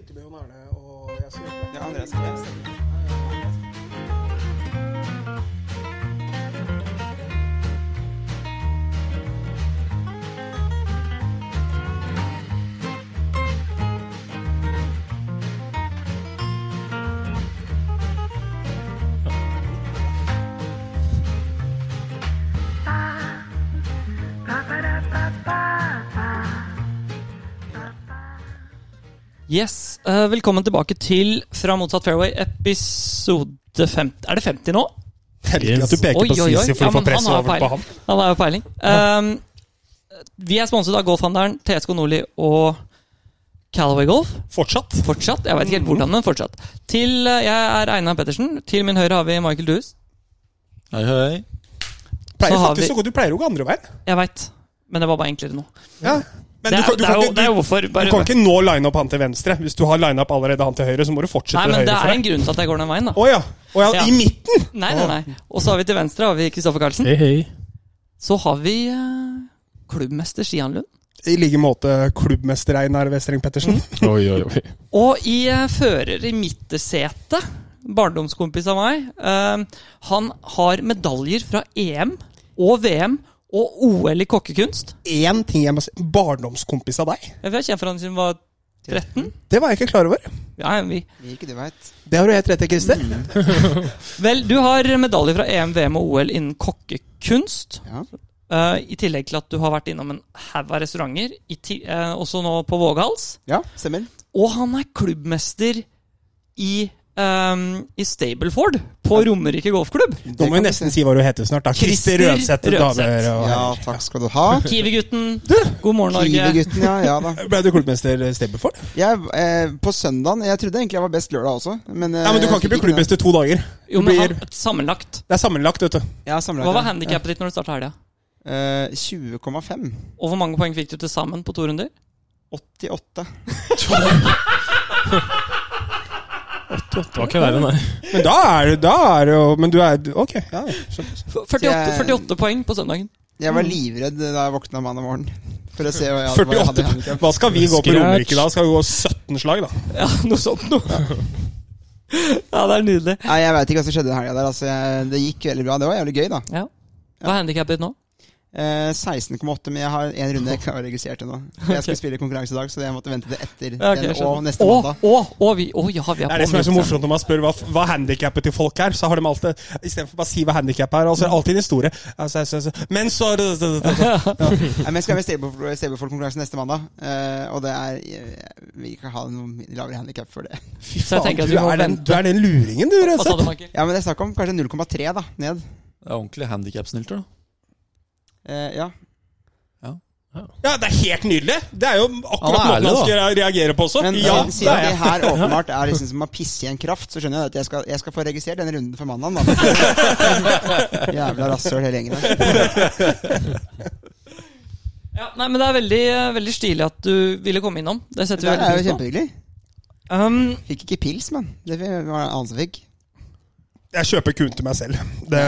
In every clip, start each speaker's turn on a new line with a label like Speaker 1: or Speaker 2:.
Speaker 1: husker det, Jon Erne, og jeg skal hjelpe deg.
Speaker 2: Det er Andreas som leser.
Speaker 3: Yes, eh, Velkommen tilbake til Fra motsatt fairway, episode 50. Er det 50 nå?
Speaker 4: Heldig
Speaker 5: Yes.
Speaker 4: at du peker
Speaker 3: Oi,
Speaker 4: på
Speaker 3: oi, oi.
Speaker 4: Sisi for
Speaker 3: Ja,
Speaker 4: å få
Speaker 3: men
Speaker 4: press
Speaker 3: han har
Speaker 4: over på
Speaker 3: peiling.
Speaker 4: ham.
Speaker 3: Han har jo peiling. Ehm, vi er sponset av Golfhandelen, TSK Nordli og Calaway Golf.
Speaker 4: Fortsatt.
Speaker 3: Fortsatt. Jeg vet ikke helt hvordan, men fortsatt. Til, eh, jeg er Einar Pettersen. Til min høyre har vi Michael Dues.
Speaker 5: Hei, hei.
Speaker 4: Pleier
Speaker 3: Så har
Speaker 4: faktisk
Speaker 3: vi-
Speaker 4: så godt. Du pleier jo ikke andre veien.
Speaker 3: Jeg veit, men det var bare enklere nå.
Speaker 4: Ja. Men du,
Speaker 3: Det er,
Speaker 4: kan- du,
Speaker 3: det
Speaker 4: kan
Speaker 3: er, jo,
Speaker 4: ikke-
Speaker 3: det er jo
Speaker 4: du,
Speaker 3: hvorfor.
Speaker 4: du
Speaker 3: Bare,
Speaker 4: kan ikke nå line opp han til venstre. Hvis du har line up allerede han til høyre, så må du fortsette
Speaker 3: nei,
Speaker 4: til
Speaker 3: men
Speaker 4: høyre.
Speaker 3: det
Speaker 4: for
Speaker 3: er en
Speaker 4: deg.
Speaker 3: grunn til at jeg går den veien, da.
Speaker 4: Å ja. Å ja.
Speaker 3: Ja.
Speaker 4: I midten!
Speaker 3: Nei, nei, nei. Og så har vi til venstre har vi Kristoffer Karlsen.
Speaker 5: Hei, hei.
Speaker 3: Så har vi eh, klubbmester Stian Lund.
Speaker 4: I like måte klubbmester Einar Westreng Pettersen.
Speaker 5: Oi, oi, oi.
Speaker 3: Og i eh, fører i midtsetet, barndomskompis av meg, eh, han har medaljer fra EM og VM og OL i kokkekunst.
Speaker 4: Én ting jeg må si. Barndomskompis av deg.
Speaker 3: Jeg vet, jeg kjenner fra han siden han var 13.
Speaker 4: Det var jeg ikke klar over.
Speaker 3: Ja, vi.
Speaker 2: Ikke du vet.
Speaker 4: Mm, Det har du helt rett i, Christer.
Speaker 3: Vel, du har medaljer fra E EM, VM og OL innen kokkekunst.
Speaker 2: Ja.
Speaker 3: eh, I tillegg til at du har vært innom en haug av restauranter, i ti eh, også nå på Vågehals.
Speaker 2: ja, stemmer.
Speaker 3: Og han er klubbmester i, ehm, i Stableford, på Romerike golfklubb.
Speaker 4: Nå må vi nesten si hva du heter snart. da Christer
Speaker 3: Christer
Speaker 4: Rødseth.
Speaker 3: Rødseth.
Speaker 4: damer og
Speaker 2: Ja,
Speaker 4: herrer.
Speaker 2: takk skal du ha.
Speaker 3: Kiwi-gutten, god morgen, Norge.
Speaker 2: Kiwi-gutten, ja. ja da.
Speaker 4: Ble du klubbmester Stebbeford?
Speaker 2: Jeg, eh, på søndagen Jeg trodde egentlig jeg var best lørdag også, men eh,
Speaker 4: Nei, men du kan
Speaker 2: jeg
Speaker 4: ikke
Speaker 2: fikk
Speaker 4: bli klubbmester to dager.
Speaker 3: Jo, men han,
Speaker 4: blir-
Speaker 3: sammenlagt.
Speaker 4: Det er sammenlagt, vet du.
Speaker 2: noe. Ja, sammenlagt,
Speaker 3: Hva var
Speaker 2: ja.
Speaker 3: handikappet ditt når du starta helga?
Speaker 2: Eh, 20,5.
Speaker 3: Og hvor mange poeng fikk du til sammen på to runder?
Speaker 2: 88.
Speaker 5: Det var ikke verre, nei.
Speaker 4: Men da er du, da er du jo Men du er Ok. Ja, skjønner.
Speaker 3: 48, 48 poeng på søndagen.
Speaker 2: Jeg
Speaker 4: Mm.
Speaker 2: var livredd da jeg våkna mandag morgen. For å se hva jeg hadde, hva jeg
Speaker 4: 48
Speaker 2: hadde i handicap.
Speaker 4: Hva skal vi gå på
Speaker 5: Scratch.
Speaker 4: Romerike da? Skal vi gå 17 slag, da?
Speaker 3: Ja, noe sånt noe. Ja, det er nydelig.
Speaker 2: Nei, jeg veit ikke hva som skjedde den helga der. Altså, jeg, det gikk veldig bra. Det var jævlig gøy, da.
Speaker 3: Ja. Hva er handikappet ditt nå?
Speaker 2: Eh, 16,8, men jeg har en runde jeg ikke har registrert ennå. Jeg skal spille konkurranse i dag, så jeg måtte vente til etter
Speaker 3: Ja, ok, jeg
Speaker 2: den
Speaker 3: skjønner.
Speaker 2: og neste
Speaker 3: Å,
Speaker 2: mandag.
Speaker 3: å, å, vi, å, ja, vi er
Speaker 4: Det er det
Speaker 3: på
Speaker 4: som er så
Speaker 3: mye.
Speaker 4: morsomt når man spør hva, hva handikappet til folk er. Så har de alltid Istedenfor bare å si hva handikappet er, altså alltid en historie. Altså, jeg synes- men så altså,
Speaker 2: Nei, men jeg skal være Stablefor- Stablefor-konkurranse neste mandag, eh, og det er jeg vil ikke ha noe lavere handikap for det.
Speaker 4: Fy
Speaker 3: Så jeg tenker at vi
Speaker 4: du,
Speaker 3: må
Speaker 4: er den,
Speaker 3: vente.
Speaker 4: du er den luringen, du,
Speaker 3: Hva sa du,
Speaker 4: Rødseth.
Speaker 3: Michael?
Speaker 2: Ja, men det er snakk om kanskje 0,3 da, ned.
Speaker 5: Det er ordentlig handikap-snylter, da.
Speaker 2: Eh, ja.
Speaker 4: Ja, det er helt nydelig! Det er jo akkurat
Speaker 5: Han er
Speaker 4: måten
Speaker 5: ærlig,
Speaker 4: han skal reagere på også.
Speaker 2: Men
Speaker 4: ja,
Speaker 2: siden,
Speaker 4: det
Speaker 2: siden
Speaker 4: er
Speaker 2: det
Speaker 4: jeg.
Speaker 2: her åpenbart er liksom som å pisse i en kraft, så skjønner jeg at jeg skal, jeg skal få registrert denne runden for mandagen. Da. Jævla rasshøl hele gjengen her.
Speaker 3: Ja, nei, men det er veldig, eh, veldig stilig at du ville komme innom. Det setter
Speaker 2: Det
Speaker 3: vi
Speaker 2: er jo
Speaker 3: veldig pris på.
Speaker 2: kjempehyggelig.
Speaker 3: Um,
Speaker 2: Fikk ikke pils, men. Det var en annen som fikk.
Speaker 4: Jeg kjøper kun til meg selv. Det,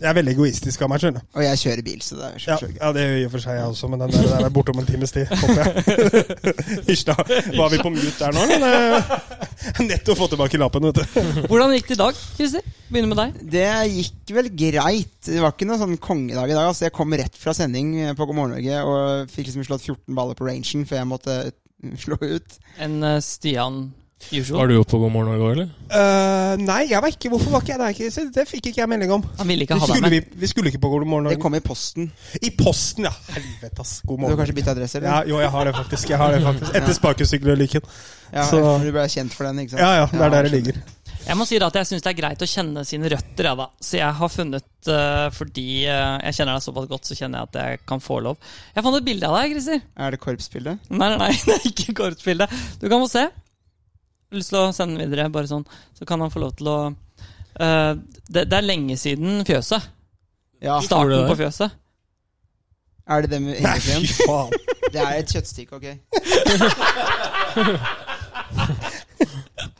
Speaker 4: jeg er veldig egoistisk av meg, skjønner du.
Speaker 2: Og jeg kjører bil, så det er
Speaker 4: Ja,
Speaker 2: selvfølgelig.
Speaker 4: ja, det gjør i og for seg jeg også, men den der, der er borte om en times tid, håper jeg. Hysj, da. Var vi på mute der nå, eller? Nettopp fått tilbake lappen, vet du.
Speaker 3: Hvordan gikk det i dag, Christer? Begynner med deg.
Speaker 2: Det gikk vel greit. Det var ikke noe sånn kongedag i dag. Altså, jeg kom rett fra sending på God morgen Norge og fikk liksom slått 14 baller på rangen før jeg måtte eh, slå ut.
Speaker 3: En eh, Stian usual.
Speaker 5: Var du oppe på God morgen Norge òg, eller?
Speaker 4: Eh, nei, jeg var ikke Hvorfor var ikke jeg der? Chris? Det fikk ikke jeg melding om.
Speaker 3: Han ville ikke
Speaker 4: Vi
Speaker 3: ha deg
Speaker 4: skulle,
Speaker 3: med.
Speaker 4: vi, vi skulle ikke på God morgen
Speaker 2: Det
Speaker 4: Norge.
Speaker 2: kom i posten.
Speaker 4: I posten, ja. Helvete, ass. God
Speaker 2: Du har
Speaker 4: morgen.
Speaker 2: kanskje bytta adresse,
Speaker 4: Ja,
Speaker 2: eller?
Speaker 4: jo, jeg har det faktisk. Jeg har det faktisk Etter sparkesykkelulykken.
Speaker 2: Ja,
Speaker 4: så-
Speaker 2: Du ble kjent for den, ikke sant?
Speaker 4: Ja, ja. Det er der det ligger.
Speaker 3: Jeg må si da at jeg syns det er greit å kjenne sine røtter, jeg da. Så jeg har funnet, eh, fordi eh, jeg kjenner deg såpass godt, så kjenner jeg at jeg kan få lov. Jeg fant et bilde av deg, Christer.
Speaker 2: Er det korpsbildet?
Speaker 3: Nei, nei, nei, det er ikke kortbilde. Du kan få se. Jeg har lyst til å sende den videre, bare sånn. Så kan han få lov til å eh, det, det er lenge siden fjøset.
Speaker 2: Ja.
Speaker 5: Hvor
Speaker 3: Starten
Speaker 5: er
Speaker 3: på
Speaker 5: det
Speaker 3: fjøset.
Speaker 2: Er det det med
Speaker 4: Nei, fy
Speaker 2: hengeklemen?
Speaker 4: faen.
Speaker 2: Det er et kjøttstykke, ok?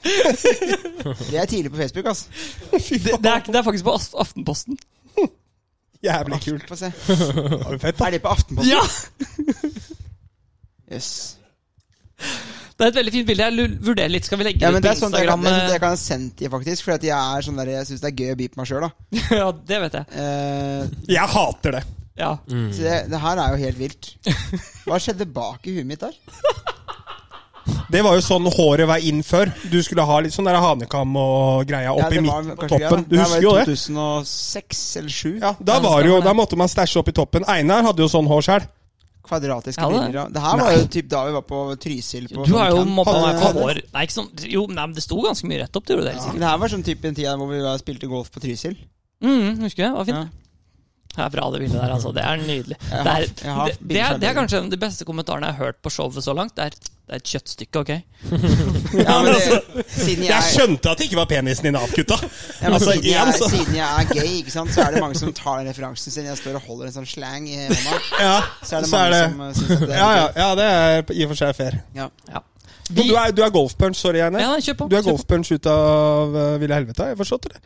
Speaker 2: Det er tidlig på Facebook, altså. ass.
Speaker 4: Fy
Speaker 3: Det, det, er,
Speaker 4: faen.
Speaker 3: det er faktisk på As- Aftenposten.
Speaker 4: Jævlig kult.
Speaker 2: Få se.
Speaker 4: Det var jo Fett, da.
Speaker 2: Er det på Aftenposten?
Speaker 3: Ja!
Speaker 2: Jøss.
Speaker 3: Det er et veldig fint bilde. Jeg lu- vurderer litt. Skal vi legge
Speaker 2: Ja,
Speaker 3: det
Speaker 2: men
Speaker 3: ut
Speaker 2: det
Speaker 3: på
Speaker 2: er sånt jeg kan,
Speaker 3: Instagram?
Speaker 2: det er sånt jeg kan ha sendt de, faktisk. For at jeg er sånn der, jeg syns det er gøy å by på meg sjøl, da.
Speaker 3: ja, det vet jeg.
Speaker 2: Eh,
Speaker 4: Jeg hater det.
Speaker 3: Ja.
Speaker 4: Mm.
Speaker 2: så det, det her er jo helt vilt. Hva skjedde bak i huet mitt der?
Speaker 4: Det var jo sånn håret var inn før. Du skulle ha litt sånn der hanekam og greia
Speaker 2: Ja,
Speaker 4: oppi
Speaker 2: det var
Speaker 4: midten på
Speaker 2: kanskje greia, da.
Speaker 4: toppen. Du husker jo
Speaker 2: var i
Speaker 4: det?
Speaker 2: 2006 eller 2007.
Speaker 4: Ja, da, var jo, da måtte man stæsje opp i toppen. Einar hadde jo sånn hår sjøl.
Speaker 2: Kvadratiske
Speaker 3: Ja, det-
Speaker 2: briller. ja. Det her var jo typ da vi var på Trysil. På
Speaker 3: Du har jo
Speaker 2: sånn camp.
Speaker 3: mobba meg
Speaker 4: Hadde-
Speaker 3: for hår. Nei, ikke sånn Jo, nei, men det sto ganske mye rett opp. Det gjorde det helt sikkert.
Speaker 2: Men det her var sånn type en tid hvor vi var- spilte golf på Trysil.
Speaker 3: Mm, husker jeg. Var fint.
Speaker 2: Ja.
Speaker 3: Det er bra, det bildet der. altså. Det er nydelig. Det
Speaker 2: har-
Speaker 3: er,
Speaker 2: jeg har
Speaker 3: det, det, er, det er kanskje en av de beste kommentarene jeg har hørt på showet så langt. Det er, det er et kjøttstykke, ok?
Speaker 2: Ja, men det, siden
Speaker 4: altså, Jeg
Speaker 2: jeg,
Speaker 4: skjønte at det ikke var penisen din avkutta.
Speaker 2: ja, men
Speaker 4: Altså,
Speaker 2: siden, jeg,
Speaker 4: igjen, så
Speaker 2: siden jeg er gay, ikke sant, så er det mange som tar den referansen siden jeg står og holder en sånn slang i hånda.
Speaker 4: Ja,
Speaker 2: Så er det mange som eh, synes at det er
Speaker 4: ja, ja, ja, det er i og for seg fair.
Speaker 2: Ja.
Speaker 3: Ja.
Speaker 4: Men du er, du er golfpunch, sorry,
Speaker 3: ja,
Speaker 4: Einar.
Speaker 3: nei, kjør på.
Speaker 4: Du er
Speaker 3: kjør på.
Speaker 4: golfpunch ut av uh, ville helvete, har jeg forstått det?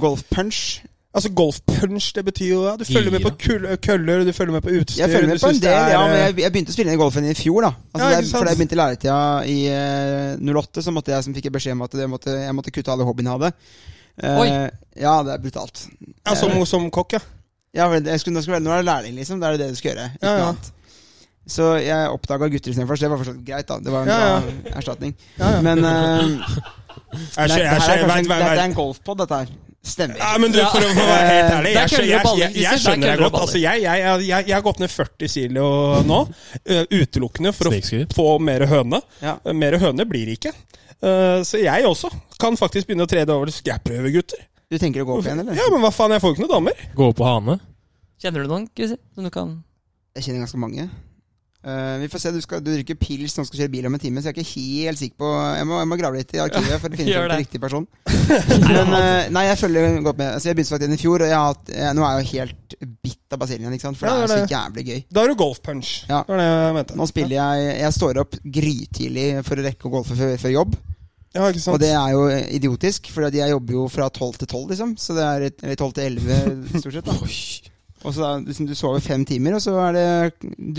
Speaker 2: Golfpunch.
Speaker 4: Altså Golfpunch, det betyr jo at du følger med på kull- køller, du følger med på utstyr
Speaker 2: Jeg følger
Speaker 4: du
Speaker 2: med på en
Speaker 4: synes
Speaker 2: del,
Speaker 4: det er,
Speaker 2: ja, men
Speaker 4: eh,
Speaker 2: jeg, jeg begynte å spille inn i golfen i fjor. da altså,
Speaker 4: Ja,
Speaker 2: det
Speaker 4: ikke
Speaker 2: er,
Speaker 4: sant?
Speaker 2: For da jeg begynte i læretida i eh, 08, så måtte jeg som fikk jeg beskjed om at jeg måtte, jeg måtte kutte alle hobbyene jeg hadde. Eh,
Speaker 3: Oi.
Speaker 2: Ja, det er brutalt.
Speaker 4: ja, som, som kokk, ja.
Speaker 2: Ja, vel, jeg skulle, nå skulle jeg være, nå er det lærling, liksom. Da er det det du skal gjøre. Ikke
Speaker 4: Ja, ja.
Speaker 2: noe annet. Så jeg oppdaga gutter istedenfor. så Det var fortsatt greit, da. Det var en
Speaker 4: Ja, ja.
Speaker 2: bra erstatning.
Speaker 4: Ja, ja.
Speaker 2: Men eh,
Speaker 4: Jeg
Speaker 2: det, det
Speaker 4: skjø- jeg
Speaker 2: her
Speaker 4: skjø-
Speaker 2: er kanskje
Speaker 4: vent,
Speaker 2: en,
Speaker 4: vent,
Speaker 2: dette er
Speaker 4: vent.
Speaker 2: en golfpod, dette her. Stemmer.
Speaker 4: Ja, men du, for å for å være helt ærlig,
Speaker 3: Der
Speaker 4: jeg, skjø-
Speaker 3: køller du
Speaker 4: jeg,
Speaker 3: baller,
Speaker 4: jeg, jeg
Speaker 3: Christer, der
Speaker 4: skjønner jeg
Speaker 3: køller du
Speaker 4: godt. Altså, jeg, jeg, jeg, jeg, jeg har gått ned 40 kilo nå, eh, utelukkende for å
Speaker 5: Snikskryt.
Speaker 4: få mer høne.
Speaker 2: Ja.
Speaker 4: Eh, Mer høne blir det ikke. Eh, Så jeg også kan faktisk begynne å trede over til skræpprøver, gutter.
Speaker 2: Du tenker å gå opp igjen, eller?
Speaker 4: Ja, men hva faen, jeg får jo ikke noen damer.
Speaker 5: Gå opp på hane.
Speaker 3: Kjenner du noen, Christer? Som du kan
Speaker 2: Jeg kjenner ganske mange. Eh, vi får se, du, skal, du drikker pils når du skal kjøre bil om en time, så jeg er ikke helt sikker på Jeg må, jeg må grave litt i arkivet for å finne
Speaker 3: Gjør
Speaker 2: ut
Speaker 3: det.
Speaker 2: riktig person. Men eh, nei, jeg følger godt med. Altså, jeg begynte faktisk inn i fjor, og jeg har hatt, jeg, nå er jeg jo helt bitt av basillen igjen, ikke sant? for det
Speaker 4: Ja,
Speaker 2: er
Speaker 4: det
Speaker 2: jo
Speaker 4: er
Speaker 2: så jævlig gøy.
Speaker 4: Da er du golfpunch.
Speaker 2: Ja.
Speaker 4: Det var det jeg mente.
Speaker 2: Nå spiller jeg Jeg står opp grytidlig for å rekke å golfe før, før jobb.
Speaker 4: Ja, ikke sant?
Speaker 2: Og det er jo idiotisk, for jeg jobber jo fra tolv til tolv, liksom. Så det er et- eller tolv til elleve, stort sett. da Og så er det liksom, Du sover fem timer, og så er det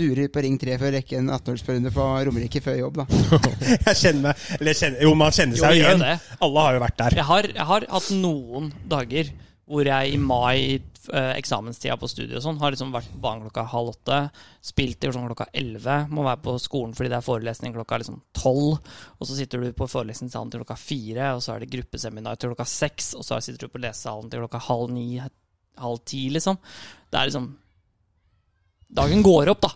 Speaker 2: durer på Ring 3 for å rekke en 18-årsperunde på Romerike før jobb, da.
Speaker 4: Jeg kjenner meg Eller jeg kjenner, jo, man kjenner seg jo
Speaker 3: gjør
Speaker 4: igjen.
Speaker 3: det.
Speaker 4: Alle har jo vært der.
Speaker 3: Jeg har, jeg har hatt noen dager hvor jeg i mai, eh, eksamenstida på studiet og sånn, har liksom vært på banen klokka halv åtte, spilt til sånn klokka elleve, må være på skolen fordi det er forelesning klokka liksom tolv, og så sitter du på forelesningssalen til klokka fire, og så er det gruppeseminar til klokka seks, og så sitter du på lesesalen til klokka halv ni, halv ti, liksom. Det er liksom Dagen går opp, da.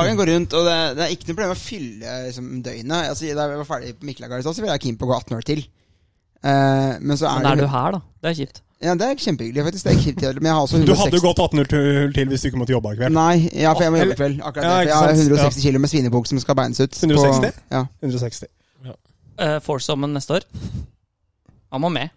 Speaker 2: Dagen går rundt, og det, det er ikke noe problem å fylle liksom, døgnet. Altså, da jeg var ferdig på Mikkelagar, i stad, så var jeg keen på å gå 18 år til. Eh, men så er,
Speaker 3: Men er
Speaker 2: det
Speaker 3: du her, da? Det er kjipt.
Speaker 2: Ja, Det er kjempehyggelig, faktisk. Det er ikke, men jeg har også
Speaker 4: Du
Speaker 2: 160
Speaker 4: hadde jo gått 18 hull til- til hvis du ikke måtte jobbe i kveld.
Speaker 2: Nei, ja, for jeg må jobbe i kveld. Akkurat
Speaker 4: Ja,
Speaker 2: det. For
Speaker 4: ikke
Speaker 2: jeg har
Speaker 4: sant?
Speaker 2: 160 kilo med svinebukk som skal beines ut. på-
Speaker 4: 160?
Speaker 2: ja.
Speaker 4: 160.
Speaker 3: Uh, Forsommen neste år. Han må med.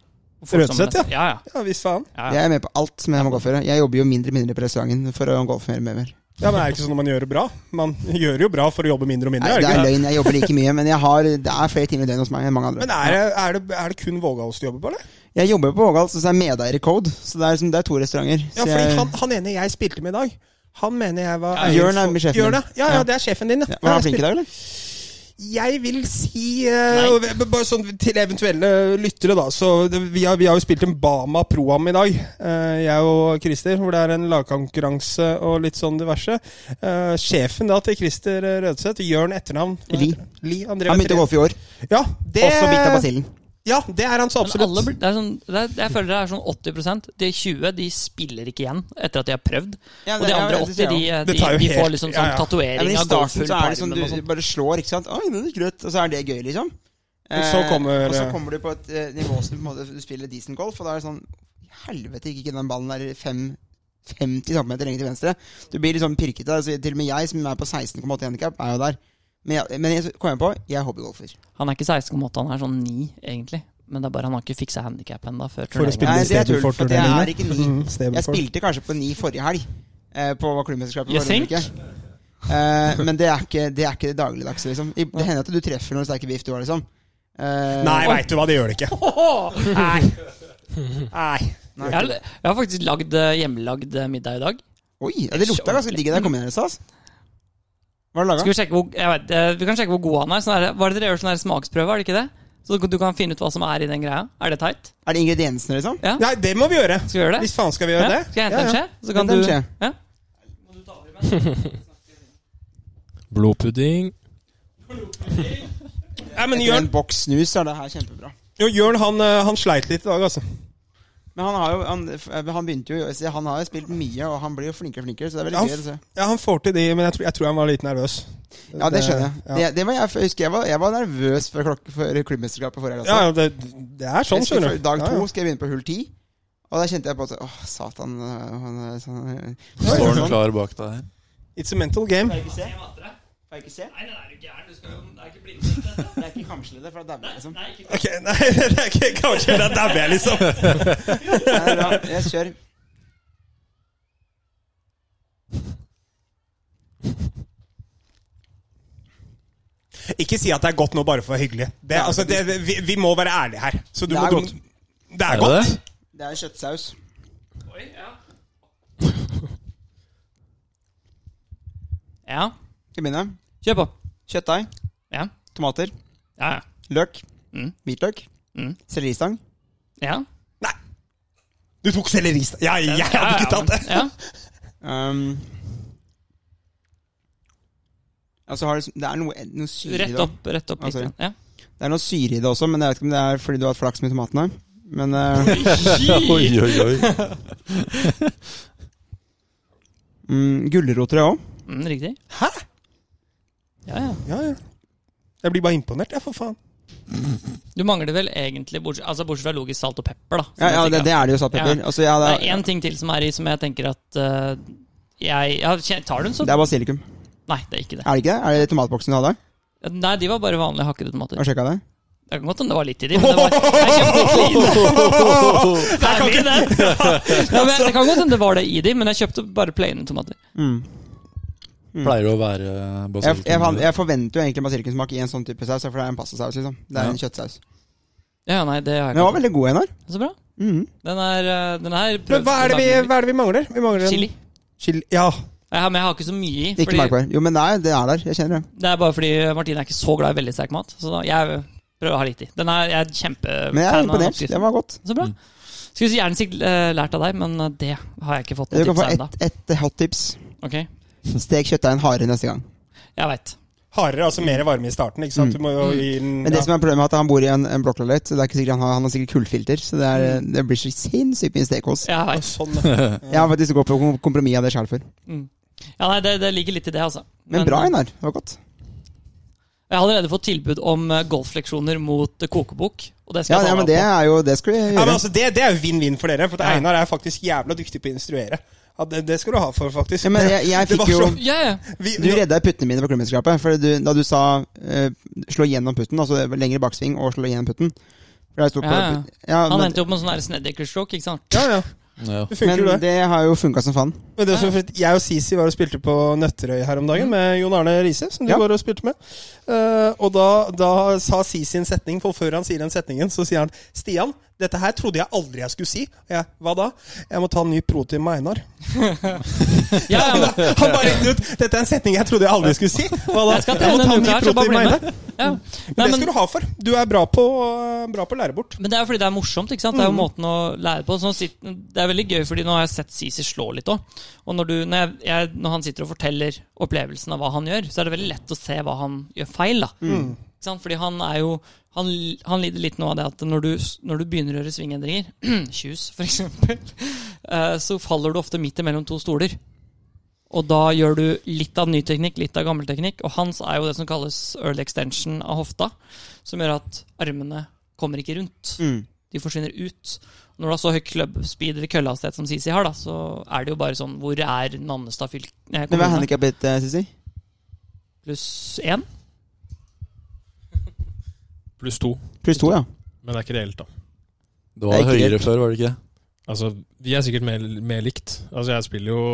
Speaker 4: Rødsett,
Speaker 3: Forsommen neste år. Ja, ja.
Speaker 4: Ja visst faen.
Speaker 3: ja, ja.
Speaker 2: Jeg er med på alt som jeg må golføre. Jeg jobber jo mindre og mindre på restauranten for å golfe mer og mer.
Speaker 4: Ja, men er det ikke sånn at man gjør det bra? Man gjør jo bra for å jobbe mindre og mindre.
Speaker 2: Nei,
Speaker 4: er
Speaker 2: det
Speaker 4: det
Speaker 2: er
Speaker 4: ikke?
Speaker 2: løgn. Jeg jobber like mye, men jeg har, det er flere timer i døgnet hos meg enn mange
Speaker 4: Men
Speaker 2: andre.
Speaker 4: er det, er, det, er det kun Vågals du jobber på, eller?
Speaker 2: Jeg jobber på Vågal, så det er medeier i Code. Så det er, liksom, det er to restauranter. Så
Speaker 4: Ja,
Speaker 3: Eh.
Speaker 4: fordi
Speaker 2: jeg,
Speaker 4: han, han ene jeg spilte med i dag, han mener jeg var
Speaker 2: Ja, Jørn er min sjefen
Speaker 4: Jørn, ja.
Speaker 2: din.
Speaker 4: ja, ja,
Speaker 2: Ja.
Speaker 4: det er sjefen din, ja.
Speaker 2: ja,
Speaker 4: Ja,
Speaker 2: var han
Speaker 4: jeg
Speaker 2: flink i dag, eller?
Speaker 4: spil- Jeg vil si eh, Bare sånn til eventuelle lyttere, da. Så det, vi, har, vi har jo spilt en Bama Pro-Am i dag, eh, jeg og Christer, hvor det er en lagkonkurranse og litt sånn diverse. Eh, sjefen da til Christer eh, Rødseth, Jørn etternavn hva
Speaker 2: Li.
Speaker 4: heter det? Li André
Speaker 2: Han begynte å
Speaker 4: Vetter-
Speaker 2: golfe i år,
Speaker 4: Ja, det,
Speaker 2: også bitt av basillen.
Speaker 4: ja, det er han så
Speaker 3: Men
Speaker 4: absolutt.
Speaker 3: alle, blir- det er sånn, det er, jeg føler det er sånn 80 De 20 de spiller ikke igjen etter at de har prøvd.
Speaker 2: Ja,
Speaker 3: og
Speaker 2: det-
Speaker 3: de
Speaker 2: ja, det
Speaker 3: andre
Speaker 2: ser
Speaker 3: 80 de,
Speaker 4: Det
Speaker 3: de,
Speaker 4: tar jo
Speaker 3: de
Speaker 4: helt-
Speaker 3: får liksom
Speaker 4: ja,
Speaker 3: sånn
Speaker 4: ja.
Speaker 2: Ja,
Speaker 3: tatovering
Speaker 2: men I
Speaker 3: av
Speaker 2: starten
Speaker 3: golfhull
Speaker 2: så
Speaker 3: på
Speaker 2: er det sånn
Speaker 3: armen
Speaker 2: du
Speaker 3: og sånn.
Speaker 2: bare slår, ikke sant. Oi, den gikk rødt. Og så er det gøy, liksom.
Speaker 4: Og så kommer-
Speaker 2: og så kommer du på et eh, nivå som du på en måte du spiller decent golf, og da er det sånn i Helvete, gikk ikke den ballen der fem- 50 cm lenger til venstre. Du blir litt sånn pirkete. Altså, til og med jeg, som er på 16,8 handikap, er jo der. Men jeg, men jeg så kom jeg på, jeg er hobbygolfer.
Speaker 3: Han er ikke 16,8, han er sånn 9, egentlig. Men det er bare han har ikke fiksa handikap ennå.
Speaker 4: For å spille
Speaker 2: Nei, det er tull,
Speaker 4: istedenfor
Speaker 2: for det er ikke ni.
Speaker 4: Mm, Steven
Speaker 2: Jeg
Speaker 4: Ford.
Speaker 2: spilte kanskje på ni forrige helg, eh, på klubbmesterskapet.
Speaker 3: You
Speaker 2: forrige
Speaker 3: think?
Speaker 2: uke. Eh, men det er ikke det, er ikke det dagligdagse, liksom. I- Det hender at du treffer noen sterke biff, du har, liksom. Eh,
Speaker 4: Nei, veit du hva, det gjør det ikke.
Speaker 3: Nei.
Speaker 4: Nei.
Speaker 3: Jeg, har- jeg har faktisk lagd eh, hjemmelagd eh, middag i dag.
Speaker 2: Oi, ja, det lukta ganske digg da jeg kom inn her i stad. ass. Hva har du
Speaker 3: Skal
Speaker 2: laga?
Speaker 3: vi sjekke hvor, jeg vet, eh, vi kan sjekke hvor god han er. Sånn er det- hva er det dere gjør sånn her smaksprøve, er det ikke det? Så du kan finne ut hva som er i den greia. Er det teit?
Speaker 2: Er det ingrediensene, liksom?
Speaker 6: Nei, det må vi gjøre!
Speaker 3: Skal vi gjøre det?
Speaker 6: Hvis faen skal vi gjøre
Speaker 3: Ja,
Speaker 6: det?
Speaker 3: Skal jeg hente en skje? Så kan
Speaker 2: Hent en
Speaker 3: du
Speaker 2: skje.
Speaker 3: Ja.
Speaker 5: Blodpudding.
Speaker 6: Nei, men
Speaker 2: Etter
Speaker 6: Jørn,
Speaker 2: en boks snus er det her kjempebra.
Speaker 6: jo, Jørn han, eh, han sleit litt i dag, altså.
Speaker 2: Men han har jo Han, han begynte jo så Han har jo spilt mye, og han blir jo flinkere og flinkere, så det er
Speaker 6: Ja,
Speaker 2: veldig gøy å se.
Speaker 6: Ja, Han får til de, men jeg tror, jeg tror han var litt nervøs.
Speaker 2: Ja, det skjønner jeg.
Speaker 6: Ja.
Speaker 2: Det, det var jeg, jeg husker jeg var, jeg var nervøs før, klok- før klubbmesterskapet forrige gang. altså.
Speaker 6: Ja, ja, det, det er sånn, skjønner du.
Speaker 2: Dag
Speaker 6: Ja,
Speaker 2: to
Speaker 6: ja.
Speaker 2: skal jeg begynne på hull ti. Og da kjente jeg på at Åh, satan øh, han er sånn, øh,
Speaker 5: Står
Speaker 2: sånn,
Speaker 5: den klar bak deg her?
Speaker 6: It's a mental game.
Speaker 2: Får jeg ikke se? Får jeg ikke se?
Speaker 3: Nei, nei, er du gæren? Du skal jo Det er ikke blindhet.
Speaker 2: Det er ikke kamslede, for da dauer jeg, liksom.
Speaker 3: Nei, ikke
Speaker 6: Ok, Nei, det er ikke kanskje Da dabber jeg, liksom.
Speaker 2: Nei, det er bra. Jeg kjører.
Speaker 6: Ikke si at det er godt nå bare for å være hyggelig. Det, altså, det, vi, vi må være ærlige her. Så du
Speaker 2: Det
Speaker 6: må,
Speaker 2: er
Speaker 6: du,
Speaker 2: godt.
Speaker 6: Det er,
Speaker 5: Er det
Speaker 6: godt.
Speaker 5: det?
Speaker 2: Det er kjøttsaus.
Speaker 3: Oi, ja. ja.
Speaker 2: Skal vi begynne?
Speaker 3: Kjør på.
Speaker 2: Kjøttdeig,
Speaker 3: Ja.
Speaker 2: tomater,
Speaker 3: Ja, ja.
Speaker 2: løk,
Speaker 3: Mm.
Speaker 2: hvitløk,
Speaker 3: Mm.
Speaker 2: selleristang.
Speaker 3: ja.
Speaker 6: Nei! Du tok selleristang. Ja, jeg hadde ikke tatt det.
Speaker 3: Ja.
Speaker 2: Um, altså har det, det er noe, noe syre i det.
Speaker 3: Rett opp. Rett opp
Speaker 2: Ah, sorry.
Speaker 3: litt. Ja.
Speaker 2: Det er noe syre i det også, men jeg vet ikke om det er fordi du har hatt flaks med tomatene. Men eh,
Speaker 5: Oi, oi, oi.
Speaker 2: mm, gulroter òg.
Speaker 3: Mm, riktig.
Speaker 6: Hæ?
Speaker 3: Ja, ja.
Speaker 6: Ja, ja. Jeg blir bare imponert, jeg, for faen.
Speaker 3: Du mangler vel egentlig, bortsett, altså bortsett fra logisk salt og pepper, da. som
Speaker 2: Ja, ja
Speaker 3: jeg
Speaker 2: det,
Speaker 3: sikkert-
Speaker 2: det er det jo, salt og pepper.
Speaker 3: Ja.
Speaker 2: Altså, ja,
Speaker 3: Det
Speaker 2: det,
Speaker 3: er
Speaker 2: er,
Speaker 3: én ting til som er i, som jeg tenker at eh, jeg, ja, kje- Tar du den, så
Speaker 2: det er basilikum.
Speaker 3: Nei, det er ikke det.
Speaker 2: Er det ikke det? Er det tomatboksen du hadde?
Speaker 3: Nei, de var bare vanlige hakkede tomater.
Speaker 2: Har du sjekka det?
Speaker 3: Det kan godt hende det var litt i de, men det var jeg kjøpte ikke i det. Det er mye, det. Ja, men det kan godt hende det var det i de, men jeg kjøpte bare plaine tomater.
Speaker 2: Mm.
Speaker 5: Pleier det å være
Speaker 2: Jeg, jeg,
Speaker 5: basilikum?
Speaker 2: fant- jeg forventer jo egentlig basilikumsmak i en sånn type saus, for det er en pastasaus, liksom. Det er en kjøttsaus.
Speaker 3: Ja, nei, det har
Speaker 2: Men den var
Speaker 3: jeg ikke.
Speaker 2: veldig god, Einar.
Speaker 3: Så bra.
Speaker 2: Mm.
Speaker 3: Den er, eh, den er
Speaker 6: Men hva er det vi, hva er det vi mangler? Vi mangler en-
Speaker 3: Chili.
Speaker 6: Chili. Ja.
Speaker 3: Jeg har, men jeg har ikke så mye i.
Speaker 2: Ikke
Speaker 3: Fordi
Speaker 2: merkbar. Jo, men det er, det er der. Jeg kjenner det.
Speaker 3: det er bare fordi Martine er ikke så glad i veldig sterk mat. Så da, jeg prøver å ha litt i. Den er, jeg er kjempefan
Speaker 2: Men jeg er
Speaker 3: av den
Speaker 2: imponert.
Speaker 3: oppskriften.
Speaker 2: Det var godt.
Speaker 3: Så bra. Skulle gjerne sikkert eh, lært av deg, men eh, det har jeg ikke fått
Speaker 2: Du
Speaker 3: noe
Speaker 2: kan
Speaker 3: tips
Speaker 2: få
Speaker 3: ennå.
Speaker 2: ett et hot tips.
Speaker 3: Ok,
Speaker 2: Stek kjøttdeigen hardere neste gang.
Speaker 3: jeg veit.
Speaker 6: Hardere, altså mer varme i starten. ikke sant? Du må jo gi den
Speaker 2: Men det
Speaker 6: ja.
Speaker 2: som er problemet er at han bor i en, en blokkleilighet. så det er ikke sikkert Han har, han har sikkert kullfilter, så det, er, det blir så sinnssykt mye stekos.
Speaker 3: Jeg vet.
Speaker 6: Sånn, ja.
Speaker 2: Jeg har faktisk gått på kom- kompromiss av det sjøl før.
Speaker 3: Ja, nei, det, det ligger litt i det, altså.
Speaker 2: Men bra, Einar. Det var godt.
Speaker 3: Jeg har allerede fått tilbud om eh, golfleksjoner mot eh, kokebok. Og det
Speaker 2: Ja,
Speaker 3: skal
Speaker 2: ja,
Speaker 3: jeg ta
Speaker 2: men
Speaker 3: meg
Speaker 2: det
Speaker 3: opp på.
Speaker 2: er jo Det skal vi
Speaker 6: Ja, men
Speaker 2: gjøre.
Speaker 6: altså, det, det er jo vinn-vinn for dere, for at
Speaker 3: Ja.
Speaker 6: Einar er faktisk jævla dyktig på å instruere. Ja, det, det skal du ha for, faktisk.
Speaker 2: Ja, men jeg, jeg
Speaker 6: Det var
Speaker 2: fikk jo
Speaker 6: så-
Speaker 3: Ja, ja.
Speaker 6: Vi,
Speaker 2: Du redda puttene mine på klubbmesterskapet. For du, da du sa eh, slå gjennom putten, altså lengre baksving og slå gjennom putten for jeg sto på,
Speaker 3: Ja, ja.
Speaker 2: ja,
Speaker 3: Han
Speaker 2: men,
Speaker 3: endte jo opp med en sånn her snedekerstroke, ikke sant?
Speaker 6: ja, ja.
Speaker 5: Ja.
Speaker 6: Det funker, jo
Speaker 2: men
Speaker 6: det.
Speaker 2: det har jo funka som faen.
Speaker 6: Men det som, jeg og Sisi var og spilte på Nøtterøy her om dagen med Jon Arne Riise, som du
Speaker 2: Mm. Ja.
Speaker 6: var og spilte med. Eh, og da, da sa Sisi en setning, for før han sier den setningen, så sier han Stian, dette her trodde jeg aldri jeg skulle si. Og jeg, hva da? Jeg må ta en ny protein med Einar.
Speaker 3: Ja, ja, men,
Speaker 6: Han bare gikk ut Dette er en setning jeg trodde jeg aldri skulle si. Hva da?
Speaker 3: Jeg skal trene denne uka her, så bare bli med. ja.
Speaker 6: Men
Speaker 3: Nei,
Speaker 6: det
Speaker 3: men,
Speaker 6: skal du ha for. Du er bra på, bra på å lære bort.
Speaker 3: men det er jo fordi det er morsomt. ikke sant? Det er jo
Speaker 6: Mm.
Speaker 3: måten å lære på. Sånn, sit- det er veldig gøy, fordi nå har jeg sett Sisi slå litt òg. Og når, du, når, jeg, jeg, når han sitter og forteller opplevelsen av hva han gjør, så er det veldig lett å se hva han gjør feil. da. Ikke sant? Fordi han er jo han, han lider litt nå av det at når du, når du begynner å gjøre svingendringer, tjus for eksempel, eh, så faller du ofte midt imellom to stoler. Og da gjør du litt av ny teknikk, litt av gammel teknikk. Og hans er jo det som kalles early extension av hofta, som gjør at armene kommer ikke rundt.
Speaker 2: Mm.
Speaker 3: De forsvinner ut. Når du har så høy klubbspeed eller køllehastighet som Sisi har, da, så er det jo bare sånn Hvor er Nannestad fylke? eh,
Speaker 2: Men hva er
Speaker 3: kommune?
Speaker 2: handikappet ditt, eh, Sissy?
Speaker 3: Pluss én?
Speaker 5: Pluss to.
Speaker 2: Pluss to, ja.
Speaker 7: Men det er ikke reelt, da.
Speaker 5: Det
Speaker 2: Det
Speaker 5: var
Speaker 2: er ikke
Speaker 5: høyere
Speaker 2: helt-
Speaker 5: før, var det ikke?
Speaker 7: Altså, Vi er sikkert mer, mer likt. Altså, Jeg spiller jo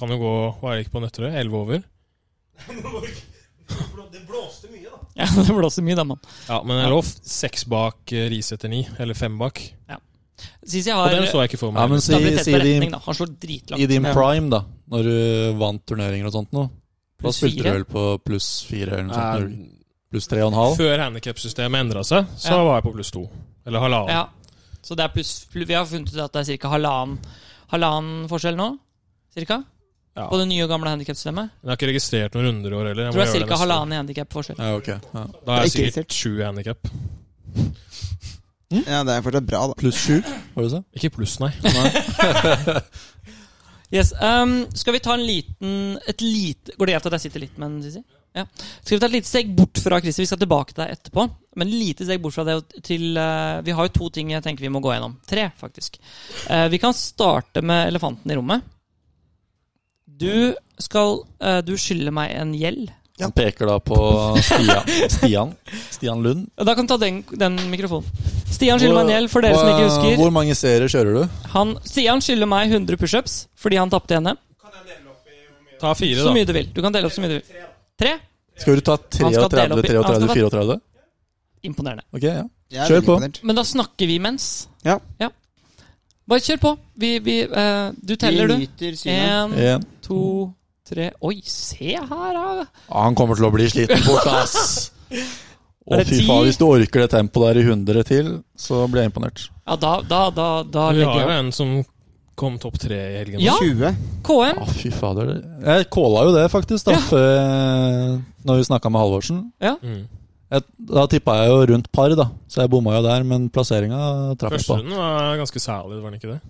Speaker 7: Kan jo gå Hva er det ikke på Nøtterøy? 11 over.
Speaker 6: Det blåste mye, da.
Speaker 3: Ja, det blåser mye, da, mann.
Speaker 7: Ja, Men jeg lå f- seks bak eh, Riise etter ni. Eller fem bak.
Speaker 3: Sisi
Speaker 7: Og den
Speaker 3: har
Speaker 7: så jeg ikke for
Speaker 5: Ja,
Speaker 7: meg.
Speaker 5: men si,
Speaker 3: stabilitet
Speaker 5: si
Speaker 3: på
Speaker 5: det i-
Speaker 3: retning, da. Han slår dritlangt.
Speaker 5: i din
Speaker 2: Ja.
Speaker 5: prime, da. Når du vant turneringer og sånt nå. Da
Speaker 3: Pluss
Speaker 5: spilte du
Speaker 3: fire.
Speaker 5: vel på pluss fire eller noe sånt?
Speaker 7: Nei.
Speaker 5: Pluss tre og en halv?
Speaker 7: Før handikapsystemet endra seg, så
Speaker 3: Ja.
Speaker 7: var jeg på pluss to. Eller halvannen.
Speaker 3: Ja. Så det er pluss pl- Vi har funnet ut at det er ca. halvannen halvannen forskjell nå. Cirka.
Speaker 7: Ja.
Speaker 3: På det nye og gamle handikapsystemet.
Speaker 7: Men Jeg har ikke registrert noen runder i år heller.
Speaker 3: Jeg
Speaker 7: Jeg må
Speaker 3: tror det er
Speaker 7: gjøre det
Speaker 3: ca.
Speaker 7: neste år.
Speaker 3: halvannen i handikapforskjell.
Speaker 5: Ja, ok. Ja.
Speaker 7: Da er jeg
Speaker 2: Det er ikke
Speaker 7: sikkert sju i handikap.
Speaker 2: Ja, det er fortsatt bra, da.
Speaker 5: Pluss sju, var det det?
Speaker 7: Ikke pluss, nei.
Speaker 3: Yes, ehm, skal vi ta en liten et lite, Går det greit at jeg sitter litt med den, Sisi? Ja. Skal vi ta et lite steg bort fra Christer? Vi skal tilbake til deg etterpå. Men et lite steg bort fra det og til eh, Vi har jo to ting jeg tenker vi må gå gjennom. Tre, faktisk. Eh, vi kan starte med elefanten i rommet. Du skal eh, Du skylder meg en gjeld.
Speaker 5: Han peker da på Stian. Stian, Stian Lund.
Speaker 3: Ja, Da kan du ta den, den mikrofonen. Stian skylder meg en gjeld, for dere som ikke
Speaker 5: Hva-
Speaker 3: husker.
Speaker 5: Hvor mange seere kjører du?
Speaker 3: Han, Stian skylder meg 100 pushups fordi han tapte i NM.
Speaker 7: Ta fire,
Speaker 3: Så
Speaker 7: da.
Speaker 3: mye du vil. Du kan dele opp så mye du vil. Tre?
Speaker 5: Skal du ta
Speaker 3: dele opp i-
Speaker 5: 33,
Speaker 3: han skal
Speaker 5: 33,
Speaker 3: ta-
Speaker 5: 34?
Speaker 3: Imponerende.
Speaker 5: Ok, ja.
Speaker 2: Jeg er
Speaker 5: Kjør
Speaker 2: veldig
Speaker 5: på.
Speaker 2: imponert.
Speaker 3: Men da snakker vi mens.
Speaker 2: Ja.
Speaker 3: Bare kjør på. Vi, vi, eh, du teller,
Speaker 2: Vi
Speaker 3: du.
Speaker 2: nyter synet.
Speaker 3: Én,
Speaker 5: En.
Speaker 3: to, tre Oi, se her, da!
Speaker 5: Ja, han kommer til å bli sliten fort, ass. Å,
Speaker 3: Er det
Speaker 5: fy
Speaker 3: ti?
Speaker 5: faen, hvis du orker det tempoet der i 100 til, så blir jeg imponert.
Speaker 3: Ja, da, da, da, da
Speaker 7: Vi har
Speaker 3: legger
Speaker 7: jo
Speaker 3: jeg opp.
Speaker 7: en som kom topp tre i helgen.
Speaker 3: Ja.
Speaker 2: 20.
Speaker 3: KM.
Speaker 5: Å, fy fader. Jeg calla jo det, faktisk, da,
Speaker 3: Ja.
Speaker 5: før- når vi snakka med Halvorsen.
Speaker 7: Mm.
Speaker 5: Jeg, da tippa jeg jo rundt par, da, så jeg bomma jo der, men plasseringa traff jeg
Speaker 7: Første
Speaker 5: på.
Speaker 7: runden var ganske særlig, var den ikke det?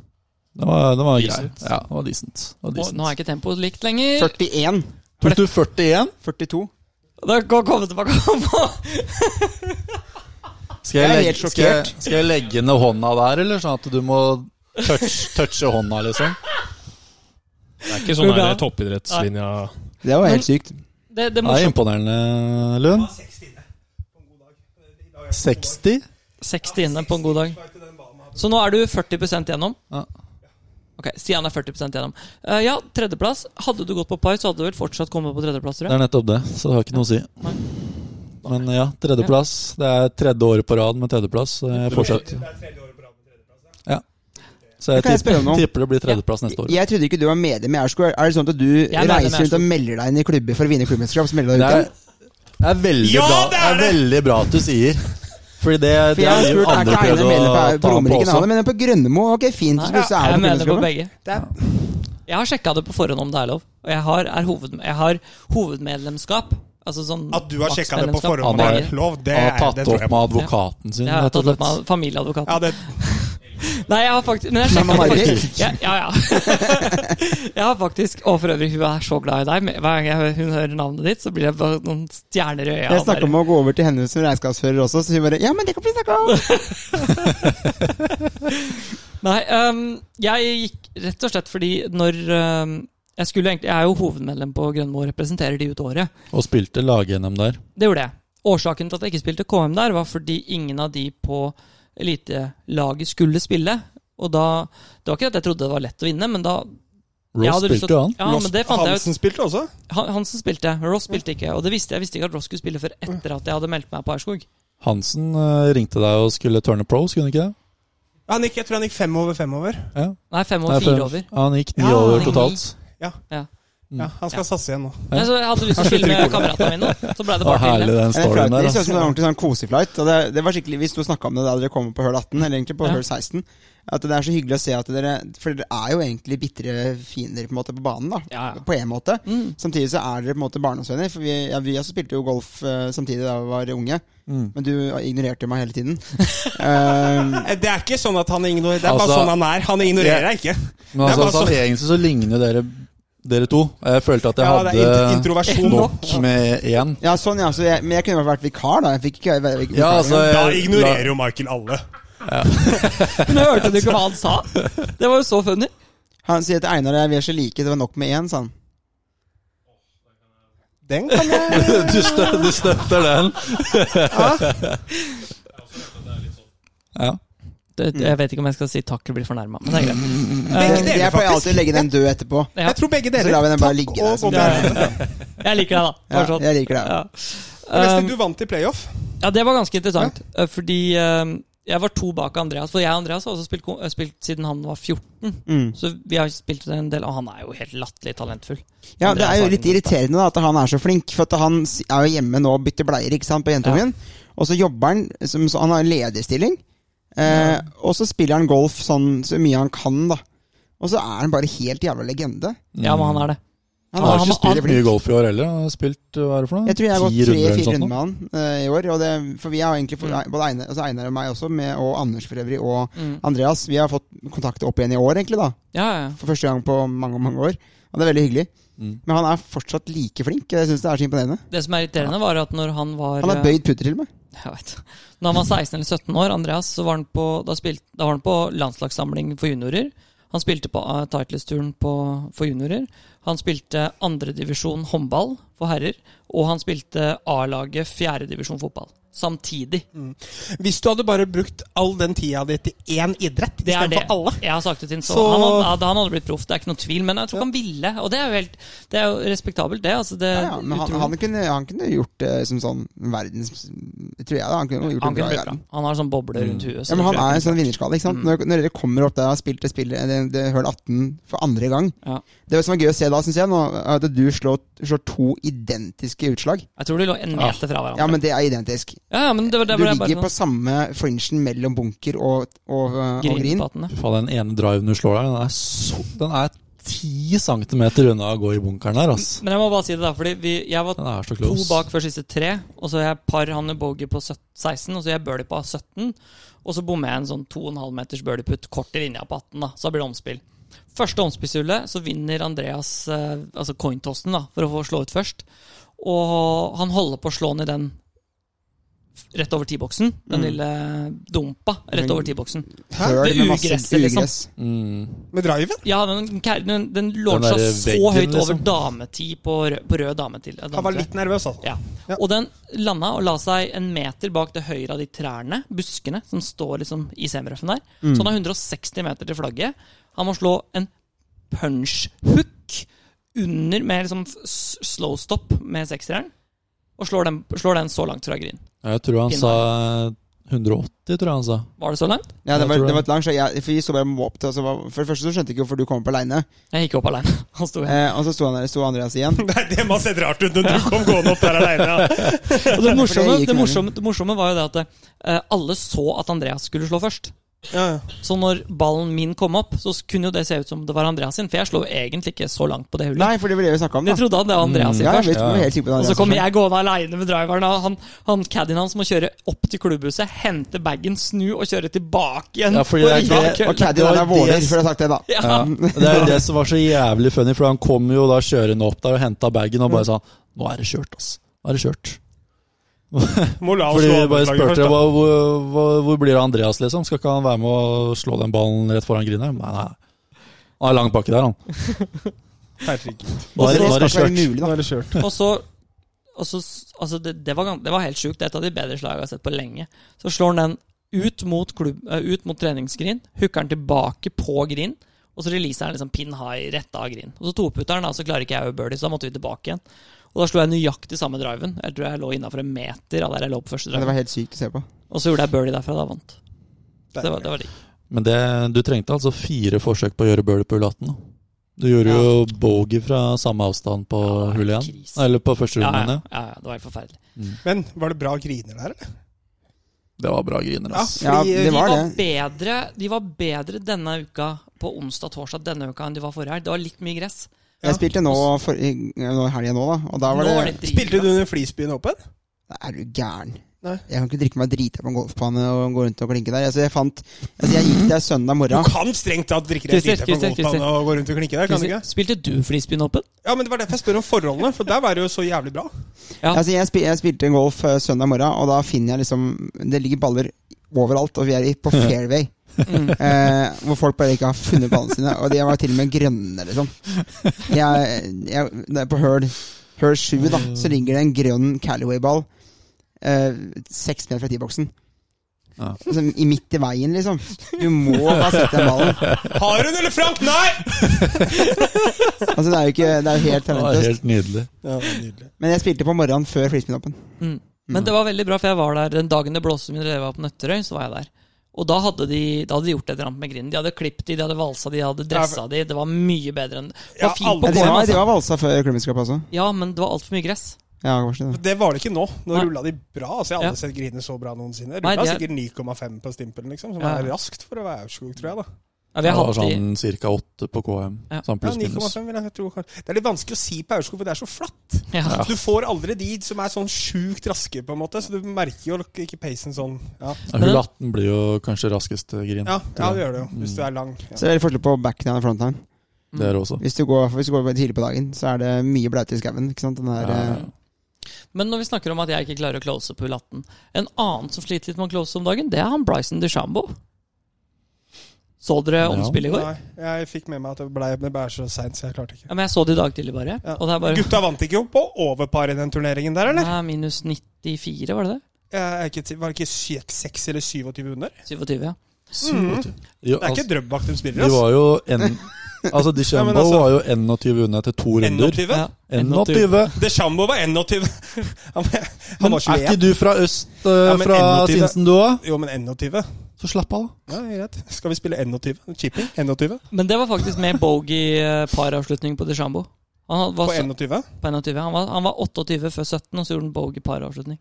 Speaker 5: Den var, den var grei.
Speaker 7: Decent.
Speaker 5: Ja, den var decent. Den Var
Speaker 3: Å,
Speaker 5: decent.
Speaker 3: nå har ikke tempoet likt lenger.
Speaker 2: 41.
Speaker 5: Tok du 41?
Speaker 2: 42.
Speaker 3: Da kan komme tilbake på
Speaker 5: Skal
Speaker 2: Jeg
Speaker 5: jeg,
Speaker 2: er
Speaker 5: legge,
Speaker 2: helt
Speaker 5: skal, jeg, skal jeg legge ned hånda der, eller sånn at du må touch, touche hånda, liksom?
Speaker 7: Det er ikke sånn
Speaker 3: Bra.
Speaker 7: her toppidrettslinja
Speaker 2: Det var helt sykt.
Speaker 3: Det, det er
Speaker 5: Det er
Speaker 3: morsomt.
Speaker 5: imponerende, Lund. 60?
Speaker 3: 60 inne på en god dag. Så nå er du 40 gjennom.
Speaker 5: Ja.
Speaker 3: Ok, Stian er 40 gjennom. Eh, ja, tredjeplass. Hadde du gått på par, så hadde du vel fortsatt kommet på tredjeplass,
Speaker 5: Det
Speaker 3: tror jeg.
Speaker 5: er nettopp det, så det har ikke noe å si.
Speaker 3: Nei.
Speaker 5: Men ja, tredjeplass. Det er tredje året på rad med tredjeplass. så Jeg fortsetter. Ja. Så jeg
Speaker 2: Kan jeg spørre om
Speaker 5: tipper,
Speaker 2: noe?
Speaker 5: tipper det blir tredjeplass neste år.
Speaker 2: Jeg trodde ikke du var medlem i Aurskog. Er det sånn at du
Speaker 3: er medlem i
Speaker 2: reiser rundt og melder deg inn i klubber for å vinne klubbmesterskap? Så melder du
Speaker 5: Det
Speaker 2: deg
Speaker 5: er,
Speaker 2: ut igjen?
Speaker 5: det er veldig
Speaker 7: Ja,
Speaker 5: bra
Speaker 7: det
Speaker 5: det
Speaker 7: er
Speaker 5: er veldig bra at du sier. Fordi det,
Speaker 2: For
Speaker 5: det
Speaker 2: jeg har
Speaker 5: har jo
Speaker 2: spurt, er
Speaker 5: andre
Speaker 2: ikke
Speaker 5: prøvd
Speaker 2: Einar
Speaker 5: å
Speaker 2: medlem på, på
Speaker 5: ta ham på
Speaker 2: Romerike? Han
Speaker 5: også.
Speaker 2: er medlem på Grønnemo. Ok, fint.
Speaker 3: Nei,
Speaker 2: Så plutselig
Speaker 3: jeg
Speaker 2: er du
Speaker 3: er
Speaker 2: på
Speaker 3: medlem på
Speaker 2: klubbmesterskapet.
Speaker 3: begge. Jeg har sjekka det på forhånd om det er lov. Og jeg har, er hoved, jeg har hovedmedlemskap. Altså sånn
Speaker 8: At du har sjekka det på
Speaker 3: maksmedlemskap.
Speaker 8: forhånd, om det
Speaker 5: Han
Speaker 8: er
Speaker 5: har-
Speaker 8: helt lov, det,
Speaker 5: Han har
Speaker 8: er,
Speaker 5: tatt
Speaker 8: det
Speaker 5: opp
Speaker 8: tror jeg
Speaker 5: med
Speaker 8: på.
Speaker 5: advokaten sin,
Speaker 3: Jeg har
Speaker 5: rett og
Speaker 3: tatt opp
Speaker 5: slett.
Speaker 3: med familieadvokaten.
Speaker 8: Ja, det,
Speaker 3: Nei, jeg har faktisk Men
Speaker 2: Men
Speaker 3: jeg sjekka
Speaker 2: han
Speaker 3: det
Speaker 2: har
Speaker 3: faktisk. Ja, ja, ja. Jeg har faktisk Og for øvrig, hun er så glad i deg. men Hver gang jeg- hun hører navnet ditt, så blir det bare noen stjerner i øya.
Speaker 2: Jeg snakka om å gå over til henne som regnskapsfører også, så hun bare Ja, men det kan vi snakke om!
Speaker 3: Nei, øhm, jeg gikk rett og slett fordi når øhm, jeg skulle egentlig, Jeg er jo hovedmedlem på Grønmo og representerer de ut året.
Speaker 5: Og spilte lag-NM der.
Speaker 3: Det gjorde jeg. Årsaken til at jeg ikke spilte KM der, var fordi ingen av de på elitelaget skulle spille. Og da Det var ikke at jeg trodde det var lett å vinne, men da jeg
Speaker 5: Ross
Speaker 3: hadde lyst
Speaker 5: spilte
Speaker 3: til
Speaker 5: jo
Speaker 3: å-
Speaker 5: han.
Speaker 3: Ja, men det fant jeg ut.
Speaker 8: Hansen spilte også.
Speaker 3: Han- Hansen spilte, Ross spilte ikke. Og det visste jeg, jeg visste ikke at Ross skulle spille før etter at jeg hadde meldt meg på Aurskog.
Speaker 5: Hansen eh, ringte deg og skulle turne pro, skulle han ikke det?
Speaker 8: Han gikk, jeg tror han gikk fem over fem over.
Speaker 5: Ja.
Speaker 3: Nei, fem
Speaker 5: Nei,
Speaker 3: og
Speaker 5: for-
Speaker 3: fire over.
Speaker 5: Han gikk ni
Speaker 8: Ja,
Speaker 5: over
Speaker 3: ni.
Speaker 5: totalt.
Speaker 8: Ja, han skal satse igjen nå.
Speaker 3: Nei, så jeg hadde lyst til å spille med kameratene mine, så ble det
Speaker 5: Det
Speaker 3: bare
Speaker 5: var
Speaker 3: til
Speaker 5: herlig,
Speaker 3: det.
Speaker 5: den
Speaker 2: Den
Speaker 5: storyen
Speaker 2: flighten
Speaker 5: der. altså.
Speaker 2: deres ser ut
Speaker 5: ass.
Speaker 2: som en ordentlig sånn koseflight. Og det, det var skikkelig, Vi sto og snakka om det da dere kom på høl 18, eller egentlig på
Speaker 3: Ja.
Speaker 2: høl 16. At det er så hyggelig å se at dere For dere er jo egentlig bitre fiender på en måte på banen, da.
Speaker 3: Ja, ja.
Speaker 2: På en måte.
Speaker 3: Mm.
Speaker 2: Samtidig så er dere på en måte barndomsvenner. For vi, ja, vi også spilte jo golf eh, samtidig da vi var unge.
Speaker 5: Mm.
Speaker 2: Men du ignorerte meg hele tiden. Ehm,
Speaker 8: Eh, Det er ikke sånn at han ignorerer Det er bare
Speaker 5: Altså-
Speaker 8: sånn han er. Han ignorerer deg ikke.
Speaker 5: Men
Speaker 8: Det er
Speaker 5: altså,
Speaker 8: bare sånn-
Speaker 5: altså,
Speaker 8: så-
Speaker 5: egentlig så ligner dere, dere to. Jeg følte at jeg
Speaker 8: Ja, det er int-
Speaker 5: hadde
Speaker 8: introversjon.
Speaker 5: nok med én.
Speaker 2: ja, sånn, ja. Så jeg, men jeg kunne i hvert fall vært vikar, da. Jeg fikk ikke være vikar.
Speaker 5: Ja, altså,
Speaker 8: Da
Speaker 5: jeg-
Speaker 8: ignorerer jo Michael alle.
Speaker 3: Men jeg hørte du ikke hva han sa? Det var jo så funny.
Speaker 2: Han sier til Einar og jeg vi er så like, det var nok med én, sa han.
Speaker 8: Den kan jeg
Speaker 5: du, støtter, du støtter den. ja.
Speaker 3: Det,
Speaker 2: Mm.
Speaker 3: jeg vet ikke om jeg skal si takk eller bli fornærma, men det er greit.
Speaker 8: Begge
Speaker 2: Eh,
Speaker 8: deler,
Speaker 2: Jeg pleier
Speaker 8: faktisk.
Speaker 2: alltid å legge den død etterpå.
Speaker 3: Ja.
Speaker 8: Jeg tror begge
Speaker 2: Så
Speaker 8: deler.
Speaker 2: lar vi den bare ligge
Speaker 8: Takk
Speaker 2: der.
Speaker 8: og
Speaker 2: som
Speaker 8: god dag.
Speaker 2: det er.
Speaker 3: Jeg liker deg, da. Bare
Speaker 2: Ja,
Speaker 3: sånn.
Speaker 2: jeg liker det.
Speaker 3: Ja.
Speaker 8: Forresten,
Speaker 3: Um,
Speaker 8: du vant i playoff.
Speaker 3: ja, det var ganske interessant, eh, fordi um, Jeg var to bak Andreas, for jeg og Andreas har også spilt, ko- eh, spilt siden han var 14.
Speaker 2: Mm.
Speaker 3: Så vi har spilt en del, og han er jo helt latterlig talentfull. altså,
Speaker 2: Ja, Det er jo
Speaker 3: Andreas
Speaker 2: litt
Speaker 3: har en-
Speaker 2: irriterende da, at han er så flink, for at han s- er jo hjemme nå og bytter bleier ikke sant, på jentungen. Og så jobber han som, så Han har en lederstilling. Eh, Og så spiller han golf sånn så mye han kan, da. Og så er han bare helt jævla legende.
Speaker 3: mm. Ja, men han er det.
Speaker 2: Han
Speaker 5: Han har
Speaker 2: er-
Speaker 5: ikke
Speaker 2: han-
Speaker 5: spilt mye golf i år heller. Han har spilt hva er det for noe?
Speaker 2: Jeg tror jeg har
Speaker 5: Ti
Speaker 2: gått tre-fire
Speaker 5: eller
Speaker 2: runder,
Speaker 5: sånt nå. Mm.
Speaker 2: med han eh, i år. Og det, for vi har egentlig, fått- både Einar, altså Einar og meg også, med, og Anders for øvrig, og
Speaker 3: Mm.
Speaker 2: Andreas, vi har fått kontakt opp igjen i år, egentlig, da.
Speaker 3: Ja, ja, ja.
Speaker 2: For første gang på mange, mange år. Og det er veldig hyggelig.
Speaker 5: Mm.
Speaker 2: Men han er fortsatt like flink. Jeg syns det er så imponerende.
Speaker 3: Det som er irriterende, var at når han var
Speaker 2: Han har
Speaker 3: eh,
Speaker 2: bøyd putter til meg.
Speaker 3: Jeg vet. Når han var 16 eller 17 år, Andreas, så var han på, da spilt, da var han på landslagssamling for juniorer. Han spilte på uh, Titles-turen på- for juniorer. Han spilte andredivisjon håndball for herrer. Og han spilte A-laget fjerdedivisjon fotball. Samtidig.
Speaker 4: Hvis du hadde bare brukt all den tida di til én idrett
Speaker 3: Det er det.
Speaker 4: istedenfor alle
Speaker 3: Jeg har sagt det til ham. Så
Speaker 4: Så-
Speaker 3: han, hadde- hadde- han hadde blitt proff, det er ikke noe tvil. Men jeg tror ikke han ville. Og det er jo helt Det er jo respektabelt, det. Altså, det
Speaker 2: Ja, ja, men han,
Speaker 3: utrolig.
Speaker 2: han, kunne, han kunne gjort det som sånn verdens Tror jeg, da. Han kunne gjort
Speaker 3: Han
Speaker 2: det bra
Speaker 3: kunne
Speaker 2: i
Speaker 3: blitt bra. Mm.
Speaker 2: verden. Mm.
Speaker 3: Han har sånn boble rundt huet. så
Speaker 2: Ja, men
Speaker 3: det
Speaker 2: han
Speaker 3: tror
Speaker 2: er en
Speaker 3: jeg
Speaker 2: sånn vinnerskalle. ikke sant? Når, når dere kommer opp der og har spilt det spillet, eh, det, det høl 18 for andre gang
Speaker 3: Ja.
Speaker 2: Det som var gøy å se da, syns jeg, nå, er at du slår, slår to identiske utslag.
Speaker 3: Jeg tror de lå en meter fra hverandre.
Speaker 2: Ja, men det er identisk.
Speaker 3: Ja, ja, men det var, det
Speaker 2: Du
Speaker 3: var bare
Speaker 2: ligger
Speaker 3: sånn-
Speaker 2: på samme fringen mellom bunker og, og, eh, og grin.
Speaker 3: Grinpatene.
Speaker 5: Fy faen, den ene driven du slår der, den er, så, den er 10 centimeter unna å gå i bunkeren her, ass.
Speaker 3: Men jeg må bare si det, da. Fordi vi, jeg var
Speaker 5: Den er så
Speaker 3: to
Speaker 5: close.
Speaker 3: bak før siste tre. Og så er jeg par Hanne Bogie på søt- 16, og så er jeg birdie på 17. Og så bommer jeg en sånn 2,5 meters birdie-putt kort i linja på 18, da. Så da blir det omspill. Første omspillshullet så vinner Andreas eh, altså cointossen, da, for å få slå ut først. Og han holder på å slå ned den f- rett over T-boksen. Den
Speaker 5: Mm.
Speaker 3: lille dumpa rett over T-boksen.
Speaker 2: Høl
Speaker 3: Det
Speaker 2: med masse
Speaker 3: ugresset, liksom.
Speaker 2: ugress.
Speaker 5: Mm.
Speaker 4: med driven.
Speaker 3: Ja, den, den, den lå
Speaker 5: Den
Speaker 3: seg
Speaker 5: derre
Speaker 3: så
Speaker 5: veggen,
Speaker 3: høyt over
Speaker 5: liksom.
Speaker 3: dametid på, rød- på rød dametid. eh,
Speaker 4: Han var litt nervøs, altså.
Speaker 3: Ja.
Speaker 4: Ja.
Speaker 3: Og den landa og la seg en meter bak det høyre av de trærne, buskene, som står liksom i semirøffen der.
Speaker 4: Mm.
Speaker 3: Så han har 160 meter til flagget. Han må slå en punch-hook under med liksom s- slow stop med seksteren. Og slår den, slår den så langt fra green.
Speaker 5: Jeg tror han sa 180, tror jeg han sa.
Speaker 3: Var det så langt?
Speaker 2: Ja, det
Speaker 5: Jeg
Speaker 2: var,
Speaker 5: tror
Speaker 2: det
Speaker 5: det.
Speaker 2: var et langt slag. Jeg- For vi så bare må opp til og så var- For det første så skjønte jeg ikke hvorfor du kom opp aleine.
Speaker 3: Jeg gikk opp aleine. Han sto her.
Speaker 2: Eh, og så sto, han der, sto Andreas igjen.
Speaker 8: Nei, det må ha sett rart ut når du kom gående opp der aleine.
Speaker 3: Og det morsomme,
Speaker 2: gikk
Speaker 3: det,
Speaker 2: meningen.
Speaker 3: morsomme, det morsomme var jo det at eh, alle så at Andreas skulle slå først.
Speaker 4: Ja.
Speaker 3: Så når ballen min kom opp, så kunne jo det se ut som det var Andreas sin, for jeg slo jo egentlig ikke så langt på det hullet.
Speaker 2: Nei, for det var det vi snakka om, da.
Speaker 3: Jeg trodde han det var Andreas sin
Speaker 2: Mm. Ja, jeg
Speaker 3: først.
Speaker 2: vet, jeg var helt sikker på det. altså.
Speaker 3: Og så
Speaker 2: Andreas
Speaker 3: kommer
Speaker 2: sin.
Speaker 3: jeg gående aleine med driveren. Og han, han caddien hans må kjøre opp til klubbhuset, hente bagen, snu og kjøre tilbake igjen.
Speaker 5: Ja, fordi
Speaker 3: på
Speaker 5: det er
Speaker 3: ryggen av
Speaker 5: ikke-
Speaker 3: kølla.
Speaker 2: Og Caddien han er våler, for jeg har sagt det, da.
Speaker 5: Ja. Det er jo det som var så jævlig funny, for han kom jo da kjørende opp der og henta bagen og
Speaker 3: Mm.
Speaker 5: bare sa Nå er det kjørt, ass. Nå er det kjørt.
Speaker 8: Må la oss
Speaker 5: Fordi
Speaker 8: slå
Speaker 5: vi bare
Speaker 8: andrelaget
Speaker 5: spurte
Speaker 8: først, da.
Speaker 5: hvor, hvor, hvor blir det av Andreas, liksom? Skal ikke han være med å slå den ballen rett foran grineren? Nei, nei. Han har lang pakke der, han.
Speaker 4: Herregud.
Speaker 5: Nå er,
Speaker 2: det
Speaker 5: nå er det
Speaker 2: skal ikke være
Speaker 5: kjørt.
Speaker 2: mulig, da.
Speaker 4: Nå er det kjørt.
Speaker 3: Og så, og så altså det, det, var, gans- det var helt sjukt. Det er et av de bedre slagene jeg har sett på lenge. Så slår han den ut mot, klubb, eh, ut mot treningsgrin, hooker den tilbake på grin, og så releaser han liksom pin high rett av grin. Og så toputter han, da, så klarer ikke jeg å birdie, så da måtte vi tilbake igjen. Og da slo jeg nøyaktig samme driven. Jeg tror jeg lå innafor en meter av der jeg lå på første
Speaker 2: Ja, Det
Speaker 3: drive.
Speaker 2: var helt sykt å se på.
Speaker 3: Og så gjorde jeg birdie derfra, da jeg vant. Det var, det var digg.
Speaker 5: Men det, du trengte altså fire forsøk på å gjøre birdie på hull 18. da. Du gjorde jo bogey fra samme avstand på
Speaker 3: Ja, det var
Speaker 5: hull 1.
Speaker 3: krise.
Speaker 5: Eller på første
Speaker 3: Ja,
Speaker 5: runde,
Speaker 3: ja,
Speaker 5: mener jeg.
Speaker 3: ja, ja, det var helt forferdelig.
Speaker 4: Men var det bra griner der, eller?
Speaker 5: Det var bra griner, ass.
Speaker 2: Ja, det
Speaker 3: De
Speaker 2: var
Speaker 3: var,
Speaker 2: det.
Speaker 3: bedre, de var bedre denne uka på onsdag-torsdag denne uka enn de var forrige helg. Det var litt mye gress.
Speaker 2: Jeg spilte nå for, i- nå i helga nå, da. Og da var
Speaker 3: Nå var
Speaker 2: det
Speaker 3: det dritbra.
Speaker 4: Spilte du under Flisbyen Open?
Speaker 2: Er du gæren?
Speaker 4: Nei.
Speaker 2: Jeg kan ikke drikke meg drita på en golfbane og gå rundt og klinke der. Altså, jeg fant Altså, jeg gikk der søndag
Speaker 4: Du
Speaker 2: morgen.
Speaker 4: kan strengt tatt drikke deg
Speaker 3: Christer,
Speaker 4: drita på en
Speaker 3: Christer,
Speaker 4: golfbane og gå rundt og klinke der, kan du ikke?
Speaker 3: Spilte du Frisbeen Open?
Speaker 4: Ja, men det var derfor jeg spør om forholdene, for der var det jo så jævlig bra.
Speaker 3: Ja.
Speaker 2: Altså, jeg, spil, jeg spilte golf eh, søndag morgen, og da finner jeg liksom Det ligger baller overalt, og vi er i- på fairway.
Speaker 3: Mm.
Speaker 2: eh, hvor folk bare ikke har funnet ballene sine. Og de var til og med grønne, liksom. Jeg, jeg, det er på høl Høl 7, da, så ligger det en grønn Callaway-ball eh, seks meter fra T-boksen.
Speaker 5: Ja.
Speaker 2: Som i midt i veien, liksom. Du må bare sette den ballen.
Speaker 4: Har hun eller Frank? Nei!
Speaker 2: Altså, det er jo ikke Det er jo helt
Speaker 5: Det var
Speaker 2: talentløst.
Speaker 5: helt nydelig.
Speaker 4: Ja, nydelig.
Speaker 2: Men jeg spilte på morgenen før flisminoppen.
Speaker 3: Men det var veldig bra, for jeg var der den dagen det blåste min reve opp Nøtterøy, så var jeg der. Og da hadde de, da hadde de gjort et eller annet med grinden. De hadde klippet de, de hadde valsa de, de hadde dressa de. Det var mye bedre enn Det
Speaker 4: Ja,
Speaker 3: var fint
Speaker 4: alle-
Speaker 3: på
Speaker 2: Ja, de,
Speaker 3: gården,
Speaker 2: var, de
Speaker 3: altså.
Speaker 2: var valsa før Clemens Cup også.
Speaker 3: Ja, men det var altfor mye gress.
Speaker 2: Ja, kanskje det.
Speaker 4: Det var det ikke nå. Nå
Speaker 3: Nei.
Speaker 4: rulla de bra. altså Jeg har
Speaker 3: Ja.
Speaker 4: aldri sett grine så bra noensinne.
Speaker 3: Nei,
Speaker 4: Rulla
Speaker 3: det er-
Speaker 4: sikkert 9,5 på stimpelen, liksom. Som
Speaker 3: Ja.
Speaker 4: er
Speaker 6: altså.
Speaker 4: raskt for å være Aurskog, tror jeg. da
Speaker 3: Ja, vi
Speaker 5: Det
Speaker 3: har
Speaker 5: var
Speaker 3: hatt de
Speaker 5: sånn ca. åtte på KM.
Speaker 3: Ja.
Speaker 5: Sånn
Speaker 4: Ja,
Speaker 5: pluss minus.
Speaker 4: 9,5 vil jeg tro. kanskje. Det er litt vanskelig å si på Aurskog, for det er så flatt.
Speaker 3: ja.
Speaker 4: Du får aldri de som er sånn sjukt raske, på en måte. Så du merker jo ikke pacen sånn. Ja,
Speaker 5: Ja, Hull 18 blir jo kanskje raskest eh, grin.
Speaker 4: ja, ja det gjør det jo. Hvis du er lang. Ja.
Speaker 2: Så det er forskjell på backtime og fronttime.
Speaker 5: Det er det
Speaker 4: Mm.
Speaker 5: også.
Speaker 2: Hvis du går, hvis du går tidlig på dagen, så er det mye blaute i skauen. ikke sant? Den der,
Speaker 5: Ja,
Speaker 2: eh,
Speaker 5: ja.
Speaker 3: Men når vi snakker om at jeg ikke klarer å close på hull 18 En annen som sliter litt med å close om dagen, det er han Bryson DeChambeau. Så dere
Speaker 5: Ja.
Speaker 3: omspillet i går?
Speaker 4: Nei, jeg fikk med meg at det ble, det ble så seint, så jeg klarte ikke.
Speaker 3: Ja, men jeg så det i dag tidlig, bare.
Speaker 4: Ja.
Speaker 3: Og det er bare
Speaker 4: Gutta vant ikke jo på overpar i den turneringen der, eller?
Speaker 3: Nei, minus 94, var det det?
Speaker 4: Jeg er ikke, i tvil. var det ikke 6 eller 27 under?
Speaker 3: 27, ja.
Speaker 4: Mm. Det
Speaker 5: Jo,
Speaker 4: er ikke
Speaker 5: altså,
Speaker 4: Drøbak de spiller,
Speaker 5: de
Speaker 4: altså.
Speaker 5: var jo en, Altså, DeChambeau
Speaker 4: men altså-
Speaker 5: var jo 21 unna etter to runder.
Speaker 4: 21.
Speaker 3: ja.
Speaker 5: 21!
Speaker 4: DeChambeau var 21. Han, var- han
Speaker 5: Men
Speaker 4: var
Speaker 5: er
Speaker 4: 21.
Speaker 5: ikke du fra øst, eh,
Speaker 4: Ja, men
Speaker 5: fra
Speaker 4: 21.
Speaker 5: Sinsen du òg?
Speaker 4: Jo, men 21.
Speaker 5: Så slapp av, da.
Speaker 4: Ja, greit. Skal vi spille 21? Chipping? 21?
Speaker 3: Men det var faktisk med bogey-paravslutning på DeChambeau. Han
Speaker 4: På
Speaker 3: var,
Speaker 4: 21?
Speaker 3: på 21. Han, var, han var 28 før 17, og så gjorde han bogey-paravslutning.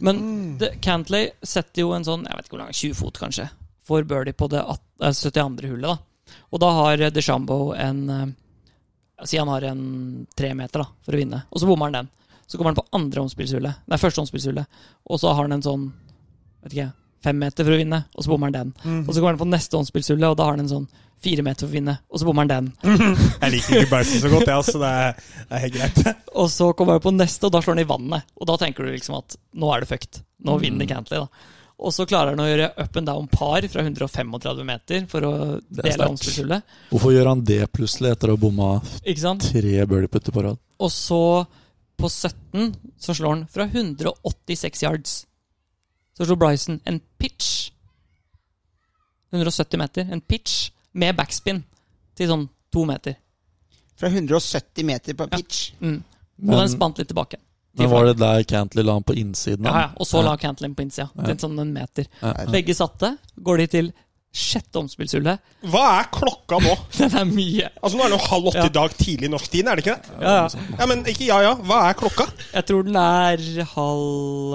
Speaker 3: Men det, Cantley setter jo en sånn jeg vet ikke hvor lang, 20 fot, kanskje, for birdie på det at- eh, 72. hullet. da. Og da har eh, DeChambeau en eh, Si han har en tre meter da, for å vinne, og så bommer han den. Så kommer han på andre omspillshullet, nei, første omspillshullet, og så har han en sånn vet ikke, fem meter for å vinne, og så bommer han den. Og så går han på neste håndspillsulle, og da har han en sånn fire meter for å vinne, og så bommer han den.
Speaker 4: Jeg liker ikke Bryson så godt, jeg, altså. Det er, det er helt greit.
Speaker 3: Og så kommer han på neste, og da slår han i vannet. Og da tenker du liksom at nå er det fucked.
Speaker 5: Mm.
Speaker 3: Nå vinner Cantley, da. Og så klarer han å gjøre up and down par fra 135 meter for å
Speaker 5: Det er
Speaker 3: dele
Speaker 5: sterkt.
Speaker 3: håndspillshullet.
Speaker 5: Hvorfor gjør han det plutselig etter å ha bomma
Speaker 3: Ikke sant?
Speaker 5: tre birdieputter på rad?
Speaker 3: Og så, på 17, så slår han fra 186 yards. Så slår Bryson en pitch. 170 meter. En pitch med backspin til sånn to meter.
Speaker 2: Fra 170 meter på pitch.
Speaker 3: Mm. og den
Speaker 5: Men,
Speaker 3: spant litt tilbake.
Speaker 5: men var det der Cantley la han på innsiden?
Speaker 3: Ja,
Speaker 5: da?
Speaker 3: ja. Og så la Cantlin på innsida. Det er Sånn en meter.
Speaker 5: Ja, ja.
Speaker 3: Begge satte. Går de til sjette omspillshullet.
Speaker 4: Hva er klokka nå?
Speaker 3: Den er mye.
Speaker 4: Altså Nå er det jo halv åtte
Speaker 3: Ja.
Speaker 4: i dag tidlig norsk tid, er det ikke det?
Speaker 3: Ja,
Speaker 4: Ja, men ikke ja ja. Hva er klokka?
Speaker 3: Jeg tror den er halv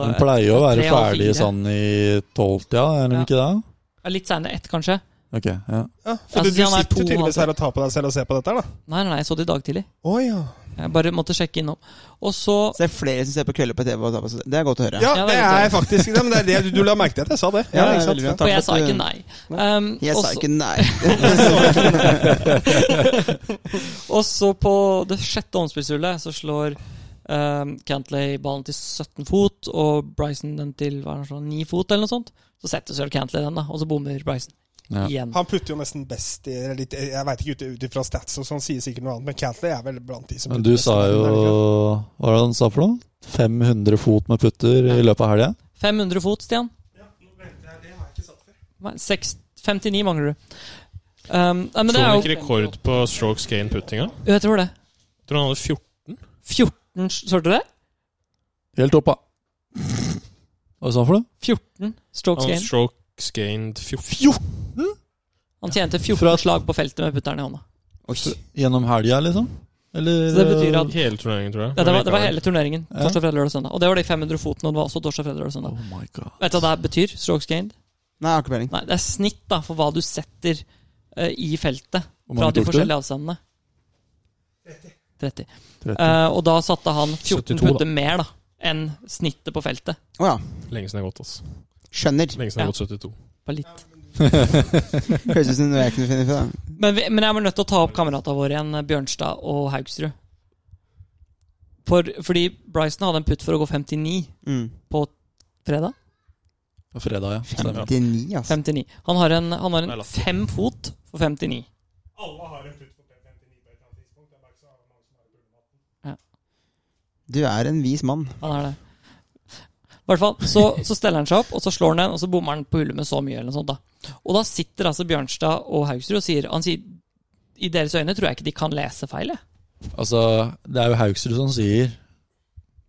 Speaker 5: Den pleier å være
Speaker 3: Tre og
Speaker 5: ferdig
Speaker 3: fire.
Speaker 5: sånn i tolvtida, er den
Speaker 3: Ja.
Speaker 5: ikke det?
Speaker 3: Ja, Litt seinere. Ett, kanskje.
Speaker 5: Ok, ja.
Speaker 4: Ja,
Speaker 3: Ja,
Speaker 4: for du,
Speaker 3: så
Speaker 4: du
Speaker 3: sier han er
Speaker 4: sitter
Speaker 3: to,
Speaker 4: tydeligvis
Speaker 3: altså.
Speaker 4: her og tar på deg selv og ser på dette her, da.
Speaker 3: Nei, nei, nei, jeg så det i dag tidlig.
Speaker 4: Å ja.
Speaker 3: Jeg bare måtte sjekke innom. Og så
Speaker 2: Så det er flere som ser på kvelder på TV. og tar på seg- Det er godt å høre.
Speaker 4: Ja,
Speaker 3: Ja,
Speaker 4: det
Speaker 3: det er
Speaker 4: er faktisk ja, men det. Er det du, du la merke til at jeg sa det.
Speaker 2: Ja, det er
Speaker 4: sant?
Speaker 2: veldig bra.
Speaker 3: Og
Speaker 2: Takk
Speaker 3: jeg
Speaker 2: for
Speaker 3: sa
Speaker 2: at du-
Speaker 3: ikke nei. Um,
Speaker 2: Jeg
Speaker 3: og
Speaker 2: sa
Speaker 3: så-
Speaker 2: ikke nei.
Speaker 3: Og så på det sjette omspillshullet så slår um, Cantley ballen til 17 fot, og Bryson den til hva er det, sånn, 9 fot, eller noe sånt. Så setter Sir Cantley den, da, og så bommer Bryson
Speaker 5: Ja.
Speaker 3: igjen.
Speaker 4: Han putter jo nesten best i eller litt, Jeg veit ikke ut ifra stats, og sånn sier sikkert noe annet, men Cantley er vel blant de som
Speaker 5: Men
Speaker 4: putter
Speaker 5: du
Speaker 4: best i
Speaker 5: sa jo
Speaker 4: verden, er det ikke det?
Speaker 5: Hva var det han sa for noe? 500 fot med putter i løpet av helga?
Speaker 3: 500 fot, Stian. Nei, seks- 59 mangler du. Um, nei, men
Speaker 7: Slo
Speaker 3: det
Speaker 7: han
Speaker 3: er
Speaker 7: ikke
Speaker 3: jo
Speaker 7: rekord på strokes gain-puttinga?
Speaker 3: Jo, Jeg tror det.
Speaker 7: Tror han hadde 14
Speaker 3: 14 Så dere det?
Speaker 5: Helt opp, da. Hva sa han for noe?
Speaker 3: 14 strokes
Speaker 7: Han hadde
Speaker 3: gain.
Speaker 7: strokes gained 14.
Speaker 3: Han tjente 14
Speaker 5: Fra-
Speaker 3: slag på feltet med putteren i hånda.
Speaker 5: Gjennom helga, liksom? Eller
Speaker 3: Så det betyr at
Speaker 7: Hele turneringen, tror jeg.
Speaker 3: ja, det, var, det var
Speaker 7: Men
Speaker 3: hele turneringen.
Speaker 5: Ja.
Speaker 3: Torsdag, fredag, lørdag, søndag. Og det var de 500 fotene, og det var også torsdag, fredag, lørdag, søndag.
Speaker 5: Oh my god.
Speaker 3: Vet du hva det her betyr? Strokes gained?
Speaker 2: Nei, jeg har ikke peiling.
Speaker 3: Nei, det er snitt da, for hva du setter eh, i feltet
Speaker 5: Hvor
Speaker 3: fra
Speaker 5: mange
Speaker 3: de
Speaker 5: tok du?
Speaker 3: forskjellige avstandene. 30.
Speaker 5: 30.
Speaker 3: Eh, og da satte han 14
Speaker 7: 72 da.
Speaker 3: putter mer da, enn snittet på feltet.
Speaker 2: Å ja.
Speaker 7: Lenge siden det har gått, altså.
Speaker 2: Skjønner.
Speaker 7: Lenge siden det har gått 72.
Speaker 3: Bare litt.
Speaker 2: Høres ut som noe jeg kunne finne på. da.
Speaker 3: Men, vi, men jeg var nødt til å ta opp kameratene våre igjen, Bjørnstad og Haugsrud. For, fordi Bryson hadde en putt for å gå 59
Speaker 2: Mm.
Speaker 3: på fredag.
Speaker 5: På fredag, ja. Stemmer.
Speaker 2: 59, altså.
Speaker 3: 59. Han har en, han har
Speaker 7: Nei,
Speaker 3: en
Speaker 7: la.
Speaker 3: fem fot for 59.
Speaker 2: Du er en vis mann.
Speaker 3: Han er det. I hvert fall, så, så steller han seg opp, og så slår han den, og så bommer han på hullet med så mye. eller noe sånt da. Og da sitter altså Bjørnstad og Haugsrud og sier Han sier i deres øyne tror jeg ikke de kan lese feil. jeg».
Speaker 5: Altså, det er jo Haugsrud som sier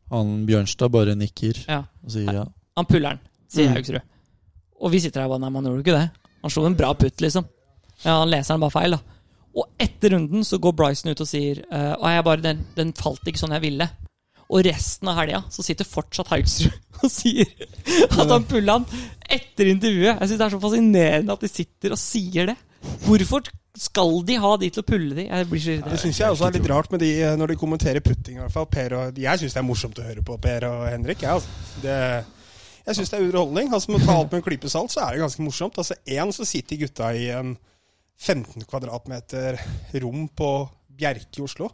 Speaker 5: Han Bjørnstad bare nikker
Speaker 3: Ja.
Speaker 5: og sier ja.
Speaker 3: Han puller den, sier
Speaker 2: Mm.
Speaker 3: Haugsrud. Og vi sitter her og bare Nei, man gjorde jo ikke det. Han slo en bra putt, liksom. Ja, han leser den bare feil, da. Og etter runden så går Bryson ut og sier eh, «Å, jeg bare, den, den falt ikke sånn jeg ville. Og resten av helga så sitter fortsatt Haugsrud og sier at han pulla han etter intervjuet. Jeg syns det er så fascinerende at de sitter og sier det. Hvorfor skal de ha de til å pulle de? Jeg blir så
Speaker 4: Det
Speaker 3: irritert.
Speaker 4: syns jeg også er litt rart med de eh, når de kommenterer putting. I hvert fall. Per og, jeg syns det er morsomt å høre på Per og Henrik. Jeg, altså. det, jeg syns det er underholdning. Altså, med å ta alt med en klype salt, så er det ganske morsomt. Altså, Én, så sitter gutta i en 15 kvadratmeter rom på Bjerke i Oslo.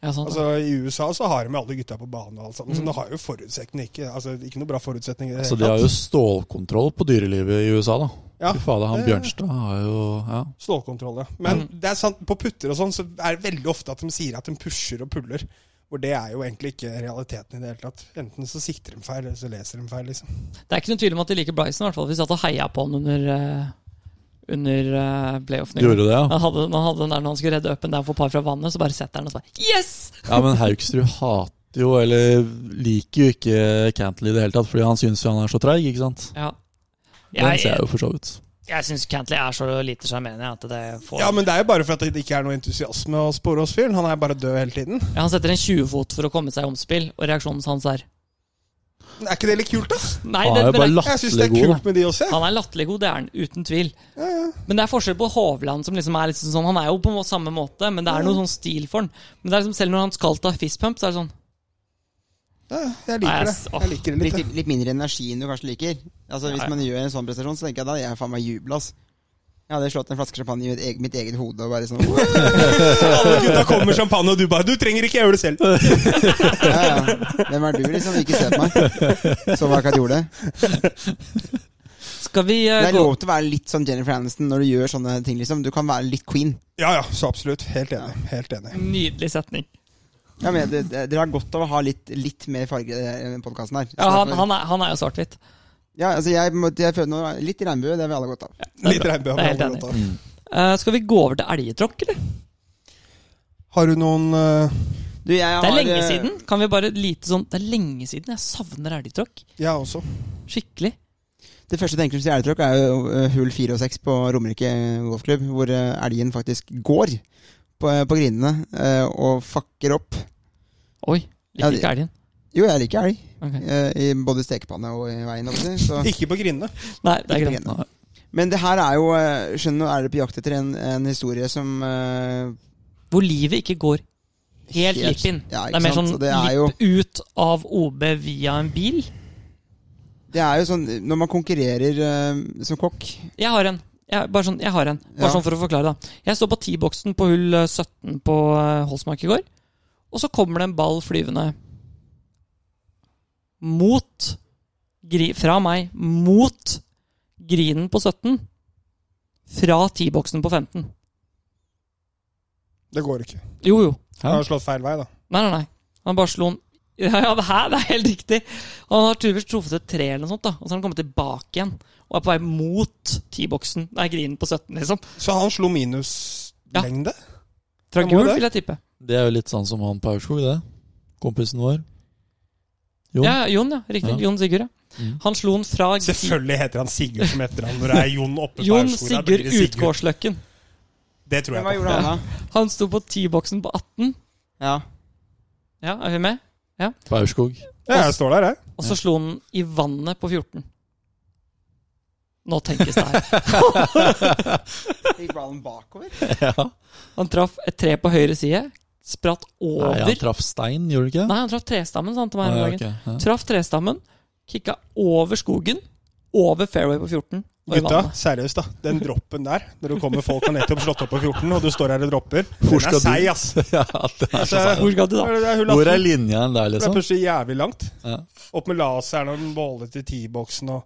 Speaker 3: Ja, sånn.
Speaker 4: Altså, I USA så har de alle gutta på banen og alt sammen, så de har jo forutsetninger ikke, altså, ikke noe bra forutsetninger. i
Speaker 3: Eh,
Speaker 4: det
Speaker 5: Så
Speaker 4: hele
Speaker 5: Mm. Altså, de har
Speaker 4: tatt.
Speaker 5: jo stålkontroll på dyrelivet i USA, da.
Speaker 4: Ja.
Speaker 5: Fy fader, han
Speaker 4: Det-
Speaker 5: Bjørnstad har jo ja.
Speaker 4: Stålkontroll, ja. Men
Speaker 3: Mm.
Speaker 4: det er sant, på putter og sånn så er det veldig ofte at de sier at de pusher og puller. Hvor det er jo egentlig ikke realiteten i det hele tatt. Enten så sikter de feil, eller så leser de feil, liksom.
Speaker 3: Det er ikke noen tvil om at de liker Bryson, i hvert fall. Vi satt og heia på han under, eh, under eh, playoffen. i går.
Speaker 5: Gjorde det, ja.
Speaker 3: Han hadde, han hadde den der når han skulle redde upen der for par fra vannet, så bare setter han og så bare Yes!
Speaker 5: ja. Men Haugsrud hater jo, eller liker jo ikke Cantley i det hele tatt, fordi han syns jo han er så treig, ikke sant.
Speaker 3: Ja.
Speaker 5: Den ser
Speaker 3: Jeg,
Speaker 5: jeg jo for så vidt.
Speaker 3: jeg syns Cantley er så lite sjarmerende at det får
Speaker 4: Ja, men det er jo bare for at det ikke er noe entusiasme å spore hos fyren. Han er bare død hele tiden.
Speaker 3: Ja, Han setter en 20-fot for å komme seg i omspill, og reaksjonen hans er
Speaker 4: Er ikke det litt kult, da?
Speaker 3: Nei,
Speaker 5: Han
Speaker 3: det,
Speaker 5: er jo
Speaker 3: men
Speaker 5: bare
Speaker 3: det,
Speaker 4: Jeg syns det
Speaker 5: latterlig
Speaker 4: er
Speaker 5: god, da.
Speaker 4: kult med de også, jeg.
Speaker 3: han er latterlig god, det er han uten tvil. Men det er forskjell på Hovland, som liksom er liksom sånn Han er jo på må- samme måte, men det er noe sånn stil for han. Men det er liksom selv når han skal ta fistpump, så er det sånn
Speaker 4: Ja, jeg
Speaker 3: Nei, jeg
Speaker 4: liker det.
Speaker 3: s-
Speaker 4: Jeg liker det
Speaker 2: Litt,
Speaker 4: litt. jeg.
Speaker 2: litt mindre energi enn du kanskje liker. Altså Hvis
Speaker 3: Ja, ja.
Speaker 2: man gjør en sånn prestasjon, så tenker jeg da hadde jeg faen meg jubla. ass. Jeg hadde slått en flaske champagne i mitt eget, mitt eget hode og bare sånn ja,
Speaker 4: Alle gutta kommer med champagne, og du bare 'Du trenger ikke gjøre det selv'.
Speaker 2: ja. Hvem er du, liksom? Ikke se på meg. Så hva kan jeg gjorde.
Speaker 3: Skal vi eh,
Speaker 2: Det er
Speaker 3: gå
Speaker 2: lov til å være litt som Jennifer Aniston når du gjør sånne ting, liksom. Du kan være litt queen.
Speaker 4: Ja ja, så absolutt. Helt enig. Helt enig.
Speaker 3: Nydelig setning.
Speaker 2: Ja, men det- det- Dere har godt av å ha litt, litt mer farge i denne podkasten her. Så
Speaker 3: Ja, han,
Speaker 2: derfor-
Speaker 3: han, er, han er jo svart-hvitt.
Speaker 2: ja, altså jeg, må- jeg føler nå Litt regnbue, det har vi alle godt av.
Speaker 3: Det er
Speaker 4: Litt
Speaker 3: bra.
Speaker 4: regnbue.
Speaker 3: Det er helt
Speaker 4: har vi
Speaker 3: enig.
Speaker 4: godt av.
Speaker 5: Mm.
Speaker 3: Eh, skal vi gå over til elgetråkk, eller?
Speaker 4: Har du noen eh,
Speaker 2: Du, jeg har,
Speaker 3: Det er lenge
Speaker 2: eh,
Speaker 3: siden. Kan vi bare lite sånn Det er lenge siden. Jeg savner elgtråkk.
Speaker 4: Jeg også.
Speaker 3: Skikkelig.
Speaker 2: Det første jeg tenker som stjernetråkk, er jo eh, hull fire og seks på Romerike golfklubb, hvor eh, elgen faktisk går på, på grinene eh, og fucker opp.
Speaker 3: Oi.
Speaker 2: Ja,
Speaker 3: Liker ikke elgen.
Speaker 2: Jo, jeg liker elg.
Speaker 3: Ok.
Speaker 2: eh, I både stekepanne og i veien. holdt jeg på å si,
Speaker 4: Ikke på grinene.
Speaker 3: Nei, det er
Speaker 2: Så,
Speaker 3: greit.
Speaker 5: Nei.
Speaker 2: Men det her er jo eh, Skjønner du, er dere på jakt etter en, en historie som eh,
Speaker 3: Hvor livet ikke går helt
Speaker 2: Helt-
Speaker 3: lipp inn.
Speaker 2: ja, ikke
Speaker 3: det er mer
Speaker 2: sant,
Speaker 3: sånn
Speaker 2: så det er jo-
Speaker 3: lipp ut av OB via en bil.
Speaker 2: Det er jo sånn Når man konkurrerer eh, som kokk
Speaker 3: Jeg har en. Jeg, bare sånn, jeg har en.
Speaker 2: Ja.
Speaker 3: Bare sånn for å forklare, da. Jeg står på T-boksen på hull eh, 17 på eh, Holsmark i går, og så kommer det en ball flyvende mot gri, Fra meg mot grinen på 17. Fra T-boksen på 15.
Speaker 4: Det går ikke.
Speaker 3: Jo, jo.
Speaker 4: Jeg har slått feil vei, da.
Speaker 3: Nei, nei, nei. Han bare slo den ja, ja, det her det er helt riktig. Han har tydeligvis truffet et tre, eller noe sånt da og så har han kommet tilbake igjen. Og er på vei mot T-boksen. Nei, grinen på 17, liksom.
Speaker 4: Så han slo minuslengde?
Speaker 3: Fra
Speaker 4: Ja, må
Speaker 3: gul,
Speaker 4: det?
Speaker 3: vil jeg tippe.
Speaker 5: Det er jo litt sånn som han på Aurskog, det. Kompisen vår. Jon.
Speaker 3: Ja, ja, Jon, ja. Riktig.
Speaker 5: Ja.
Speaker 3: Jon Sigurd, ja.
Speaker 5: Mm.
Speaker 3: Han slo den fra gri-
Speaker 4: Selvfølgelig heter han Sigurd som etternavn når det er Jon oppe på
Speaker 3: Jon
Speaker 4: Aurskog. Da blir
Speaker 3: Sigurd
Speaker 4: det Sigurd.
Speaker 3: Utgårdsløkken.
Speaker 4: Det tror jeg
Speaker 2: Hva
Speaker 4: på.
Speaker 2: gjorde han da?
Speaker 3: Han sto på T-boksen på 18.
Speaker 2: Ja.
Speaker 3: Ja, er vi med?
Speaker 5: På Aurskog.
Speaker 4: Ja, jeg står der, jeg.
Speaker 3: Og så slo han i vannet på 14. Nå tenkes det her.
Speaker 2: Gikk ballen bakover?
Speaker 5: ja.
Speaker 3: Han traff et tre på høyre side. Spratt over.
Speaker 5: Nei, han traff stein, gjorde han ikke det?
Speaker 3: Nei, han traff trestammen, sa han til meg
Speaker 5: Nei,
Speaker 3: her om dagen.
Speaker 5: ok, ja.
Speaker 3: Traff trestammen, kikka over skogen, over fairway på 14. og i
Speaker 4: Gutta,
Speaker 3: vannet.
Speaker 4: seriøst, da. Den droppen der, når det kommer folk og nettopp slått opp på 14, og du står her og dropper,
Speaker 5: Hvor
Speaker 4: den er
Speaker 5: skal du?
Speaker 4: seig, ass.
Speaker 5: Ja, det er så
Speaker 4: Altså,
Speaker 5: seigt.
Speaker 3: Hvor skal du da?
Speaker 4: det er hull
Speaker 5: Hvor
Speaker 4: 18.
Speaker 5: er linjen der,
Speaker 4: Det er
Speaker 5: liksom?
Speaker 4: plutselig jævlig langt.
Speaker 5: Ja.
Speaker 4: Opp med laseren og den målet til T-boksen og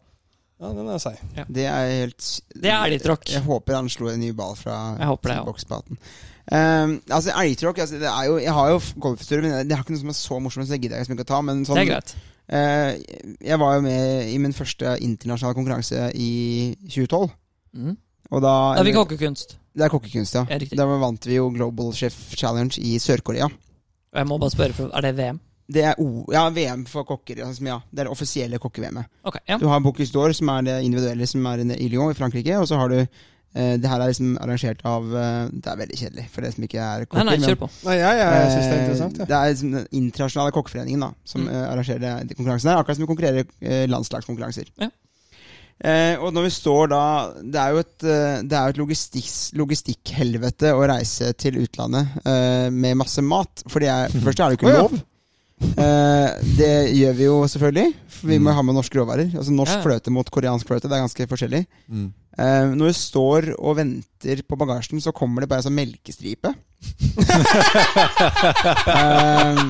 Speaker 4: Ja, den er seig.
Speaker 2: Det er helt s-
Speaker 3: Det er elgtråkk.
Speaker 2: Jeg håper han slo en ny ball fra
Speaker 3: Jeg håper det, ja.
Speaker 2: bokspaten. Um, altså, elgtråkk altså, det er jo, Jeg har jo f- golfhistorie, men det er ikke noe som er så morsomt, så det gidder jeg liksom ikke å ta. Men sånn,
Speaker 3: Det er greit.
Speaker 2: eh, jeg var jo med i min første internasjonale konkurranse i 2012.
Speaker 3: Mm.
Speaker 2: Og da,
Speaker 3: Da fikk kokkekunst.
Speaker 2: det er kokkekunst, ja.
Speaker 3: Ja, riktig.
Speaker 2: Da vant vi jo Global Chef Challenge i Sør-Korea.
Speaker 3: Og jeg må bare spørre, for er det VM?
Speaker 2: Det er o, ja, VM for kokker. ja, som- Ja, det er det offisielle kokke-VM-et.
Speaker 3: Ok, ja.
Speaker 2: Du har Bocuse d'Or, som er det individuelle som er i Lyon i Frankrike. Og så har du eh, Det her er liksom arrangert av eh, Det er veldig kjedelig for dere som ikke er
Speaker 3: Nei,
Speaker 2: kokker.
Speaker 3: nei,
Speaker 2: men-
Speaker 3: kjør på.
Speaker 4: Nei, jeg, jeg syns det er interessant.
Speaker 2: Eh,
Speaker 4: Ja.
Speaker 2: Det er liksom den internasjonale kokkeforeningen da, som
Speaker 3: Mm.
Speaker 2: eh, arrangerer det- de konkurransene her. Akkurat som vi konkurrerer eh, landslagskonkurranser.
Speaker 3: Ja.
Speaker 2: Eh, og når vi står da Det er jo et, eh, det er jo et logistikks- logistikkhelvete å reise til utlandet eh, med masse mat. For det er, først er det jo
Speaker 4: Å,
Speaker 2: ikke
Speaker 4: ja.
Speaker 2: lov. Eh, det gjør vi jo selvfølgelig. For vi må ha med norske råvarer. Altså Norsk
Speaker 3: Ja, ja.
Speaker 2: fløte mot koreansk fløte, det er ganske forskjellig.
Speaker 5: Mm.
Speaker 2: Eh, når vi står og venter på bagasjen, så kommer det bare en sånn melkestripe. eh,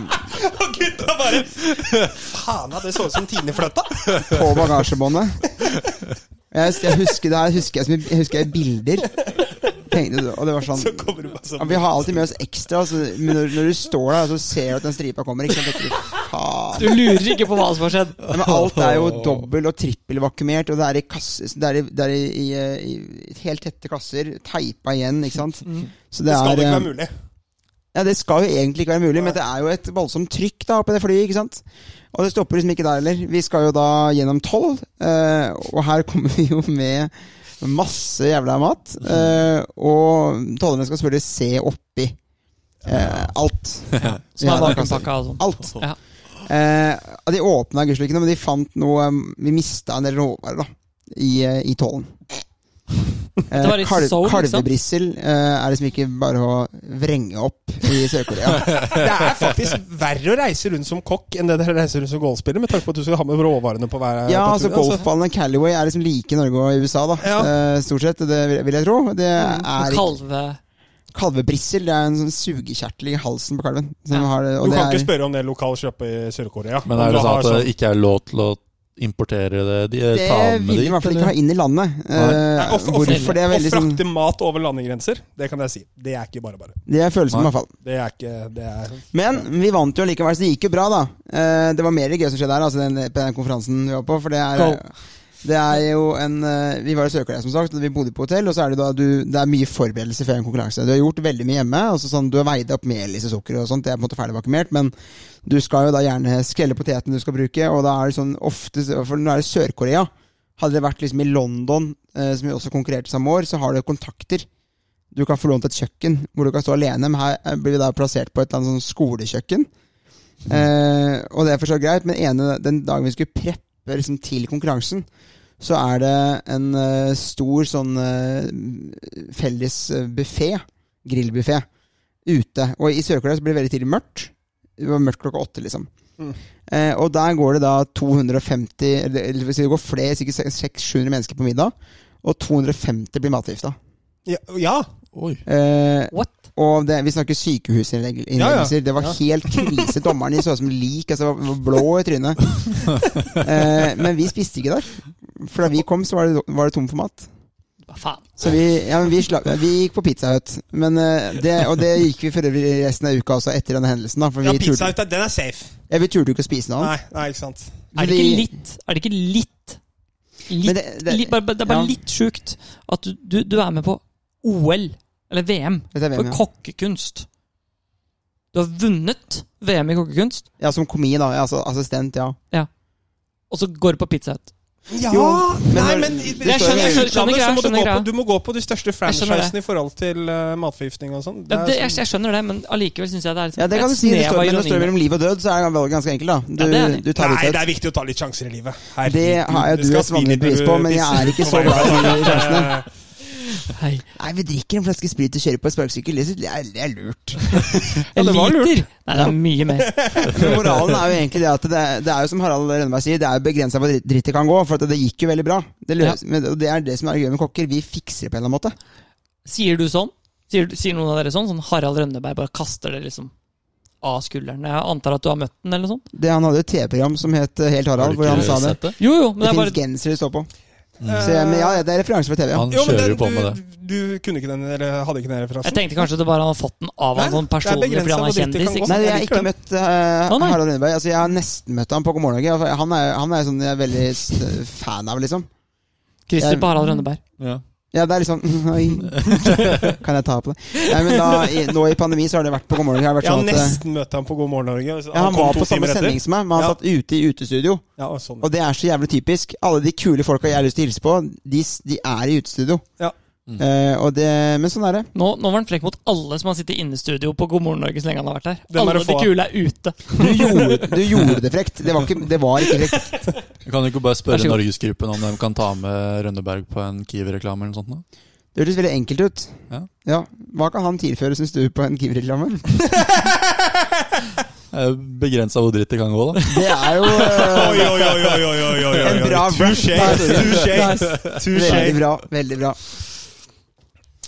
Speaker 4: Gutta bare Faen, det så ut som Tinefløtta!
Speaker 2: på bagasjebåndet. Jeg, jeg husker det her husker jeg, som, jeg husker jeg i bilder. Tenkte, og det var sånn
Speaker 4: Kommer du bare
Speaker 2: ja,
Speaker 4: sånn
Speaker 2: Vi har alltid med oss ekstra, altså, men når, når du står der og ser du at den stripa kommer ikke sant, tenker du, Faen.
Speaker 3: Du lurer ikke på hva som har skjedd.
Speaker 2: Nei, men alt er jo dobbel- og trippelvakumert, og det er i kasser Det er, i, det er i, i, eh, i helt tette kasser, teipa igjen, ikke sant. Så
Speaker 4: Mm. Det
Speaker 2: det,
Speaker 4: skal
Speaker 2: er,
Speaker 4: ikke
Speaker 2: eh,
Speaker 4: være mulig.
Speaker 2: Ja, det skal jo egentlig ikke være mulig, men det er jo et voldsomt trykk da på det flyet. ikke sant? Og det stopper liksom ikke der heller. Vi skal jo da gjennom tolv, eh, og her kommer vi jo med masse jævla mat. eh, og tollerne skal selvfølgelig se oppi eh, alt.
Speaker 3: Som
Speaker 2: Ja,
Speaker 3: er
Speaker 2: det kan
Speaker 3: vakuumpakka og sånn.
Speaker 2: Alt.
Speaker 3: Ja.
Speaker 2: Eh, og de åpna gudskjelov ikke noe, men de fant noe um, Vi mista en del råvarer da i, eh, i tollen. Eh,
Speaker 3: Det var i Seoul, ikke sant?
Speaker 2: kalvebrissel eh, er liksom ikke bare å vrenge opp i Sør-Korea.
Speaker 4: Det er faktisk verre å reise rundt som kokk enn det det er å reise rundt som golfspiller, med tanke på at du skal ha med råvarene på hver
Speaker 2: ja,
Speaker 4: på
Speaker 2: altså
Speaker 4: tur,
Speaker 2: Golfballen og Callaway er liksom like i Norge og i USA, da.
Speaker 4: Ja.
Speaker 2: Eh, stort sett, det vil, vil jeg tro. Det
Speaker 3: Mm.
Speaker 2: er ikke-
Speaker 3: Kalve
Speaker 2: Kalvebrissel det er en sånn sugekjertel i halsen på kalven. Som
Speaker 3: Ja.
Speaker 2: har, og
Speaker 4: Du
Speaker 2: det
Speaker 4: kan
Speaker 2: er,
Speaker 4: ikke spørre om det lokale kjøpet i Sør-Korea.
Speaker 5: Men
Speaker 4: Om
Speaker 5: er
Speaker 4: du
Speaker 5: det sånn
Speaker 4: har
Speaker 5: at
Speaker 4: sånn-
Speaker 5: det ikke er lov til å importere det? De, eh,
Speaker 2: det
Speaker 5: ta med
Speaker 2: vil de i hvert fall ikke ha inn i landet.
Speaker 5: Nei.
Speaker 2: Eh,
Speaker 4: Nei, å- å-
Speaker 2: hvorfor det er
Speaker 4: Å
Speaker 2: veldig sånn
Speaker 4: frakte mat over landegrenser, det kan jeg si. Det er ikke bare bare.
Speaker 2: Det er følelsen, i hvert fall.
Speaker 4: Det er ikke det er,
Speaker 2: Men vi vant jo likevel, så det gikk jo bra, da. Eh, Det var mer gøy som skjedde her, altså den, på den konferansen vi var på. For det
Speaker 3: Go.
Speaker 2: er, eh, det er jo en eh, Vi var i Sør-Korea, som sagt, og vi bodde på hotell. Og så er det da du Det er mye forberedelser før en konkurranse. Du har gjort veldig mye hjemme. Altså sånn, du har veid opp melis og sukker og sånt. Det er på en måte ferdig vakumert. Men du skal jo da gjerne skrelle potetene du skal bruke, og da er det sånn ofte For nå er det Sør-Korea. Hadde det vært liksom i London, eh, som vi også konkurrerte samme år, så har du kontakter. Du kan få lånt et kjøkken hvor du kan stå alene, men her eh, blir vi da plassert på et eller annet sånn skolekjøkken. Eh, og det er for så vidt greit, men ene, den dagen vi skulle preppe liksom, til konkurransen, så er det en eh, stor sånn eh, felles buffé, grillbuffé, ute. Og i Sør-Korea så blir det veldig tidlig mørkt. Det var mørkt klokka åtte, liksom.
Speaker 4: Mm.
Speaker 2: Eh, og der går det da 250 Eller eller det vil si det går flere, sikkert 600-700 mennesker på middag. Og 250 blir matgifta.
Speaker 4: ja, ja,
Speaker 2: Sånn?
Speaker 5: Oi.
Speaker 2: Eh,
Speaker 3: What?
Speaker 2: og det, vi snakker sykehusinnleggelser.
Speaker 4: Ja, ja.
Speaker 2: Det var
Speaker 4: Ja.
Speaker 2: helt krise. Dommeren så ut som lik. Altså, var blå i trynet. eh, men vi spiste ikke der. For da vi kom, så var det, var det tom for mat.
Speaker 3: Hva faen?
Speaker 2: Så vi, ja, men vi, slapp, vi gikk på Pizza Hut. Men, eh, det, og det gikk vi for øvrig resten av uka også etter denne hendelsen. Da, for
Speaker 4: ja
Speaker 2: vi,
Speaker 4: pizza
Speaker 2: turte,
Speaker 4: ut, den er safe.
Speaker 2: ja, vi turte jo ikke å spise noe annet.
Speaker 4: Nei, nei, ikke sant.
Speaker 3: Er det
Speaker 2: Vi-
Speaker 3: ikke litt Er det ikke litt Litt,
Speaker 2: Men det- det-
Speaker 3: litt bare, bare- Det er bare
Speaker 2: ja.
Speaker 3: litt sjukt at du, du, du er med på OL, eller VM,
Speaker 2: Dette er
Speaker 3: for
Speaker 2: VM, ja.
Speaker 3: kokkekunst. Du har vunnet VM i kokkekunst,
Speaker 2: ja, Som komi, da. ja, Altså assistent, ja.
Speaker 3: og så går du på Pizza Hut.
Speaker 4: Ja,
Speaker 2: Jo, men
Speaker 4: nei,
Speaker 2: når-
Speaker 4: men i-
Speaker 2: det
Speaker 4: hvis
Speaker 2: står
Speaker 4: du
Speaker 2: jo-
Speaker 4: er i
Speaker 3: skjønner- skjønner
Speaker 4: utlandet,
Speaker 3: greia,
Speaker 4: så må du,
Speaker 3: skjønner
Speaker 4: gå på,
Speaker 3: greia.
Speaker 4: du må gå på de største
Speaker 3: skjønner
Speaker 4: franchisene i forhold til eh, matforgiftning og sånn. Det
Speaker 3: Ja,
Speaker 4: er
Speaker 3: det, jeg,
Speaker 4: sånn-
Speaker 3: jeg skjønner det, men allikevel syns jeg det er liksom
Speaker 2: ja det kan du si. Det står, men det står
Speaker 3: ironi.
Speaker 2: mellom liv og død, så er valget ganske enkelt, da.
Speaker 3: Ja,
Speaker 2: Du,
Speaker 3: det er det.
Speaker 2: du tar
Speaker 4: Nei,
Speaker 2: ut
Speaker 4: det
Speaker 2: et.
Speaker 4: er viktig å ta litt sjanser i livet.
Speaker 2: Det har jeg
Speaker 4: du
Speaker 2: du et
Speaker 4: skal svi
Speaker 2: vanlig
Speaker 4: litt når
Speaker 2: bevis
Speaker 4: du
Speaker 2: på, men jeg er ikke så glad i de sjansene.
Speaker 3: Hei.
Speaker 2: Nei, vi drikker en flaske sprit og kjører på en sparkesykkel. Det synes jeg er- det er lurt.
Speaker 3: En
Speaker 4: det var lurt.
Speaker 3: liter? Nei, det er mye mer.
Speaker 2: Men moralen er jo egentlig det at det, det er jo som Harald Rønneberg sier, det er begrensa hvor dritt det kan gå. For at det gikk jo veldig bra. Det, løs, men, og det er det som er gøy med kokker. Vi fikser det på en eller annen måte.
Speaker 3: Sier du sånn? Sier, sier noen av dere sånn? Sånn Harald Rønneberg bare kaster det liksom av skulderen. Jeg antar at du har møtt den, eller sånn? noe sånt?
Speaker 2: Det, han hadde jo et TV-program som het eh, Helt
Speaker 5: Har
Speaker 2: Harald,
Speaker 5: du
Speaker 2: hvor han
Speaker 5: ikke
Speaker 2: sa det.
Speaker 5: sett det?
Speaker 3: Jo, jo,
Speaker 2: Det
Speaker 3: men det er
Speaker 2: finnes
Speaker 3: bare
Speaker 2: gensere det står på. Så, jeg- men ja, ja, det er referanse for TV. Ja.
Speaker 4: Eh,
Speaker 5: Han kjører jo på med det.
Speaker 4: Du, du kunne ikke den, eller hadde ikke den
Speaker 3: Jeg
Speaker 4: referansen?
Speaker 3: tenkte kanskje at det bare han har fått den av
Speaker 4: Nei,
Speaker 3: han sånn
Speaker 4: det er
Speaker 3: personlig
Speaker 4: begrenset
Speaker 3: fordi han
Speaker 4: hvor
Speaker 3: er
Speaker 4: dritt det kan
Speaker 3: kjendis.
Speaker 4: gå.
Speaker 2: Nei,
Speaker 3: Ikke? sant?
Speaker 2: jeg har
Speaker 4: Jeg liker
Speaker 2: ikke møtt eh,
Speaker 3: Å, nei.
Speaker 2: Harald Rønneberg. Altså, jeg har nesten møtt ham på God morgen Norge. Altså, Han er, han er sånn jeg er veldig s- fan av, liksom.
Speaker 3: Christer
Speaker 2: Jeg-
Speaker 3: på Harald Rønneberg.
Speaker 5: Ja.
Speaker 2: Ja, det er litt sånn Oi, kan jeg ta på det? Nei, men da, i, nå i pandemi så har det vært på God morgen Norge. har det vært
Speaker 4: Jeg har
Speaker 2: sånn at, eh,
Speaker 4: nesten møtt ham på God morgen Norge.
Speaker 2: ja, han
Speaker 4: kom
Speaker 2: var
Speaker 4: to
Speaker 2: på samme
Speaker 4: timer etter.
Speaker 2: sending som meg, men han
Speaker 4: Ja.
Speaker 2: satt ute i utestudio.
Speaker 4: Ja, og sånn.
Speaker 2: Og det er så jævlig typisk. Alle de kule folka jeg har lyst til å hilse på, de, s- de er i utestudio.
Speaker 4: Ja.
Speaker 5: Mm.
Speaker 2: Eh, og det, men sånn er det.
Speaker 3: Nå, nå var han frekk mot alle som har sittet inne i studio på God morgen Norge så lenge han har vært her.
Speaker 4: Dem er
Speaker 3: alle
Speaker 4: det få
Speaker 3: de
Speaker 4: av.
Speaker 3: kule er ute.
Speaker 2: Du gjorde, du gjorde det frekt. Det var ikke, det var ikke frekt.
Speaker 5: Jeg kan jo ikke bare
Speaker 3: Vær
Speaker 5: spørre
Speaker 3: så god.
Speaker 5: Norgesgruppen om de kan ta med Rønneberg på en Kiwi-reklame eller noe sånt? Da?
Speaker 2: Det høres veldig enkelt ut.
Speaker 5: Ja.
Speaker 2: Hva kan han tilføre, syns du, på en Kiwi-reklame?
Speaker 5: Begrensa hvor dritt det kan gå, da.
Speaker 2: Det er jo eh,
Speaker 8: Oi, oi, oi, oi, oi, oi, oi,
Speaker 2: en
Speaker 8: oi.
Speaker 2: bra
Speaker 8: Touché, touché, touché.
Speaker 2: Veldig bra. veldig bra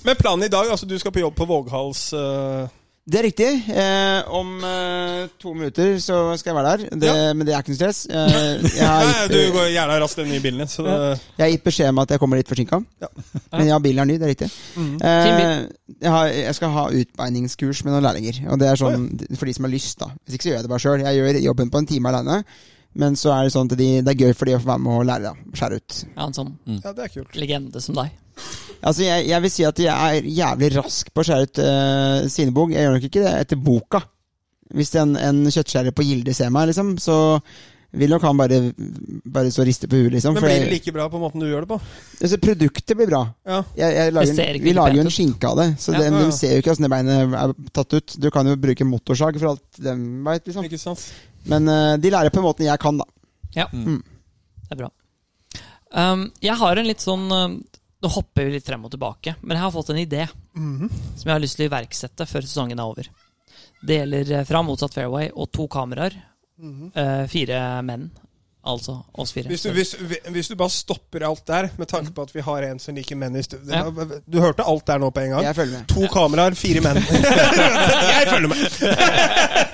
Speaker 4: Men planen i dag, altså du skal på jobb på Våghals eh,
Speaker 2: Det er riktig. Eh, om eh, to minutter så skal jeg være der. Det, Men det er ikke noe stress. Eh, jeg, har
Speaker 4: Nei, Du
Speaker 2: gitt, eh,
Speaker 4: går gjerne raskt den nye bilen din, så det,
Speaker 2: jeg har gitt beskjed om at jeg kommer litt forsinka.
Speaker 4: Ja.
Speaker 2: Men ja, bilen er ny. Det er riktig.
Speaker 4: Mhm.
Speaker 2: Eh, jeg, har, jeg skal ha utbeiningskurs med noen lærlinger. Og det er sånn for de som har lyst, da. Hvis ikke så gjør jeg det bare sjøl. Jeg gjør jobben på en time aleine. Men så er det sånn at de, det er gøy for de å få være med og lære. da Skjære ut.
Speaker 3: Ja, en sånn
Speaker 4: ja, det er kult.
Speaker 3: legende som deg.
Speaker 2: Altså, jeg, jeg vil si at jeg er jævlig rask på å skjære ut uh, svinebog. Jeg gjør nok ikke det etter boka. Hvis en, en kjøttskjærer på Gilde ser meg, liksom, så vil nok han bare, bare så riste på huet, liksom.
Speaker 4: Men
Speaker 2: For
Speaker 4: blir det
Speaker 2: jeg,
Speaker 4: like bra på måten du gjør det på?
Speaker 2: altså, produktet blir bra.
Speaker 4: Ja.
Speaker 2: Jeg, jeg
Speaker 3: Det
Speaker 2: lager
Speaker 3: ser
Speaker 2: en, vi
Speaker 3: ikke like
Speaker 2: lager jo
Speaker 3: pent
Speaker 2: en skinke av det, så
Speaker 4: Ja,
Speaker 2: det,
Speaker 4: ja, ja.
Speaker 2: de ser jo ikke åssen det beinet er tatt ut. Du kan jo bruke motorsag for alt de veit, liksom.
Speaker 4: Ikke sant?
Speaker 2: Men eh, de lærer på den måten jeg kan, da.
Speaker 3: Det er bra. Um, jeg har en litt sånn um, Nå hopper vi litt frem og tilbake, men jeg har fått en idé
Speaker 4: Mhm.
Speaker 3: som jeg har lyst til å iverksette før sesongen er over. Det gjelder eh, fra motsatt fairway og to kameraer. eh, fire menn. Altså oss fire.
Speaker 4: Mhm. Hvis du, hvis, hvis du bare stopper alt der, med tanke på at vi har en som liker menn i studio
Speaker 3: Ja.
Speaker 4: Du hørte alt der nå på en gang?
Speaker 2: Jeg følger med.
Speaker 4: To kameraer, fire menn. jeg følger med!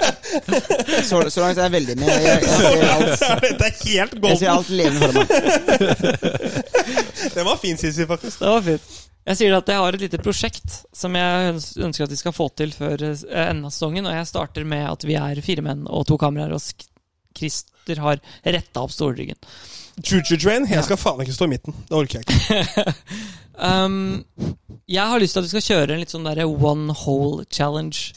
Speaker 2: Så, så langt er jeg veldig med. Jeg, jeg, jeg, ser alt,
Speaker 4: Dette er helt
Speaker 2: jeg ser
Speaker 4: golden.
Speaker 2: alt levende foran meg.
Speaker 4: Den var fin, Sissy, faktisk.
Speaker 3: Det var fint. Jeg sier at jeg har et lite prosjekt som jeg øns- ønsker at vi skal få til før eh, enden av sesongen. Og jeg starter med at vi er fire menn og to kameraer, og Sk- Christer har retta opp storryggen.
Speaker 4: Choo-choo train. Jeg skal faen ikke stå i midten. Det orker jeg ikke.
Speaker 3: um, jeg har lyst til at vi skal kjøre en litt sånn derre one hole challenge.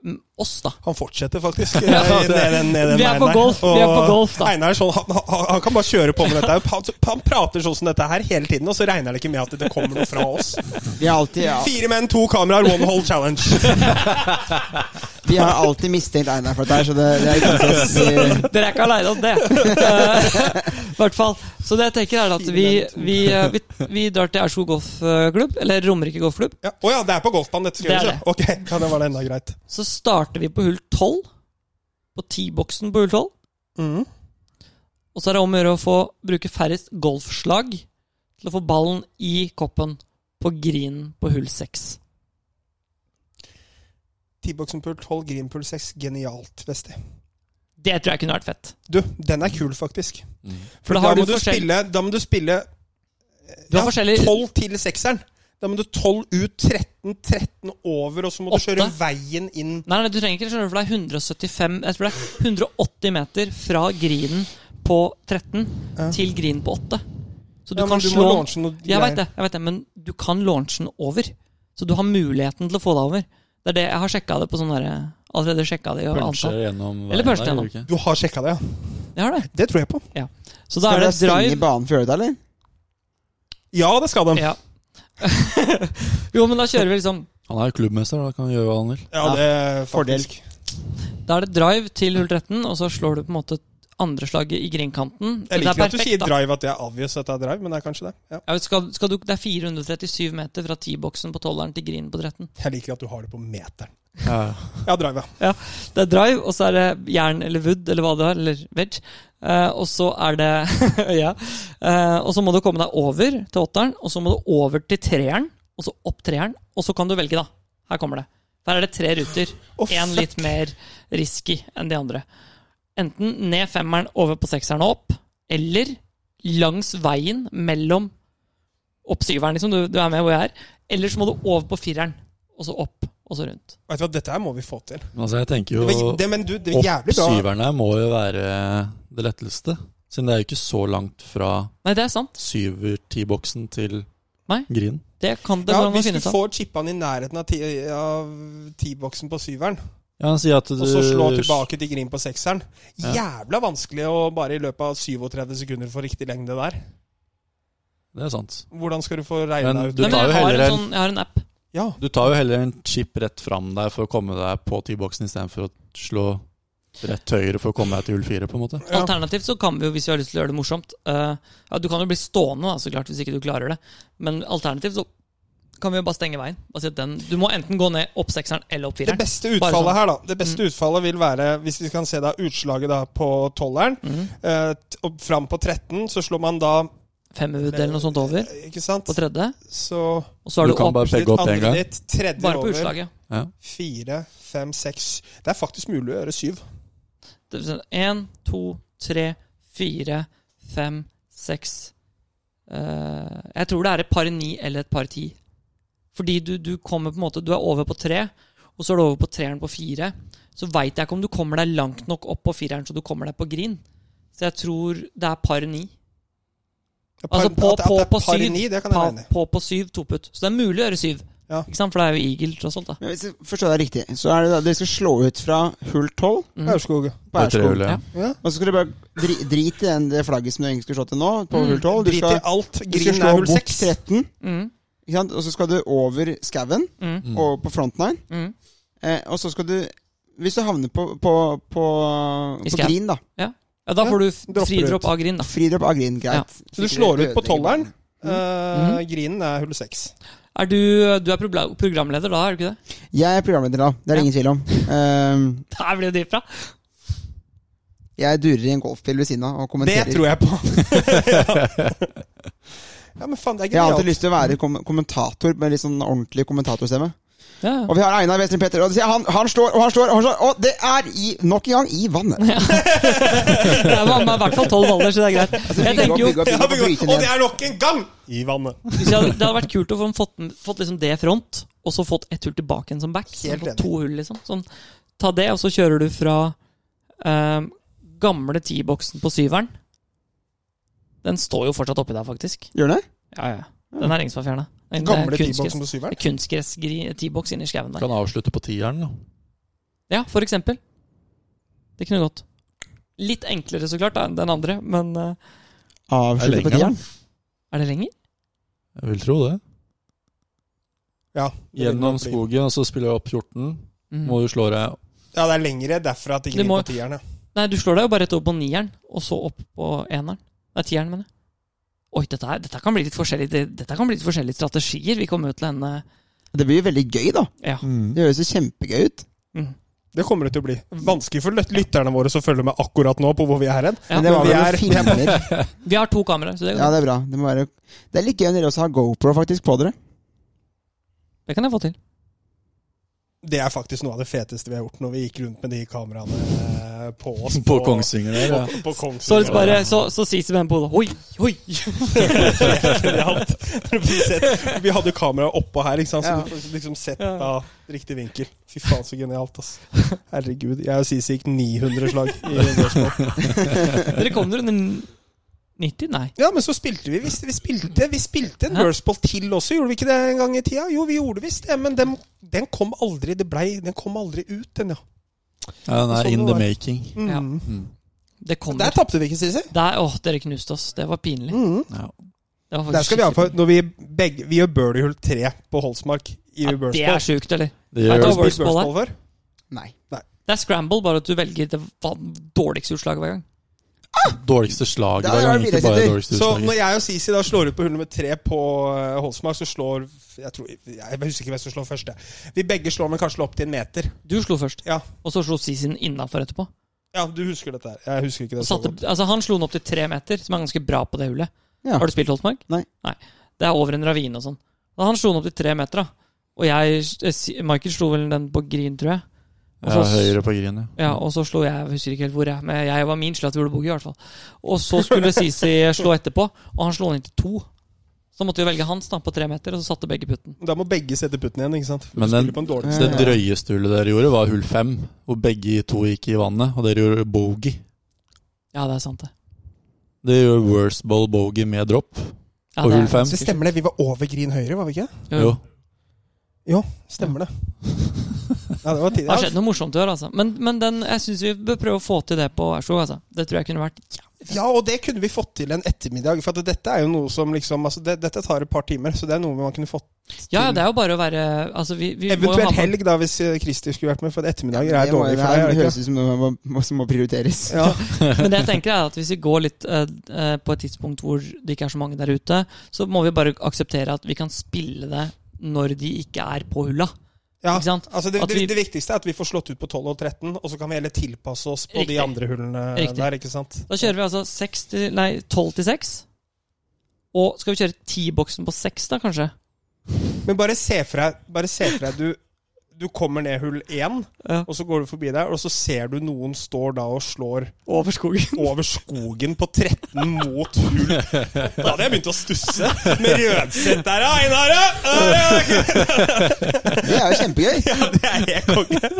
Speaker 3: Mm, Oss, da.
Speaker 4: Han fortsetter faktisk. eh,
Speaker 3: Ja,
Speaker 4: ned, ned, ned den
Speaker 3: Vi er
Speaker 4: veien
Speaker 3: på
Speaker 4: der.
Speaker 3: golf, vi er på
Speaker 4: Og
Speaker 3: golf, da.
Speaker 4: Einar er sånn, han, han, han kan bare kjøre på med dette. her. Han, han prater sånn som dette her hele tiden, og så regner han ikke med at det kommer noe fra oss.
Speaker 2: Vi har alltid, ja,
Speaker 4: Fire menn, to kameraer, one hole challenge.
Speaker 2: Vi har alltid mistenkt Einar for dette, her, så det, det er ikke noe stress. Vi-
Speaker 3: Dere er ikke aleine om det. I hvert fall. Så det jeg tenker, er at vi, vi, eh, vi, vi drar til Aurskog golfklubb, eller Romerike golfklubb.
Speaker 4: Ja. Å ja, det er på golfbanen dette skal
Speaker 3: Det er
Speaker 4: gjøres, ja. Ok, ja, det var det enda greit.
Speaker 3: Så starter vi på hull 12. På T-boksen på hull 12.
Speaker 4: Mhm.
Speaker 3: Og så er det om å gjøre å få bruke færrest golfslag til å få ballen i koppen på greenen på hull 6.
Speaker 4: T-boksen pull 12, green pull 6. Genialt, Vesti.
Speaker 3: Det tror jeg kunne vært fett.
Speaker 4: Du, den er kul, faktisk.
Speaker 5: Mm.
Speaker 4: For
Speaker 3: da
Speaker 4: da,
Speaker 3: har
Speaker 4: må
Speaker 3: du
Speaker 4: du
Speaker 3: forskjell-
Speaker 4: spille, da må du spille
Speaker 3: Du har forskjellige-
Speaker 4: 12 til sekseren. Da må du 12 ut, 13, 13 over, og så må du
Speaker 3: Åtte.
Speaker 4: kjøre veien inn.
Speaker 3: Nei, nei, du trenger ikke skjønne, for det er 175 Jeg tror det er 180 meter fra greenen på 13
Speaker 4: Ja.
Speaker 3: til greenen på 8. Så du
Speaker 4: Ja, men
Speaker 3: kan
Speaker 4: du må
Speaker 3: slå
Speaker 4: launche noe
Speaker 3: Jeg
Speaker 4: greier.
Speaker 3: veit det, jeg vet det, men du kan launche den over. Så du har muligheten til å få deg over. Det er det jeg har sjekka det på sånn derre Allerede sjekka det. i
Speaker 5: Puncher
Speaker 3: antall.
Speaker 5: gjennom
Speaker 3: Eller puncher
Speaker 5: der,
Speaker 3: gjennom.
Speaker 5: gjør du ikke?
Speaker 4: Du har sjekka det, ja?
Speaker 3: Jeg har det.
Speaker 4: Det tror jeg på.
Speaker 3: Så
Speaker 2: Skal
Speaker 3: da
Speaker 2: dere
Speaker 3: er det
Speaker 2: stenge
Speaker 3: drive.
Speaker 2: banen for å gjøre det, eller?
Speaker 4: Ja, det skal de. Ja,
Speaker 3: Ja. jo, men da kjører vi liksom
Speaker 5: Han er jo klubbmester, da kan han gjøre hva han vil.
Speaker 4: det er
Speaker 2: fordel.
Speaker 4: faktisk.
Speaker 3: Da er det drive til hull 13, og så slår du på en måte andre slaget i greenkanten.
Speaker 4: Jeg
Speaker 3: det
Speaker 4: liker
Speaker 3: er
Speaker 4: at du sier
Speaker 3: da.
Speaker 4: drive, at det er obvious at det er drive, men det er kanskje det. Ja.
Speaker 3: Ja, skal, skal du, det er 437 meter fra T-boksen på 12-eren til greenen på 13.
Speaker 4: Jeg liker at du har det på meteren.
Speaker 5: Ja,
Speaker 4: Ja, drive, ja.
Speaker 3: Det er drive, og så er det jern eller wood eller hva det er, eller veg. Eh, og så er det ja. Eh, Og så må du komme deg over til åtteren, og så må du over til treeren, og så opp treeren, og så kan du velge, da. Her kommer det. Der er det tre ruter.
Speaker 4: Å,
Speaker 3: Én litt mer risky enn de andre. Enten ned femmeren, over på sekseren og opp, eller langs veien mellom opp syveren, liksom, du, du er med hvor jeg er. Eller så må du over på fireren, og så opp, og så rundt.
Speaker 4: Vet du hva, dette her må vi få til.
Speaker 5: Men altså, jeg tenker jo
Speaker 4: Men, det, men du, det er jævlig bra.
Speaker 5: Oppsyverne må jo være det letteste. Siden det er jo ikke så langt fra
Speaker 3: Nei, det er sant.
Speaker 5: syver-ti-boksen til Grin.
Speaker 3: Det kan det
Speaker 4: Ja,
Speaker 3: gå an å
Speaker 4: hvis du
Speaker 3: finne ut av.
Speaker 4: får chippa den i nærheten av ti- av T-boksen på syveren,
Speaker 5: Ja, han sier at du
Speaker 4: og så slå tilbake til Green på sekseren
Speaker 5: Ja.
Speaker 4: Jævla vanskelig å bare i løpet av 37 sekunder få riktig lengde der.
Speaker 5: Det er sant.
Speaker 4: Hvordan skal du få regna
Speaker 5: Men
Speaker 4: ut
Speaker 5: du
Speaker 3: Nei, men
Speaker 5: tar jo
Speaker 3: jeg, har
Speaker 5: heller
Speaker 3: en
Speaker 5: en-
Speaker 3: sånn, jeg har en app.
Speaker 4: Ja.
Speaker 5: Du tar jo heller en chip rett fram der for å komme deg på T-boksen istedenfor å slå rett høyre for å komme deg til hull fire, på en måte.
Speaker 4: Ja.
Speaker 3: Alternativt så kan vi jo, hvis vi har lyst til å gjøre det morsomt eh, ja, Du kan jo bli stående, da, så klart, hvis ikke du klarer det. Men alternativt så kan vi jo bare stenge veien. Bare si at den, du må enten gå ned opp sekseren eller opp
Speaker 4: Det
Speaker 3: fireren.
Speaker 4: beste
Speaker 3: Bare sånn.
Speaker 4: utfallet her, da. Det beste utfallet vil være, hvis vi kan se da utslaget da på tolveren
Speaker 3: Mhm.
Speaker 4: eh, t- og Fram på 13, så slår man da
Speaker 3: Femhud eller noe sånt over
Speaker 4: Ikke sant?
Speaker 3: på tredje.
Speaker 4: Så
Speaker 3: Og så har
Speaker 5: Du
Speaker 3: du,
Speaker 5: kan
Speaker 3: opp
Speaker 5: bare pegge opp en
Speaker 4: andre
Speaker 5: gang.
Speaker 4: ditt, tredje
Speaker 3: bare på
Speaker 4: over.
Speaker 3: utslaget.
Speaker 4: Fire, fem, seks Det er faktisk mulig å gjøre syv.
Speaker 3: Det vil si Én, to, tre, fire, fem, seks eh, Jeg tror det er et par ni eller et par ti. Fordi du, du kommer på en måte Du er over på tre, og så er du over på treeren på fire. Så veit jeg ikke om du kommer deg langt nok opp på fireren så du kommer deg på green. Så jeg tror det er par ni. Altså på-
Speaker 4: at, at det er
Speaker 3: på- på
Speaker 4: par i
Speaker 3: syv.
Speaker 4: ni, det kan jeg
Speaker 3: Pa,
Speaker 4: regne i.
Speaker 3: på på syv, to putt. Så det er mulig å gjøre syv.
Speaker 4: Ja.
Speaker 3: Ikke sant? For det er jo eagle, tross alt. da
Speaker 2: Men hvis jeg forstår deg riktig, så er det da dere skal slå ut fra hull 12
Speaker 3: Mm.
Speaker 4: Aurskog.
Speaker 2: på Aurskog.
Speaker 5: trehullet.
Speaker 2: Og så skal du bare dri, drite i den- det flagget som du egentlig skulle slå til nå, på
Speaker 3: Mm,
Speaker 2: hull 12. Du
Speaker 4: Drit i
Speaker 2: skal,
Speaker 4: alt.
Speaker 2: du skal
Speaker 4: Green
Speaker 2: slå
Speaker 4: er hull
Speaker 2: bort
Speaker 4: seks.
Speaker 2: 13,
Speaker 3: Mm.
Speaker 2: ikke sant? og så skal du over skauen
Speaker 3: Mm.
Speaker 5: Mm.
Speaker 2: og på front nine.
Speaker 3: Mm.
Speaker 2: Eh, og så skal du Hvis du havner på, på, på,
Speaker 3: I
Speaker 2: på
Speaker 3: skauen.
Speaker 2: green, da.
Speaker 3: Ja, da
Speaker 4: Ja,
Speaker 3: får du
Speaker 4: dropper
Speaker 3: fridropp
Speaker 4: ut.
Speaker 3: av green, da.
Speaker 2: Fridropp av green, greit.
Speaker 3: Ja.
Speaker 4: Så du slår ut på tolveren?
Speaker 2: Mm.
Speaker 4: Eh,
Speaker 3: Mhm.
Speaker 4: Grinen er hull seks.
Speaker 3: Er du, du er probla- programleder da, er du ikke det?
Speaker 2: Jeg er programleder da, det er det
Speaker 3: Ja.
Speaker 2: ingen tvil om. Ehm,
Speaker 3: Der blir det dritbra!
Speaker 2: jeg durer i en golfbil ved siden av og
Speaker 4: Det
Speaker 2: kommenterer.
Speaker 4: tror jeg på. ja, men faen, det er
Speaker 2: Jeg har alltid
Speaker 4: genialt.
Speaker 2: lyst til å være kom kommentator med litt sånn ordentlig kommentatorstemme.
Speaker 3: Ja.
Speaker 2: Og vi har Einar Westrin Petter, og det sier han, han slår, og han slår, og han slår, og det er i, nok en gang i vannet.
Speaker 3: Det er mamma i hvert fall tolv baller, så det er greit.
Speaker 4: Altså,
Speaker 3: Jeg
Speaker 2: Bygge opp,
Speaker 3: tenker jo,
Speaker 2: bygge opp, bygge opp, og bryte
Speaker 4: Og det
Speaker 2: ned.
Speaker 4: er nok en gang i vannet.
Speaker 3: hvis jeg hadde- Det hadde vært kult å få fått, fått liksom det front, og så fått ett hull tilbake igjen som back. Så
Speaker 4: Helt
Speaker 3: fått
Speaker 4: enig.
Speaker 3: to hull, liksom. Sånn, ta det, og så kjører du fra ehm, gamle T-boksen på syveren. Den står jo fortsatt oppi der, faktisk.
Speaker 2: Gjør det?
Speaker 3: Ja, ja. Den er ingen som har fjerna.
Speaker 4: Den gamle T-boksen på syveren.
Speaker 3: Kunstgress-T-boks inni skauen der.
Speaker 5: Kan avslutte på tieren, da.
Speaker 3: Ja, for eksempel. Det kunne gått. Litt enklere, så klart, da, enn den andre, men eh,
Speaker 2: Avslutte på
Speaker 5: lenger,
Speaker 2: tieren.
Speaker 3: er det lenger?
Speaker 5: Jeg vil tro det.
Speaker 4: Ja, det vil
Speaker 5: Gjennom
Speaker 4: nok bli.
Speaker 5: skogen, og så spiller jeg opp 14.
Speaker 3: Mm.
Speaker 5: Må du slå deg
Speaker 4: Ja, det er lengre derfra at de
Speaker 3: Du
Speaker 4: griner
Speaker 3: må-
Speaker 4: på tierne.
Speaker 3: Nei, du slår deg jo bare rett opp på nieren, og så opp på eneren. Nei, tieren, mener jeg. Oi, dette, er, dette, kan bli litt forskjellig, det, dette kan bli litt forskjellige strategier. Vi kommer jo til en eh,
Speaker 2: Det blir jo veldig gøy, da.
Speaker 3: Ja.
Speaker 5: Mm.
Speaker 2: Det høres jo kjempegøy ut.
Speaker 4: Det kommer det til å bli. Vanskelig for lyt- lytterne våre som følger med akkurat nå på hvor vi er hen.
Speaker 3: Ja,
Speaker 2: Men det var
Speaker 4: vi
Speaker 2: vel
Speaker 4: er-
Speaker 2: noen filmer.
Speaker 3: Vi har to kameraer, så det,
Speaker 2: Ja, det er bra. Det, må være, det er litt gøy når dere også har GoPro faktisk på dere.
Speaker 3: det kan jeg få til.
Speaker 4: Det er faktisk noe av det feteste vi har gjort når vi gikk rundt med de kameraene eh, på oss.
Speaker 5: på Kongsvinger der. Ja.
Speaker 4: På
Speaker 3: Så,
Speaker 4: Kongsvinger.
Speaker 3: liksom bare, så, så sies det med en på hodet Oi, oi!
Speaker 4: Genialt. Vi sett- Vi hadde kameraet oppå her, ikke sant? så
Speaker 2: Ja.
Speaker 4: du får liksom sett
Speaker 3: Ja.
Speaker 4: da riktig vinkel. Fy faen, så genialt, ass. Herregud. Jeg og Sisi gikk 900 slag. I dødsmål.
Speaker 3: Dere kom dere under 90? Nei.
Speaker 4: ja, men så spilte vi visst. Vi spilte, vi spilte en
Speaker 3: Ja.
Speaker 4: Burstball til også, gjorde vi ikke det en gang i tida? Jo, vi gjorde visst det, men den, den kom aldri det blei, den kom aldri ut, den, ja.
Speaker 5: Ja, den er
Speaker 4: Sånn det
Speaker 5: in the
Speaker 4: var.
Speaker 5: making.
Speaker 4: Mm.
Speaker 3: Ja. Det
Speaker 4: Der
Speaker 3: kommer.
Speaker 4: tapte vi ikke, Sisi.
Speaker 3: Der, åh, dere knuste oss. Det var pinlig.
Speaker 4: Mm.
Speaker 5: Ja.
Speaker 3: Det var faktisk
Speaker 4: Der skal vi
Speaker 3: skikkelig
Speaker 4: iallfall Når vi begge Vi gjør birdie hull tre på Holsmark i
Speaker 3: Ja, det er
Speaker 4: Burstball.
Speaker 3: sjukt, eller?
Speaker 5: Det
Speaker 3: Nei,
Speaker 5: gjør
Speaker 3: da
Speaker 5: det.
Speaker 3: var-
Speaker 4: Spilt
Speaker 3: Burstball her.
Speaker 4: Burstball før?
Speaker 2: Nei.
Speaker 3: Det er scramble, bare at du velger det van- dårligste utslaget hver gang.
Speaker 5: dårligste slaget.
Speaker 2: Der
Speaker 5: Det
Speaker 2: var
Speaker 5: var egentlig bare
Speaker 2: billigsitter.
Speaker 5: dårligste
Speaker 4: Så
Speaker 5: utslaget.
Speaker 4: når jeg og Sisi da slår ut på hull nummer tre på eh, Holsmark, så slår jeg, tror, jeg husker ikke hvem som slår først. jeg. Vi begge slår, men kanskje opp til en meter.
Speaker 3: Du slo først,
Speaker 4: Ja.
Speaker 3: og så slo Sisin innafor etterpå.
Speaker 4: Ja, du husker dette her. Jeg husker ikke det.
Speaker 3: Og
Speaker 4: så
Speaker 5: sånn
Speaker 3: satte,
Speaker 4: godt.
Speaker 3: altså Han slo den opp til tre meter, som er ganske bra på det hullet.
Speaker 2: Ja.
Speaker 3: Har du spilt Holtmark?
Speaker 2: Nei.
Speaker 3: Det er over en ravine og sånn. Og han slo den opp til tre meter, da. Og jeg eh, si- Michael slo vel den på green, tror jeg. Og
Speaker 5: Ja,
Speaker 3: så,
Speaker 5: høyre på green,
Speaker 3: ja, og så slo jeg, jeg husker ikke helt hvor jeg Men jeg var min slo at vi gjorde boogie, i hvert fall. Og så skulle Sisi slå etterpå, og han slo den inn til to. Så måtte vi velge hans da, på tre meter, og så satte begge putten.
Speaker 4: Da må begge sette putten igjen, ikke sant? For
Speaker 5: Men
Speaker 4: du spiller
Speaker 5: den-
Speaker 4: på en dårlig
Speaker 5: Så det drøyeste hullet dere gjorde, var hull fem. Hvor begge to gikk i vannet, og dere gjorde bogey.
Speaker 3: Ja, det er sant, det.
Speaker 5: Det gjør worst ball bogey med drop.
Speaker 3: Ja,
Speaker 5: På
Speaker 3: det er-
Speaker 5: hull fem.
Speaker 4: Så stemmer det. Vi var over green høyre, var vi ikke?
Speaker 5: Jo.
Speaker 4: Jo, stemmer det. Ja, det var
Speaker 3: Det har
Speaker 4: tidlig.
Speaker 3: skjedd noe morsomt i år, altså. Men, men den, jeg syns vi bør prøve å få til det på Aurskog. Altså. Det tror jeg kunne vært jævlig fett.
Speaker 4: Ja, og det kunne vi fått til en ettermiddag. For at dette er jo noe som liksom altså, det, Dette tar et par timer, så det er noe man kunne fått
Speaker 3: Ja, ja, det er jo bare å være altså, vi, vi må jo ha
Speaker 4: Eventuelt
Speaker 3: med-
Speaker 4: helg, da, hvis eh, Christer skulle vært med, for ettermiddager er
Speaker 2: Det må-
Speaker 4: dårlig
Speaker 2: det
Speaker 4: for
Speaker 2: her
Speaker 4: deg. er det
Speaker 2: høres
Speaker 4: ikke?
Speaker 2: ut som noe som må, som må prioriteres.
Speaker 4: Ja.
Speaker 3: Men det jeg tenker er at hvis vi går litt eh, eh, på et tidspunkt hvor det ikke er så mange der ute, så må vi bare akseptere at vi kan spille det når de ikke er på hulla.
Speaker 4: Ja,
Speaker 3: Ikke sant?
Speaker 4: altså det,
Speaker 3: At vi-
Speaker 4: det, det viktigste er at vi får slått ut på 12 og 13, og så kan vi heller tilpasse oss på
Speaker 3: Riktig.
Speaker 4: de andre hullene
Speaker 3: Riktig.
Speaker 4: der. ikke sant?
Speaker 3: Da kjører vi altså seks til, nei, 12 til 6. Og skal vi kjøre 10-boksen på 6, da, kanskje?
Speaker 4: Men bare se for deg, bare se for deg du, du kommer ned hull 1,
Speaker 3: Ja.
Speaker 4: og så går du forbi der, og så ser du noen står da og slår
Speaker 3: Over skogen.
Speaker 4: over skogen på 13 mot hull. Da hadde jeg begynt å stusse med rødsett der, ja, Einar! ja! Ja, ja,
Speaker 2: Det er jo kjempegøy!
Speaker 4: ja, Det er helt konge.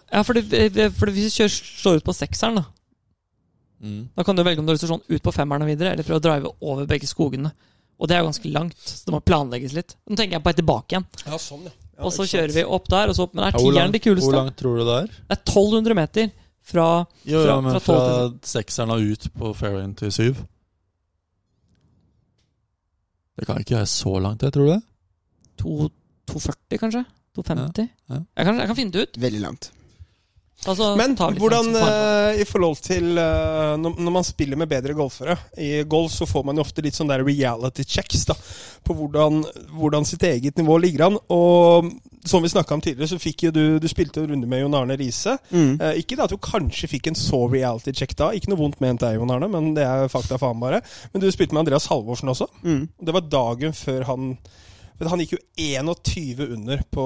Speaker 3: Ja, for, det, for hvis vi kjører, slår ut på sekseren, da
Speaker 5: Mm.
Speaker 3: Da kan du velge om du har lyst til å slå den ut på femmeren og videre, eller prøve å drive over begge skogene. Og det er jo ganske langt, så det må planlegges litt. Nå tenker jeg på et tilbake igjen.
Speaker 4: Ja, sånn, ja. Ja,
Speaker 3: Og så
Speaker 4: ikke sant.
Speaker 3: kjører vi opp der, og så opp. Men er
Speaker 5: Ja, hvor,
Speaker 3: tieren
Speaker 5: langt,
Speaker 3: det kuleste?
Speaker 5: hvor langt tror du det er?
Speaker 3: Det er 1200 meter fra
Speaker 5: Jo,
Speaker 3: Fra-
Speaker 5: ja, men
Speaker 3: fra
Speaker 5: fra,
Speaker 3: tolv
Speaker 5: sekseren og ut på fairwayen til syv. Det kan ikke være så langt, jeg tror du det?
Speaker 3: to- 240, kanskje? 250?
Speaker 5: Ja, ja.
Speaker 3: Jeg, kan, jeg kan finne det ut.
Speaker 2: Veldig langt.
Speaker 3: Altså,
Speaker 4: Men
Speaker 3: ta litt
Speaker 4: hvordan
Speaker 3: sånn som faen.
Speaker 4: eh, i forhold til eh, når, når man spiller med bedre golfere I golf så får man jo ofte litt sånn der reality checks da på hvordan, hvordan sitt eget nivå ligger an. Og som vi snakka om tidligere, så fikk jo du Du spilte jo en runde med Jon Arne Riise.
Speaker 2: Mm,
Speaker 4: Eh, ikke da at du kanskje fikk en så reality check da. Ikke noe vondt ment deg, Jon Arne, men det er fakta faen bare. Men du spilte med Andreas Halvorsen også.
Speaker 2: Mm.
Speaker 4: Det var dagen før han men Han gikk jo 21 under på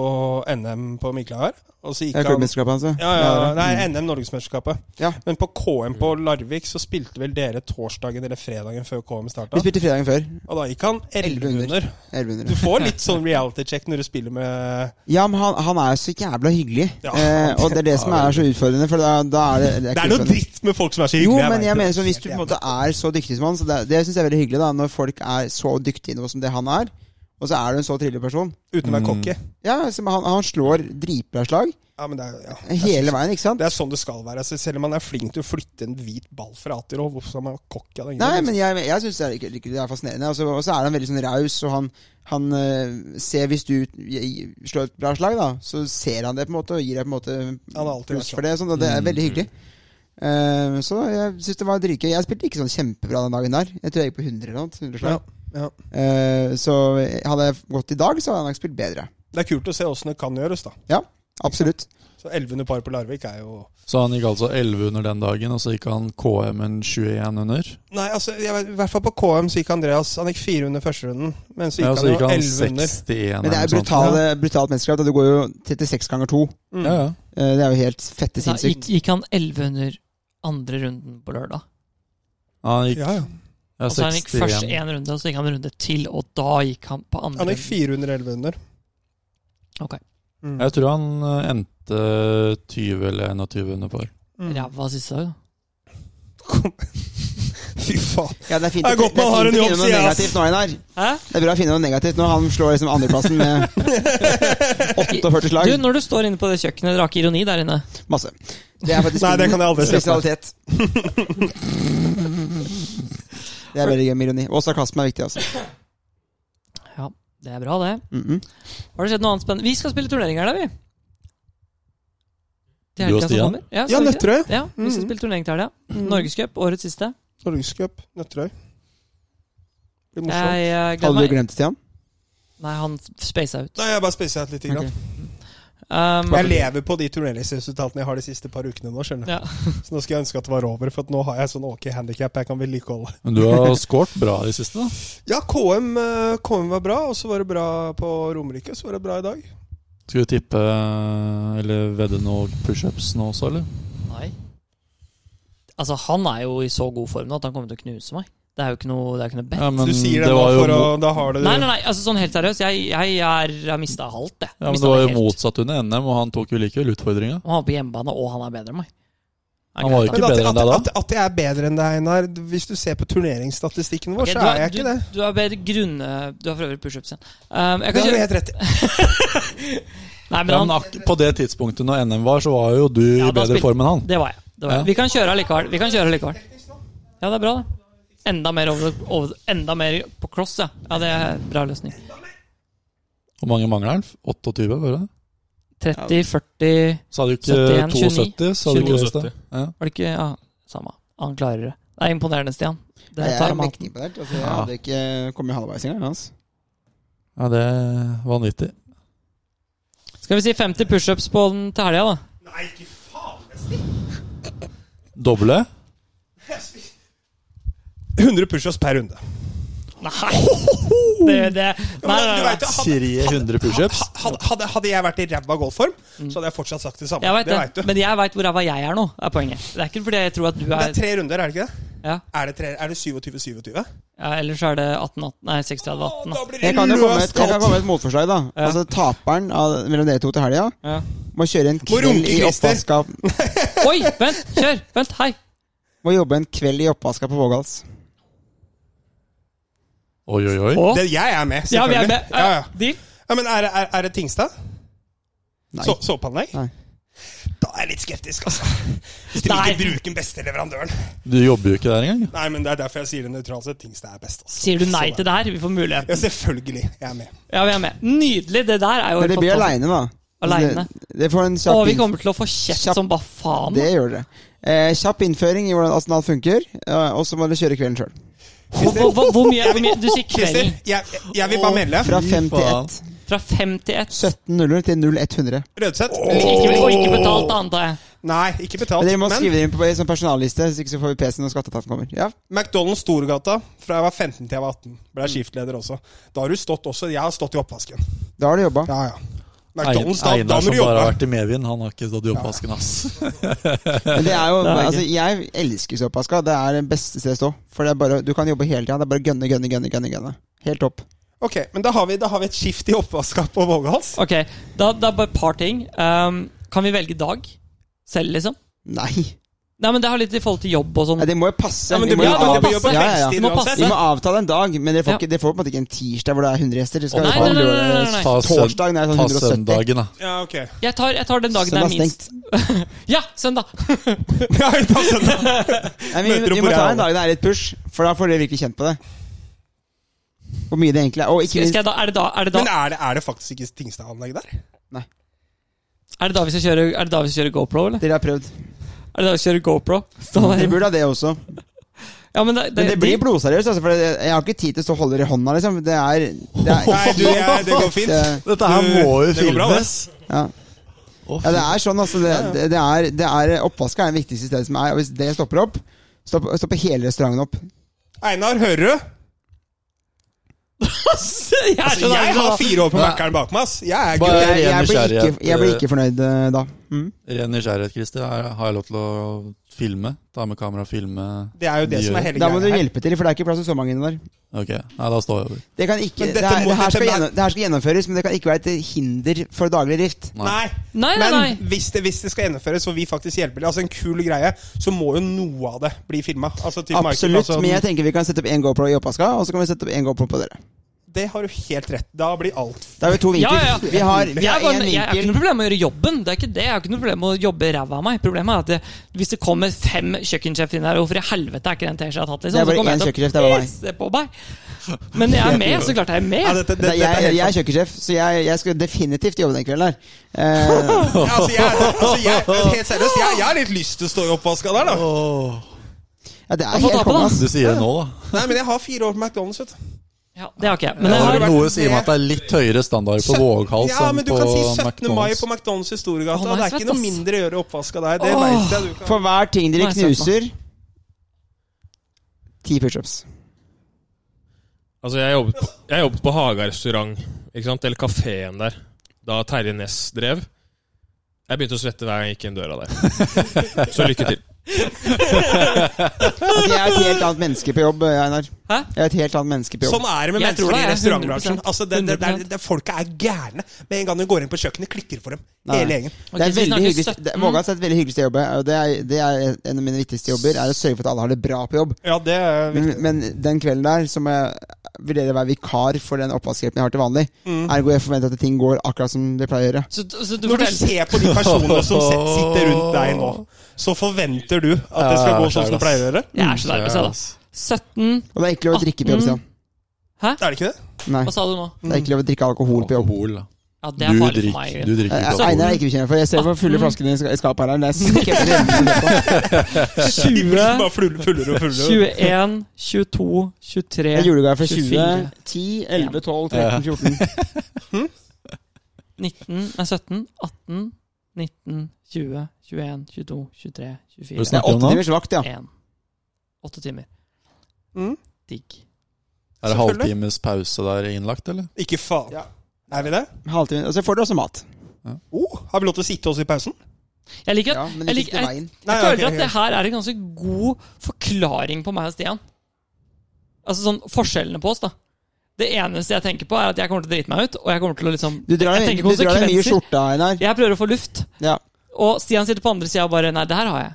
Speaker 4: NM på Miklager. Og så
Speaker 2: Det er
Speaker 4: gikk han
Speaker 2: klubbmesterskapet hans,
Speaker 4: ja, ja,
Speaker 2: det er
Speaker 4: Nei,
Speaker 2: det.
Speaker 4: NM Norgesmesterskapet.
Speaker 2: Mm. Ja.
Speaker 4: Men på KM på Larvik så spilte vel dere torsdagen eller fredagen før KM starta.
Speaker 2: Vi spilte fredagen før.
Speaker 4: Og da gikk han
Speaker 2: 11
Speaker 4: 11 under.
Speaker 2: Elleve under.
Speaker 4: Du får litt sånn reality check når du spiller med
Speaker 2: Ja, men han, han er jo så jævla hyggelig.
Speaker 4: Ja.
Speaker 2: eh, og det er det som er så utfordrende. For da, da er det Det
Speaker 4: Det
Speaker 2: ikke
Speaker 4: er noe
Speaker 2: utfordrende.
Speaker 4: dritt med folk som er så
Speaker 2: Jo,
Speaker 4: hyggelige.
Speaker 2: men
Speaker 4: vet
Speaker 2: jeg
Speaker 4: det.
Speaker 2: mener sånn, hvis du på en
Speaker 4: Helt
Speaker 2: måte er så dyktig som han så Det, det syns jeg er veldig hyggelig, da når folk er så dyktige nå som det han er. Og så er du en så trivelig person.
Speaker 4: jævlig. Uten å være
Speaker 5: Mm.
Speaker 4: cocky.
Speaker 2: Ja, som han, han slår dritbra slag
Speaker 4: Ja, men det er, ja. Det er
Speaker 2: hele
Speaker 4: sånn-
Speaker 2: veien, ikke sant?
Speaker 4: Det er sånn det skal være. Altså, selv om man er flink til å flytte en hvit ball fra A til Rå, hvorfor skal man være cocky av den
Speaker 2: Nei,
Speaker 4: grunn?
Speaker 2: men jeg, jeg syns det, er ikke- ikke- det er fascinerende. Og så og så er han veldig sånn raus, og han, han eh, ser Hvis du i- i- slår et bra slag, da, så ser han det på en måte og gir deg på en måte
Speaker 4: Han har alltid vært
Speaker 2: pluss
Speaker 4: sånn.
Speaker 2: for det. og Sånn, og det er
Speaker 5: Mm.
Speaker 2: veldig hyggelig. Eh, så jeg syns det var dritgøy. Jeg spilte ikke sånn kjempebra den dagen der. Jeg tror jeg gikk på 100 eller noe. 100 slag.
Speaker 4: Ja,
Speaker 2: Eh, så hadde jeg gått i dag, så hadde jeg nok spilt bedre.
Speaker 4: Det er kult å se åssen det kan gjøres, da.
Speaker 2: Absolutt.
Speaker 4: Så 11 under par på Larvik er jo
Speaker 5: Så han gikk altså 11 under den dagen, og så gikk han KM-en 21 under.
Speaker 4: Nei, altså, jeg, vet- I hvert fall på KM så gikk Andreas Han gikk fire under første runden, men så gikk
Speaker 5: Ja, og så gikk
Speaker 4: han jo
Speaker 5: han
Speaker 4: 11 under.
Speaker 5: 61 eller
Speaker 2: Men det er jo sånn.
Speaker 5: noe sånt.
Speaker 2: brutale, brutalt menneskeskap. da. Du går jo 36 ganger 2.
Speaker 4: Mm.
Speaker 5: Ja, ja.
Speaker 2: Det er jo helt fette
Speaker 3: Da gikk,
Speaker 2: sinnssykt.
Speaker 3: gikk han 11 under andre runden på lørdag.
Speaker 5: Han gikk,
Speaker 4: Ja, ja.
Speaker 5: ja,
Speaker 3: Altså, han gikk først
Speaker 5: 61.
Speaker 3: én runde, og så gikk han en runde til, og da gikk han på andre
Speaker 4: Han gikk 411 under.
Speaker 3: Ok.
Speaker 4: Mm.
Speaker 5: Jeg tror han eh, endte 20 eller 21 under par.
Speaker 4: Mm.
Speaker 3: Ræva siste dag. da.
Speaker 4: Fy faen.
Speaker 2: Ja, det er fint,
Speaker 4: Det er godt man har en
Speaker 2: å
Speaker 4: jobb,
Speaker 2: finne noe
Speaker 4: sier jeg, ass.
Speaker 2: negativt nå, Einar.
Speaker 3: Hæ?
Speaker 2: Det er bra å finne noe negativt når han slår liksom andreplassen med 48
Speaker 3: Du,
Speaker 2: slag.
Speaker 3: når du står inne på det kjøkkenet, dere har ikke ironi der inne.
Speaker 2: Masse. Det er faktisk
Speaker 4: Nei, det kan jeg aldri
Speaker 2: min
Speaker 4: se for meg.
Speaker 2: spesialitet. Det er veldig gøy med ironi. Og sarkasme er viktig, altså.
Speaker 3: Ja, det er bra, det.
Speaker 2: Mhm.
Speaker 3: Har det skjedd noe annet spennende? Vi skal spille turnering her, da, vi. Til
Speaker 5: Du og
Speaker 3: helga som
Speaker 5: Stian?
Speaker 3: kommer. Ja,
Speaker 4: Ja,
Speaker 3: skal vi ikke det?
Speaker 4: Nøtterøy.
Speaker 3: Ja, vi skal
Speaker 5: Mm.
Speaker 4: Mhm.
Speaker 3: spille turnering til helga. Norgescup, årets siste.
Speaker 4: Norgescup. Nøtterøy. Blir morsomt.
Speaker 3: Jeg eh, gleder
Speaker 2: Hadde
Speaker 3: meg.
Speaker 2: du glemt det, Stian?
Speaker 3: Nei, han spasa ut.
Speaker 4: Nei, jeg bare spiser litt. Grann.
Speaker 2: Ok.
Speaker 3: Um,
Speaker 4: Jeg lever på de turneringsresultatene jeg har de siste par ukene nå. skjønner du?
Speaker 3: Ja.
Speaker 4: Så nå skal jeg ønske at det var over, for at nå har jeg sånn ok handikap jeg kan vedlikeholde.
Speaker 5: Men du har skåret bra i siste, da.
Speaker 4: Ja, KM, eh, KM var bra, og så var det bra på Romerike. Så var det bra i dag.
Speaker 5: Skal du tippe eh, eller vedde noe pushups nå også, eller?
Speaker 3: Nei. Altså, han er jo i så god form nå at han kommer til å knuse meg. Det er jo ikke noe, det er ikke noe bet.
Speaker 5: Ja, men
Speaker 4: du sier det,
Speaker 5: det
Speaker 4: nå
Speaker 5: var jo
Speaker 4: for å
Speaker 5: mot-
Speaker 4: Da har du
Speaker 3: Nei, nei, nei, altså sånn helt seriøst. Jeg, jeg, er- jeg har mista halvt, jeg.
Speaker 5: Ja, men
Speaker 3: Mistet
Speaker 5: det var jo
Speaker 3: helt.
Speaker 5: motsatt under NM, og han tok jo likevel utfordringa.
Speaker 3: Og Han er på hjemmebane, og han er bedre enn meg.
Speaker 5: Han var jo
Speaker 4: Men
Speaker 5: ikke
Speaker 4: at,
Speaker 5: bedre enn
Speaker 4: at,
Speaker 5: deg da.
Speaker 4: at, at jeg er bedre enn deg, Einar Hvis du ser på turneringsstatistikken vår,
Speaker 3: Ok,
Speaker 4: så er jeg
Speaker 3: du,
Speaker 4: ikke det.
Speaker 3: Du, du har bedre grunne Du har for øvrig pushups igjen. Um, jeg
Speaker 4: Det
Speaker 3: kan
Speaker 4: har du
Speaker 3: kjøre
Speaker 4: helt rett i.
Speaker 3: Nei, men
Speaker 5: Ja, men
Speaker 3: han,
Speaker 5: ak- på det tidspunktet når NM var, så var jo du
Speaker 3: Ja,
Speaker 5: i
Speaker 3: da
Speaker 5: bedre
Speaker 3: spilte-
Speaker 5: form enn han.
Speaker 3: det var jeg. Det var jeg.
Speaker 5: Ja.
Speaker 3: Vi kan kjøre allikevel. Vi kan kjøre allikevel. Ja, det er bra, det. Enda mer, over, over, enda mer på cross, ja. ja. Det er en bra løsning.
Speaker 5: Hvor mange mangler han? 28, var det det?
Speaker 3: 30, 40
Speaker 5: Så hadde du ikke
Speaker 3: 71,
Speaker 5: 72, så hadde du ikke det i sted.
Speaker 7: 72.
Speaker 5: Ja.
Speaker 3: Var det ikke Ja, samme. Han klarer det. Det er imponerende, Stian. Det
Speaker 2: Jeg
Speaker 3: tar
Speaker 2: er
Speaker 3: ham av.
Speaker 2: mektig imponert. Altså, jeg hadde ikke kommet halvveis engang. Altså.
Speaker 5: ja, det er vanvittig.
Speaker 3: Skal vi si 50 pushups på den til helga, da?
Speaker 5: Doble?
Speaker 4: 100 pushups per runde.
Speaker 3: Nei! Det, det.
Speaker 4: Du
Speaker 3: Nei, nei, nei,
Speaker 4: vet jo, hadde,
Speaker 5: 300 pushups?
Speaker 4: hadde, hadde, hadde jeg vært i ræva golfform, så hadde jeg fortsatt sagt det samme.
Speaker 3: Mm. Jeg vet det,
Speaker 4: vet du.
Speaker 3: men jeg veit hvor ræva jeg er nå, er poenget. Det er ikke fordi jeg tror at du
Speaker 4: Det er
Speaker 3: er
Speaker 4: tre runder, er det ikke det?
Speaker 3: Ja,
Speaker 4: Er det, tre, er det 27-27?
Speaker 3: ja Ellers er det 18, 18 Nei, 36, 18.
Speaker 4: blir
Speaker 2: Jeg kan jo komme med et, jeg kan komme med et motforslag. da
Speaker 3: Ja.
Speaker 2: Altså Taperen av, mellom dere to til helga
Speaker 3: Ja.
Speaker 2: må kjøre en
Speaker 4: Må
Speaker 2: kveld
Speaker 4: runke
Speaker 2: i
Speaker 4: Christer.
Speaker 2: oppvaska
Speaker 3: Oi! Vent! Kjør! Vent, hei!
Speaker 2: Må jobbe en kveld i oppvaska på Vågals.
Speaker 5: Oi, oi, oi.
Speaker 3: Å,
Speaker 4: Det, jeg er med,
Speaker 3: ja, vi
Speaker 4: selvfølgelig.
Speaker 3: er med.
Speaker 4: Ja, ja.
Speaker 3: Eh, Deal?
Speaker 4: Ja, men er, er, er det Tingstad?
Speaker 2: Nei.
Speaker 4: Så, Såpeanlegg?
Speaker 2: Nei.
Speaker 4: Da er jeg litt skeptisk, altså. Hvis dere
Speaker 3: Nei.
Speaker 4: ikke bruker den beste leverandøren.
Speaker 5: Du jobber jo ikke der engang.
Speaker 4: Nei, men Det er derfor jeg sier det nøytralt sett. Tingstad er best. altså.
Speaker 3: Sier du nei
Speaker 4: Sånn er
Speaker 3: til det her? Vi får
Speaker 4: Ja,
Speaker 3: muligheten.
Speaker 4: selvfølgelig. Jeg er med.
Speaker 3: Ja, vi er med. Nydelig! Det der er jo
Speaker 2: Men
Speaker 3: helt
Speaker 2: det blir
Speaker 3: fantastisk.
Speaker 2: aleine, da.
Speaker 3: Aleine.
Speaker 2: Det, det får en
Speaker 3: Å,
Speaker 2: kjapp
Speaker 3: vi
Speaker 2: innf-
Speaker 3: kommer til å få kjeft
Speaker 2: Kjapp.
Speaker 3: som bare faen.
Speaker 2: Det gjør dere. Eh, kjapp innføring i hvordan Arsenal funker, eh, og så må dere kjøre kvelden sjøl.
Speaker 3: Hvor, hvor, hvor, hvor, mye, hvor mye Du sier
Speaker 4: Christer,
Speaker 3: kvelden.
Speaker 4: jeg, jeg vil bare melde.
Speaker 2: Fra
Speaker 5: Fy
Speaker 2: 5 til
Speaker 5: faen.
Speaker 2: 1.
Speaker 3: Fra fem til ett.
Speaker 2: 17.00 til 0100.
Speaker 4: Rødseth.
Speaker 3: Ikke,
Speaker 4: liker
Speaker 3: og
Speaker 4: vi-
Speaker 3: ikke betalt, antar jeg.
Speaker 4: Nei, ikke betalt.
Speaker 2: Men dere må
Speaker 4: Men
Speaker 2: skrive det inn på en sånn personalliste, hvis ikke så får vi PC når skatteetaten kommer. Ja,
Speaker 4: McDonald's Storgata fra jeg var 15 til jeg var 18. Ble jeg
Speaker 3: Mm.
Speaker 4: skiftleder også. Da har du stått også. Jeg har stått i oppvasken.
Speaker 2: Da har du jobba.
Speaker 4: Ja, ja. McDonald's, da, da
Speaker 5: Einar
Speaker 4: må du
Speaker 5: som bare
Speaker 4: jobbe.
Speaker 5: har vært i medvind, han har ikke stått i oppvasken, ass.
Speaker 2: Men det er jo,
Speaker 3: Det er
Speaker 2: altså, jeg elsker såpaska. Det er det beste stedet å stå. For det er bare, du kan jobbe hele tida. Det er bare gønne, gønne, gønne. gønne, gønne. Helt topp.
Speaker 4: Ok, men da har vi, da har vi et skift i oppvaska på Vågals.
Speaker 3: Ok, da, da er bare et par ting. Um, kan vi velge dag? Selv, liksom?
Speaker 2: Nei.
Speaker 3: Nei, men Det har litt i forhold til jobb og sånn.
Speaker 2: Nei, det må jo passe.
Speaker 4: Ja, men
Speaker 2: Vi
Speaker 4: du
Speaker 2: må jo
Speaker 4: må ja, men du
Speaker 2: av-
Speaker 4: må jobbe
Speaker 2: ja, ja,
Speaker 4: helst
Speaker 2: ja.
Speaker 4: inn
Speaker 3: Må passe.
Speaker 2: Vi
Speaker 4: uansett.
Speaker 2: må avtale en dag, men dere får,
Speaker 3: Ja.
Speaker 2: ikke, dere får på en måte ikke en tirsdag hvor det er 100 gjester. Dere skal
Speaker 3: Nei,
Speaker 2: ta en
Speaker 3: nei, nei,
Speaker 2: lørdag.
Speaker 3: nei, nei, nei.
Speaker 5: Ta søn-
Speaker 2: Torsdag når det er
Speaker 5: ta
Speaker 2: sånn 170.
Speaker 5: søndagen, da.
Speaker 4: Ja, ok.
Speaker 3: Jeg tar, jeg tar den dagen det er
Speaker 2: Søndag
Speaker 3: minst.
Speaker 2: stengt.
Speaker 3: Ja, søndag!
Speaker 4: Ja, vi tar søndag.
Speaker 2: Nei, vi,
Speaker 4: Møter
Speaker 2: vi
Speaker 4: opp
Speaker 2: må
Speaker 4: på
Speaker 2: ta en
Speaker 4: Real.
Speaker 2: dag det er litt push, for da får dere virkelig kjent på det. Hvor mye det egentlig er. Og ikke
Speaker 3: Skal
Speaker 2: minst
Speaker 3: jeg da, er, det da, er, det
Speaker 4: Men
Speaker 3: da,
Speaker 4: er det, er det faktisk ikke Tingstad-anlegg der?
Speaker 3: er det da vi skal kjøre Er det da vi skal kjøre GoPro, eller?
Speaker 2: Dere har prøvd.
Speaker 3: Er det da vi skal kjøre GoPro? Stå
Speaker 2: Dere
Speaker 3: der.
Speaker 2: burde ha det også.
Speaker 3: Ja, men det,
Speaker 2: Men det blir blodseriøst, altså, for det- jeg har ikke tid til å stå og holde dere i hånda, liksom. Det er, det er
Speaker 4: Nei, du, jeg, det går fint.
Speaker 5: Dette her
Speaker 4: Du,
Speaker 5: må jo
Speaker 4: det går bra,
Speaker 5: filmes.
Speaker 2: ja.
Speaker 5: Å,
Speaker 2: ja, det er sånn, altså. Det, det, det er, det er, oppvask er det viktigste stedet som er. Og hvis det stopper opp, stopp- stopper hele restauranten opp.
Speaker 4: Einar, hører du?
Speaker 3: Jeg er
Speaker 4: Altså,
Speaker 3: så
Speaker 4: jeg
Speaker 3: nærme,
Speaker 4: har
Speaker 3: da.
Speaker 4: fire år på
Speaker 5: Nei.
Speaker 4: Mækkern bak meg, ass. Jeg er
Speaker 5: Bare-
Speaker 4: gul.
Speaker 2: Jeg, jeg, blir,
Speaker 5: nysgjerrighet,
Speaker 2: ikke, jeg blir
Speaker 5: eh,
Speaker 2: ikke fornøyd eh, da. Mm.
Speaker 5: Ren nysgjerrighet, Christer. Er- Har jeg lov til å filme? Ta med kamera og filme?
Speaker 4: Det er jo det
Speaker 5: De
Speaker 4: som
Speaker 5: gjør
Speaker 4: er hele
Speaker 2: Da må du
Speaker 4: greia her.
Speaker 2: hjelpe til, for det er ikke plass til så mange der.
Speaker 5: Ok, Nei, da står jeg over.
Speaker 2: Det, kan ikke,
Speaker 4: Men
Speaker 2: det,
Speaker 4: dette
Speaker 2: er,
Speaker 4: må-
Speaker 2: det, her skal
Speaker 4: dette-
Speaker 2: gjennom, det her skal gjennomføres, men det kan ikke være et hinder for daglig drift.
Speaker 4: Nei,
Speaker 3: Nei, nei, nei.
Speaker 4: men hvis det, hvis det skal gjennomføres, og vi faktisk hjelper til, altså en kul greie, så må jo noe av det bli filma. Altså, typ Michael,
Speaker 2: Absolutt,
Speaker 4: altså,
Speaker 2: men jeg tenker vi kan sette opp én GoPro i oppvaska, og så kan vi sette opp én GoPro på dere.
Speaker 4: Det har du helt rett. Da blir alt
Speaker 2: Da har vi to vinkler.
Speaker 3: Ja, ja, ja.
Speaker 2: Vi har, vi
Speaker 3: Jeg
Speaker 2: har
Speaker 3: er bare-
Speaker 2: én
Speaker 3: jeg har ikke noe
Speaker 2: vinkel.
Speaker 3: problem med å gjøre jobben. Det er ikke det. Jeg har ikke noe problem med å jobbe ræva av meg. Problemet er at det, hvis det kommer fem kjøkkensjefer inn her, hvorfor i helvete er ikke den T-skjorta tatt? Liksom?
Speaker 2: Det er bare
Speaker 3: Så kommer
Speaker 2: én
Speaker 3: jeg til å
Speaker 2: kjøkkensjef, det er bare meg.
Speaker 3: pisse på meg. Men jeg er med, så klart jeg er med.
Speaker 4: ja, dette,
Speaker 2: Nei,
Speaker 4: dette,
Speaker 2: jeg,
Speaker 4: dette er
Speaker 2: jeg er
Speaker 4: helt
Speaker 2: kjøkkensjef, så jeg, jeg skal definitivt jobbe den kvelden der. Eh,
Speaker 4: Ja, altså, jeg, altså, jeg, helt seriøst, jeg, jeg har litt lyst til å stå i oppvaska der, da.
Speaker 2: ja, det
Speaker 3: Jeg
Speaker 2: er
Speaker 3: får Altså, ta
Speaker 2: helt
Speaker 3: på
Speaker 2: konge,
Speaker 3: den.
Speaker 2: ass.
Speaker 5: Du sier det nå, da.
Speaker 4: Nei, men jeg har fire år på McDonald's, vet du.
Speaker 3: Ja, det har ikke jeg. Men jeg
Speaker 5: Ja, det
Speaker 3: har
Speaker 5: er noe sier meg at det er litt høyere standard på
Speaker 4: Søtt-
Speaker 5: Våghals
Speaker 4: Ja,
Speaker 5: enn
Speaker 4: men du
Speaker 5: på
Speaker 4: kan si 17. mai
Speaker 5: McDonald's.
Speaker 4: på McDonald's i Storgata.
Speaker 3: Å, nei,
Speaker 4: det er
Speaker 3: svett,
Speaker 4: ikke noe
Speaker 3: ass.
Speaker 4: mindre å gjøre oppvaska der. Det
Speaker 3: Åh.
Speaker 4: vet jeg du kan.
Speaker 2: For hver ting dere
Speaker 3: Nei, søtt, da.
Speaker 2: knuser Ti pushups.
Speaker 7: Altså, jeg jobbet, på- jeg jobbet på Haga restaurant, ikke sant? eller kafeen der, da Terje Næss drev. Jeg begynte å svette hver gang jeg gikk inn døra der. Så lykke til.
Speaker 2: Altså, jeg er et helt annet menneske på jobb, Einar.
Speaker 3: Hæ?
Speaker 2: Jeg er et helt annet menneske på jobb.
Speaker 6: Sånn er det med
Speaker 3: Jeg tror
Speaker 6: mennesker
Speaker 3: det
Speaker 6: i
Speaker 3: er
Speaker 6: restaurantbransjen.
Speaker 3: 100%.
Speaker 6: Altså, det, det, det, det, det, folka er gærne med en gang de går inn på kjøkkenet, klikker for dem.
Speaker 2: Nei.
Speaker 6: Hele gjengen.
Speaker 3: Ok,
Speaker 2: det er
Speaker 3: så vi
Speaker 2: veldig
Speaker 3: snakker
Speaker 2: hyggelig,
Speaker 3: 17.
Speaker 2: det, Vågas er et veldig hyggelig sted å jobbe. Og det er, det er en av mine viktigste jobber Er å sørge for at alle har det bra på jobb.
Speaker 6: Ja, det er
Speaker 2: Men, men den kvelden der så må jeg vurdere å være vikar for den oppvaskhjelpen jeg har til vanlig.
Speaker 3: Mm.
Speaker 2: Ergo jeg forventer at ting går akkurat som det pleier å gjøre.
Speaker 3: Så, så du
Speaker 6: Når du
Speaker 3: forteller
Speaker 6: ser på de personene som sit- sitter rundt deg nå, så forventer du at det skal
Speaker 5: Ja,
Speaker 6: gå sånn som det pleier å gjøre?
Speaker 3: Jeg er så nervøs, jeg, da. 17
Speaker 2: Og det er ikke lov å drikke på
Speaker 3: Ah,
Speaker 2: jobb,
Speaker 3: mm.
Speaker 6: Er
Speaker 2: Stian.
Speaker 6: det ikke det?
Speaker 2: Nei,
Speaker 3: Hva sa du nå?
Speaker 2: det er ikke lov å drikke alkohol på jobb.
Speaker 5: Alkohol, da.
Speaker 3: Ja, det er
Speaker 5: Du
Speaker 3: farlig for
Speaker 5: drikker,
Speaker 3: meg.
Speaker 5: du drikker
Speaker 2: Eh,
Speaker 5: ikke
Speaker 2: altså, Einar er jeg
Speaker 5: alkohol.
Speaker 2: ikke bekymret for. Jeg ser hvor
Speaker 3: Ah,
Speaker 2: fulle
Speaker 3: mm.
Speaker 2: flaskene i ska- i skapet her er. men jeg er sikker på det.
Speaker 6: De blir
Speaker 3: 20,
Speaker 6: bare fullere og fullere. og fullere.
Speaker 3: 21, 22, 23
Speaker 2: Jeg er julegave fra 20,
Speaker 3: 24.
Speaker 2: 10, 11, 12, 13, 14.
Speaker 3: 19, nei 17, 18, 19, 20, 21, 22, 23,
Speaker 2: Det
Speaker 3: 24
Speaker 5: Hva
Speaker 2: er åtte timers vakt, ja.
Speaker 3: 1. Åtte timer.
Speaker 6: Mm.
Speaker 3: Digg.
Speaker 5: Er det
Speaker 6: Selvfølgelig.
Speaker 5: halvtimes pause der innlagt, eller?
Speaker 6: Ikke faen.
Speaker 2: Ja.
Speaker 6: Er vi det?
Speaker 2: Halvtime. Og så får du også mat.
Speaker 6: Oh, har vi lov til å sitte også i pausen?
Speaker 3: Jeg liker
Speaker 2: Ja,
Speaker 3: at
Speaker 2: men
Speaker 3: jeg,
Speaker 2: ikke
Speaker 3: liker,
Speaker 2: til
Speaker 3: jeg,
Speaker 2: veien.
Speaker 6: Nei,
Speaker 3: jeg føler
Speaker 6: ok,
Speaker 3: at det her er en ganske god forklaring på meg og Stian. Altså sånn forskjellene på oss, da. Det eneste jeg tenker på, er at jeg kommer til å drite meg ut. Og jeg kommer til å liksom
Speaker 2: Du drar,
Speaker 3: Jeg
Speaker 2: deg-
Speaker 3: tenker
Speaker 2: du drar deg mye i
Speaker 3: konsekvenser.
Speaker 2: skjorta, Einar.
Speaker 3: Jeg prøver å få luft,
Speaker 2: Ja.
Speaker 3: og Stian sitter på andre sida og bare Nei, det her har jeg.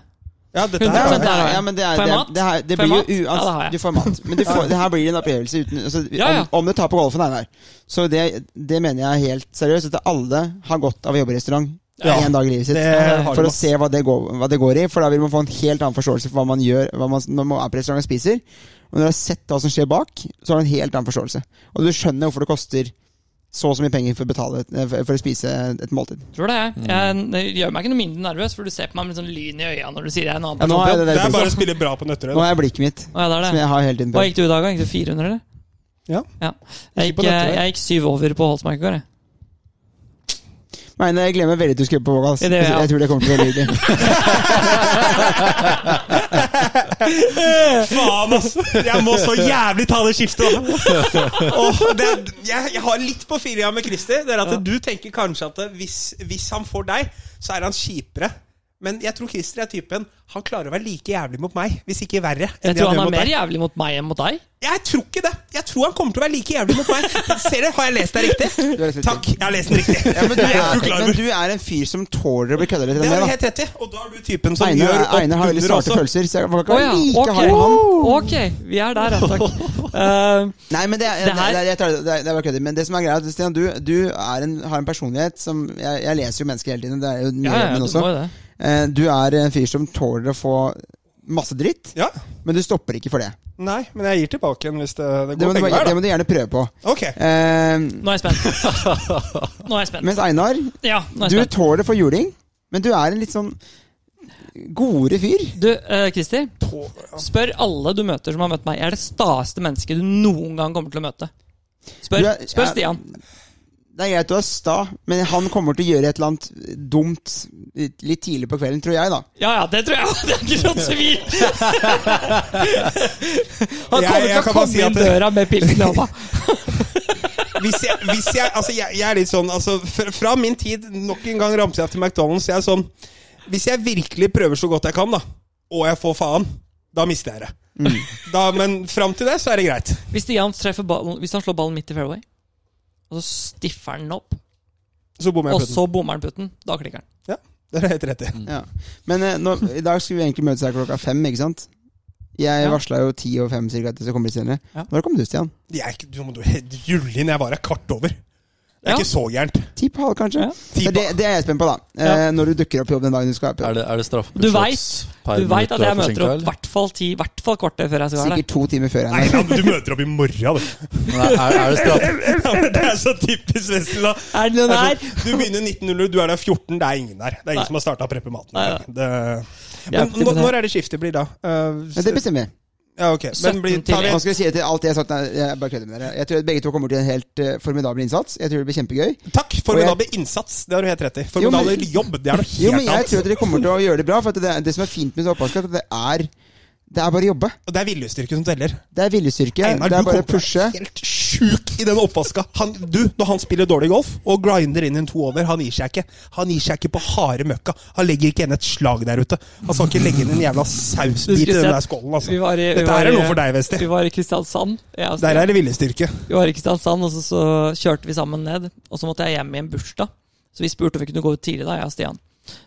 Speaker 6: Ja, dette
Speaker 2: Ja,
Speaker 6: her
Speaker 2: men
Speaker 6: er
Speaker 2: det er, ja, men det er,
Speaker 3: Får jeg
Speaker 2: det,
Speaker 3: mat?
Speaker 2: er- det, er, det
Speaker 3: Får jeg
Speaker 2: blir jo
Speaker 3: mat? Ja, det har
Speaker 2: uansett
Speaker 3: jeg.
Speaker 2: Du får mat. Men du får, det her blir en opplevelse uten altså,
Speaker 3: Ja, ja.
Speaker 2: Om, om du tar på golfen, Einar. Så det, det mener jeg helt seriøst. At alle har godt av å jobbe i restaurant
Speaker 6: Ja.
Speaker 2: en dag i livet sitt.
Speaker 6: det har
Speaker 2: For
Speaker 6: du
Speaker 2: å se hva det, går, hva det går i. For da vil man få en helt annen forståelse for hva man gjør hva man, når man er på restaurant og spiser. Og når du har sett hva som skjer bak, så har du en helt annen forståelse. Og du skjønner hvorfor det koster så og så mye penger for å, betale, for for å spise et måltid.
Speaker 3: Tror det,
Speaker 2: Mm.
Speaker 3: jeg. jeg. Det gjør meg ikke noe mindre nervøs, for du ser på meg med litt sånn lyn i øya når du sier jeg er en annen
Speaker 2: Ja, nå er
Speaker 3: person.
Speaker 2: det,
Speaker 6: Det er bare
Speaker 2: blikket.
Speaker 6: å spille bra på Nøtterøy.
Speaker 2: nå
Speaker 6: da.
Speaker 2: er blikket mitt,
Speaker 3: Å, ja, det er
Speaker 2: som
Speaker 3: det.
Speaker 2: jeg har hele tiden. på.
Speaker 3: Hva gikk du i dag, da? Gikk du 400, eller?
Speaker 6: Ja.
Speaker 3: Jeg
Speaker 6: Ikke på
Speaker 3: gikk,
Speaker 6: dette,
Speaker 3: eh, jeg gikk syv over på Holsmark i går, jeg.
Speaker 2: Nei, nei, jeg glemmer veldig at du skulle på Vågals.
Speaker 3: Ja,
Speaker 2: Jeg,
Speaker 3: det gjør jeg.
Speaker 2: jeg tror det kommer til å bli gøy.
Speaker 6: Faen, ass! Jeg må så jævlig ta det skiftet, da! Åh, det, jeg, jeg har litt på filia med Christer. Det er at Du tenker kanskje at hvis, hvis han får deg, så er han kjipere. Men jeg tror Christer er typen Han klarer å være like jævlig mot meg, hvis ikke verre. enn
Speaker 3: Jeg
Speaker 6: det
Speaker 3: tror han
Speaker 6: gjør
Speaker 3: er
Speaker 6: mot
Speaker 3: mer
Speaker 6: deg.
Speaker 3: jævlig mot meg enn mot deg.
Speaker 6: Jeg tror ikke det. Jeg tror han kommer til å være like jævlig mot meg. Ser dere, Har jeg lest deg riktig?
Speaker 2: Du har lest litt
Speaker 6: Takk, jeg har lest den riktig.
Speaker 2: Ja, men, du
Speaker 6: Jeg tror
Speaker 2: er,
Speaker 6: klar over-
Speaker 2: men du er en fyr som tåler å bli kødda litt
Speaker 6: det har du
Speaker 2: med. da.
Speaker 6: helt rett i. Og da er du typen som
Speaker 2: Einar,
Speaker 6: gjør opp
Speaker 2: Einar har veldig
Speaker 6: under
Speaker 2: svake
Speaker 6: også.
Speaker 2: følelser, så jeg kan
Speaker 3: Å
Speaker 2: ikke
Speaker 3: ja,
Speaker 2: like
Speaker 3: ok.
Speaker 2: hard med han.
Speaker 3: ok, vi er der, ja takk. Eh,
Speaker 2: Nei, men det, er-
Speaker 3: Det her-
Speaker 2: det, er- jeg tar det, det, er- det var kødder. Men det som er greia, er at, Stian, du, du er en, har en personlighet som Jeg, jeg leser jo mennesker hele tiden, det er jo mye,
Speaker 3: ja, ja,
Speaker 2: men
Speaker 3: du
Speaker 2: også.
Speaker 3: må jo det.
Speaker 2: Eh, Du er en fyr som tåler å få masse dritt,
Speaker 6: Ja.
Speaker 2: men du stopper ikke for det.
Speaker 6: Nei, men jeg gir tilbake igjen hvis det, det
Speaker 2: Det må,
Speaker 6: går
Speaker 2: du,
Speaker 6: begge
Speaker 2: bare-
Speaker 6: veier.
Speaker 2: det må du gjerne prøve på.
Speaker 6: da. Ok.
Speaker 2: Eh,
Speaker 3: Nå er jeg spent. Nå er jeg spent.
Speaker 2: mens Einar,
Speaker 3: Ja, nå er
Speaker 2: du
Speaker 3: jeg spent.
Speaker 2: tåler å få juling, men du er en litt sånn godere fyr.
Speaker 3: Du, eh, Christer. Spør alle du møter som har møtt meg. Jeg er det staeste mennesket du noen gang kommer til å møte.
Speaker 2: Du
Speaker 3: Spør,
Speaker 2: er-
Speaker 3: spør
Speaker 2: jeg-
Speaker 3: Stian.
Speaker 2: Det er greit du er sta, men han kommer til å gjøre et eller annet dumt litt litt tidlig på kvelden, tror jeg, da.
Speaker 3: Ja ja, det tror jeg. Det er ikke sånn noe tvil. Han
Speaker 6: Jeg-
Speaker 3: kommer
Speaker 6: jeg
Speaker 3: til å
Speaker 6: kan bare
Speaker 3: komme
Speaker 6: si at
Speaker 3: inn
Speaker 6: det-
Speaker 3: døra med pilsen i hånda.
Speaker 6: hvis jeg, hvis jeg, altså jeg, jeg er litt sånn altså, fra, fra min tid, nok en gang ramser jeg til McDonald's. Jeg er sånn Hvis jeg virkelig prøver så godt jeg kan, da, og jeg får faen, da mister jeg det.
Speaker 2: Mm.
Speaker 6: Da, men fram til det, så er det greit.
Speaker 3: Hvis Stian treffer ballen, hvis han slår ballen midt i fairway, og så stiffer han den opp,
Speaker 6: Så bommer
Speaker 3: og
Speaker 6: jeg putten.
Speaker 3: så bommer han putten, da klikker han.
Speaker 6: Ja, det er helt rett
Speaker 3: Mm.
Speaker 6: i.
Speaker 2: Ja. Men eh, nå, i dag skulle vi egentlig møtes her klokka fem, ikke sant? Jeg
Speaker 3: Ja.
Speaker 2: varsla jo ti over fem cirka at jeg skulle komme litt senere.
Speaker 3: Ja.
Speaker 2: Når kom du, Stian?
Speaker 6: Jeg er ikke- Du må rulle inn. Jeg var her kvart over. Det er
Speaker 3: Ja.
Speaker 6: ikke så gærent.
Speaker 2: Ti på halv, kanskje?
Speaker 3: Ja.
Speaker 6: Ti
Speaker 2: Det, er det, det er jeg spent på, da. Eh, Når du dukker opp i jobb den dagen du skal være på
Speaker 5: Er
Speaker 2: jobb.
Speaker 5: det, er det straffbart?
Speaker 3: Du vet- Du veit at jeg møter opp i hvert fall ti, hvert fall kvarter før jeg skal være der.
Speaker 2: Sikkert to timer før.
Speaker 6: Nei,
Speaker 2: Einar.
Speaker 6: ja, men du møter opp i morgen, du.
Speaker 5: Er, er det straff?
Speaker 6: Ja, men det er så typisk Wessel, da.
Speaker 3: Er det noen
Speaker 6: Det er
Speaker 3: her?
Speaker 6: sånn, Du begynner 1900, du er der 14, det er ingen der. Det er ingen
Speaker 3: Nei.
Speaker 6: som har starta å preppe maten.
Speaker 3: Nei,
Speaker 6: Det...
Speaker 3: Ja,
Speaker 6: Men nå- når er det skiftet blir da? Eh,
Speaker 2: Men det Altså, bestemmer jeg.
Speaker 6: Ja, ok. Men blir,
Speaker 3: 17 til
Speaker 6: tar vi
Speaker 2: Hva skal jeg si til alt jeg har sagt? Nei, jeg bare kødder med dere. Jeg tror at begge to kommer til en helt eh, formidabel innsats. Jeg tror det blir kjempegøy.
Speaker 6: Takk! Formidabel innsats, det har du helt rett i. Formidabel jobb, det er noe
Speaker 2: Jo, men
Speaker 6: helt
Speaker 2: jeg
Speaker 6: annet.
Speaker 2: tror at dere kommer til å gjøre det bra. For at det, det som er fint med sånn oppvask, er at det er, det er bare å jobbe.
Speaker 6: Og det er viljestyrke som teller.
Speaker 2: Det er viljestyrke.
Speaker 6: Einar, du
Speaker 2: det er bare
Speaker 6: kommer
Speaker 2: å
Speaker 6: til å
Speaker 2: pushe.
Speaker 6: være helt sjuk i den oppvaska. Han, du, når han spiller dårlig golf og grinder inn en to-over, han gir seg ikke. Han gir seg ikke på harde møkka. Han legger ikke igjen et slag der ute. Han skal ikke legge inn en jævla sausbit i den der skålen, altså.
Speaker 3: var i, vi
Speaker 6: Dette
Speaker 3: var
Speaker 6: her er
Speaker 3: i-
Speaker 6: noe for deg, Westi.
Speaker 3: Vi var i Kristiansand. Jeg og
Speaker 6: Der
Speaker 3: Stian.
Speaker 6: er det viljestyrke.
Speaker 3: Vi var i Kristiansand, og så, så kjørte vi sammen ned. Og så måtte jeg hjem i en bursdag. Så vi spurte om vi kunne gå ut tidlig, da, jeg og Stian.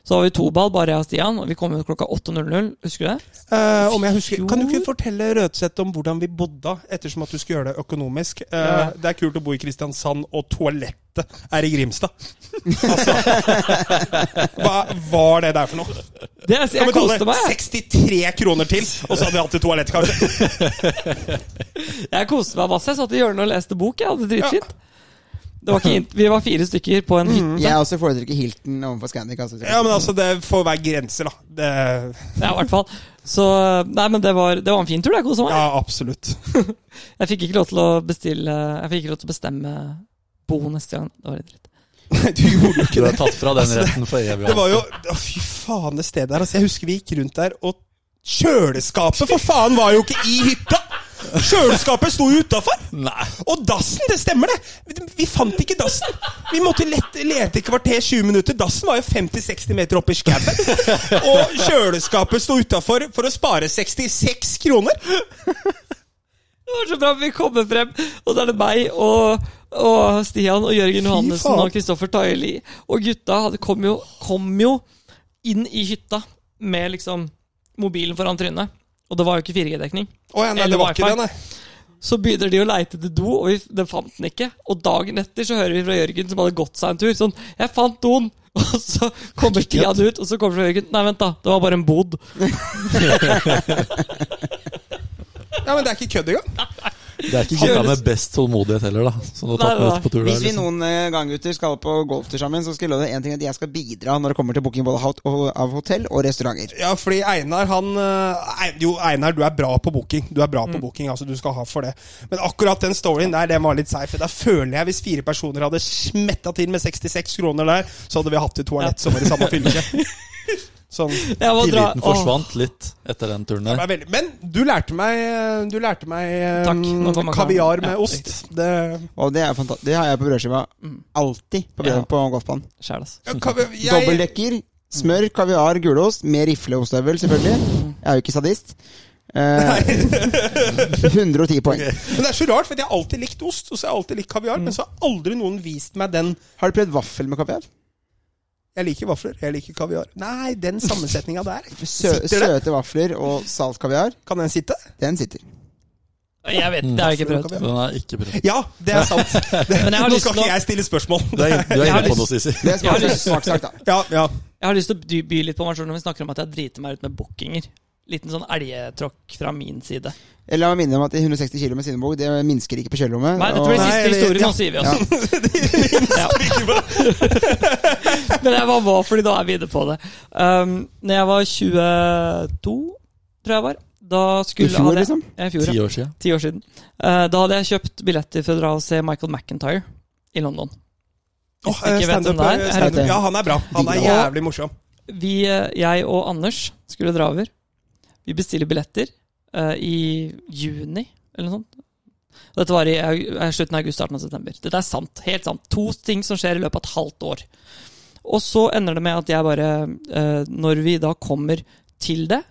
Speaker 3: Så var vi to ball, bare jeg og Stian, og vi kom ut klokka 8.00. Husker du det?
Speaker 6: Eh, om jeg husker, kan du ikke
Speaker 3: Fjor?
Speaker 6: fortelle Rødseth om hvordan vi bodde, ettersom at du skal gjøre det økonomisk? Eh,
Speaker 3: Ja.
Speaker 6: Det er kult å bo i Kristiansand, og toalettet er i Grimstad. Altså, hva var det der for noe?
Speaker 3: det jeg
Speaker 6: Kan
Speaker 3: jeg
Speaker 6: vi kalle
Speaker 3: koste
Speaker 6: det
Speaker 3: meg. jeg.
Speaker 6: 63 kroner til, og så hadde vi hatt et toalett, kanskje?
Speaker 3: Jeg koste meg masse. Jeg satt i hjørnet og leste bok. Jeg hadde det dritfint. Det var ikke, int- vi var fire stykker på en hytte.
Speaker 2: Jeg også foretrekker Hilton overfor Scandic. Altså.
Speaker 6: Ja, men altså, det får være grenser, da. Det,
Speaker 3: Ja, i hvert fall. Så Nei, men det var, det var en fin tur. Jeg kosa meg.
Speaker 6: ja, absolutt.
Speaker 3: Jeg fikk ikke lov til å bestille Jeg fikk ikke lov til å bestemme bo neste gang. Det var litt dritt.
Speaker 6: Du gjorde jo
Speaker 5: Du har tatt fra den retten for evig.
Speaker 6: Det var jo å, Fy faen, det stedet her. Altså, jeg husker vi gikk rundt der, og kjøleskapet for faen var jo ikke i hytta! Kjøleskapet sto jo utafor! Og dassen, det stemmer det! Vi, vi fant ikke dassen! Vi måtte lete, lete i kvarter 20 minutter. Dassen var jo 50-60 meter opp i skauen. Og kjøleskapet sto utafor for å spare 66 kroner!
Speaker 3: Det var så bra vi kommer frem, og da er det meg og, og Stian og Jørgen Johannessen
Speaker 6: faen.
Speaker 3: og Kristoffer Taili. Og gutta hadde, kom, jo, kom jo inn i hytta med liksom mobilen foran trynet. Og det var jo ikke 4G-dekning.
Speaker 6: Å ja, nei,
Speaker 3: Eller
Speaker 6: det var ikke
Speaker 3: wifi.
Speaker 6: det, nei.
Speaker 3: Så begynner de å leite etter do, og vi, den fant den ikke. Og dagen etter så hører vi fra Jørgen, som hadde gått seg en tur, sånn 'Jeg fant doen!' Og så kommer Stian ut, og så kommer fra Jørgen 'Nei, vent, da. Det var bare en bod'.
Speaker 6: Ja, men det er ikke kødd engang.
Speaker 5: Det er ikke gutta med best tålmodighet heller, da. Som du har tatt
Speaker 3: Nei,
Speaker 5: med
Speaker 3: nei.
Speaker 5: ut på tur der.
Speaker 2: Hvis vi
Speaker 5: Liksom.
Speaker 2: noen eh, gang gutter skal på golftur sammen, så skal jeg love deg en ting at jeg skal bidra når det kommer til booking både hot- og- av hotell og restauranter.
Speaker 6: Ja, fordi Einar, han eh, Ei- Jo, Einar, du er bra på booking. Du er bra
Speaker 3: Mm.
Speaker 6: på booking, altså du skal ha for det. Men akkurat den storyen der, den var litt seig. For da føler jeg, hvis fire personer hadde smetta til med 66 kroner der, så hadde vi hatt et toalett som var i samme fylke. Sånn.
Speaker 3: Jeg må dra-
Speaker 5: Tilliten forsvant litt etter den turen
Speaker 6: Det
Speaker 5: der.
Speaker 6: er veldig- Men du lærte meg, du lærte meg eh,
Speaker 3: Takk, nå kommer
Speaker 6: kaviar
Speaker 3: kaviar.
Speaker 6: med
Speaker 3: Ja,
Speaker 6: ost. Det,
Speaker 2: Og det er fantastisk. Det har jeg på brødskiva. Alltid på, brød,
Speaker 3: Ja.
Speaker 2: på golfbanen.
Speaker 3: Åh, Sjæl, altså.
Speaker 6: ja, kavi- jeg-
Speaker 2: Dobbeldekker, smør, kaviar, gulost med rifleostøvel, selvfølgelig. Jeg er jo ikke sadist. Eh, 110 poeng.
Speaker 6: Men det er så rart, for jeg har alltid likt ost, og så har jeg alltid likt kaviar, men så har aldri noen vist meg den
Speaker 2: Har du prøvd vaffel med kaviar?
Speaker 6: Jeg liker vafler, jeg liker kaviar. Nei, den sammensetninga der.
Speaker 2: Sø
Speaker 6: Sitter det?
Speaker 2: søte vafler og salt kaviar.
Speaker 6: Kan den sitte?
Speaker 2: Den sitter.
Speaker 3: Jeg vet det, har jeg ikke prøvd.
Speaker 5: Den er ikke bra.
Speaker 6: Ja, det er sant. Det,
Speaker 3: Men jeg har
Speaker 6: nå
Speaker 3: lyst
Speaker 6: skal
Speaker 3: til å-
Speaker 6: ikke jeg stille spørsmål.
Speaker 5: Du er, du er
Speaker 3: Jeg har
Speaker 5: inne på
Speaker 3: lyst-
Speaker 5: noe, Sisi.
Speaker 2: Det
Speaker 3: Jeg har
Speaker 2: smaker
Speaker 3: lyst-
Speaker 2: smaksakt, da.
Speaker 6: Ja, ja.
Speaker 3: Jeg har lyst til å dy- by litt på meg sjøl når vi snakker om at jeg driter meg ut med bookinger. Liten sånn elgetråkk fra min side.
Speaker 2: La meg minne om at 160 kg med sinnebog, det minsker ikke på kjølrommet.
Speaker 3: Nei, dette
Speaker 2: og-
Speaker 3: blir
Speaker 6: Nei,
Speaker 3: siste
Speaker 6: eller-
Speaker 3: historie.
Speaker 6: ja.
Speaker 3: Nå sier vi oss. Ja. Men jeg var var, fordi da er vi inne på det. Um, når jeg var 22, tror jeg var, da
Speaker 2: I
Speaker 3: skulle
Speaker 2: fjor,
Speaker 3: hadde jeg-
Speaker 2: liksom?
Speaker 3: Ja, I fjor,
Speaker 5: Ti
Speaker 3: ja.
Speaker 5: år siden.
Speaker 3: Ti år siden. Eh, da hadde jeg kjøpt billetter for å dra og se Michael McIntyre i London. Hvis
Speaker 6: Åh, eh,
Speaker 3: du ikke vet hvem det er.
Speaker 6: stand-up.
Speaker 2: Herregud.
Speaker 6: ja, han er bra. Han er jævlig morsom.
Speaker 3: vi, eh, jeg og Anders skulle dra over. Vi bestiller billetter eh, i juni, eller noe sånt. Og dette var i au- eh, slutten av august, starten av september. Dette er sant. Helt sant. To ting som skjer i løpet av et halvt år. Og så ender det med at jeg bare eh, Når vi da kommer til det,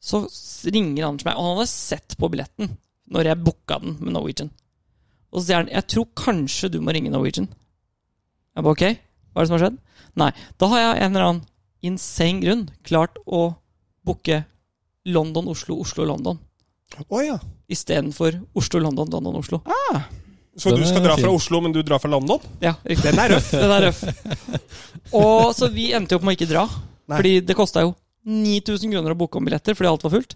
Speaker 3: så s- ringer Anders meg. Og han hadde sett på billetten når jeg booka den med Norwegian. Og så sier han jeg tror kanskje du må ringe Norwegian. Jeg bare ok, hva er det som har skjedd? Nei. Da har jeg en eller annen insane grunn klart å booke London, Oslo, Oslo, London.
Speaker 6: Å ja.
Speaker 3: Istedenfor Oslo, London, London, Oslo.
Speaker 6: Så
Speaker 5: Den
Speaker 6: du skal
Speaker 5: er
Speaker 6: dra
Speaker 5: fin.
Speaker 6: fra Oslo, men du drar fra London?
Speaker 3: Ja, riktig.
Speaker 6: Den er røff.
Speaker 3: Den er røff. Og så vi endte jo opp med å ikke dra.
Speaker 6: Nei.
Speaker 3: Fordi det kosta jo 9000 kroner å booke om billetter fordi alt var fullt.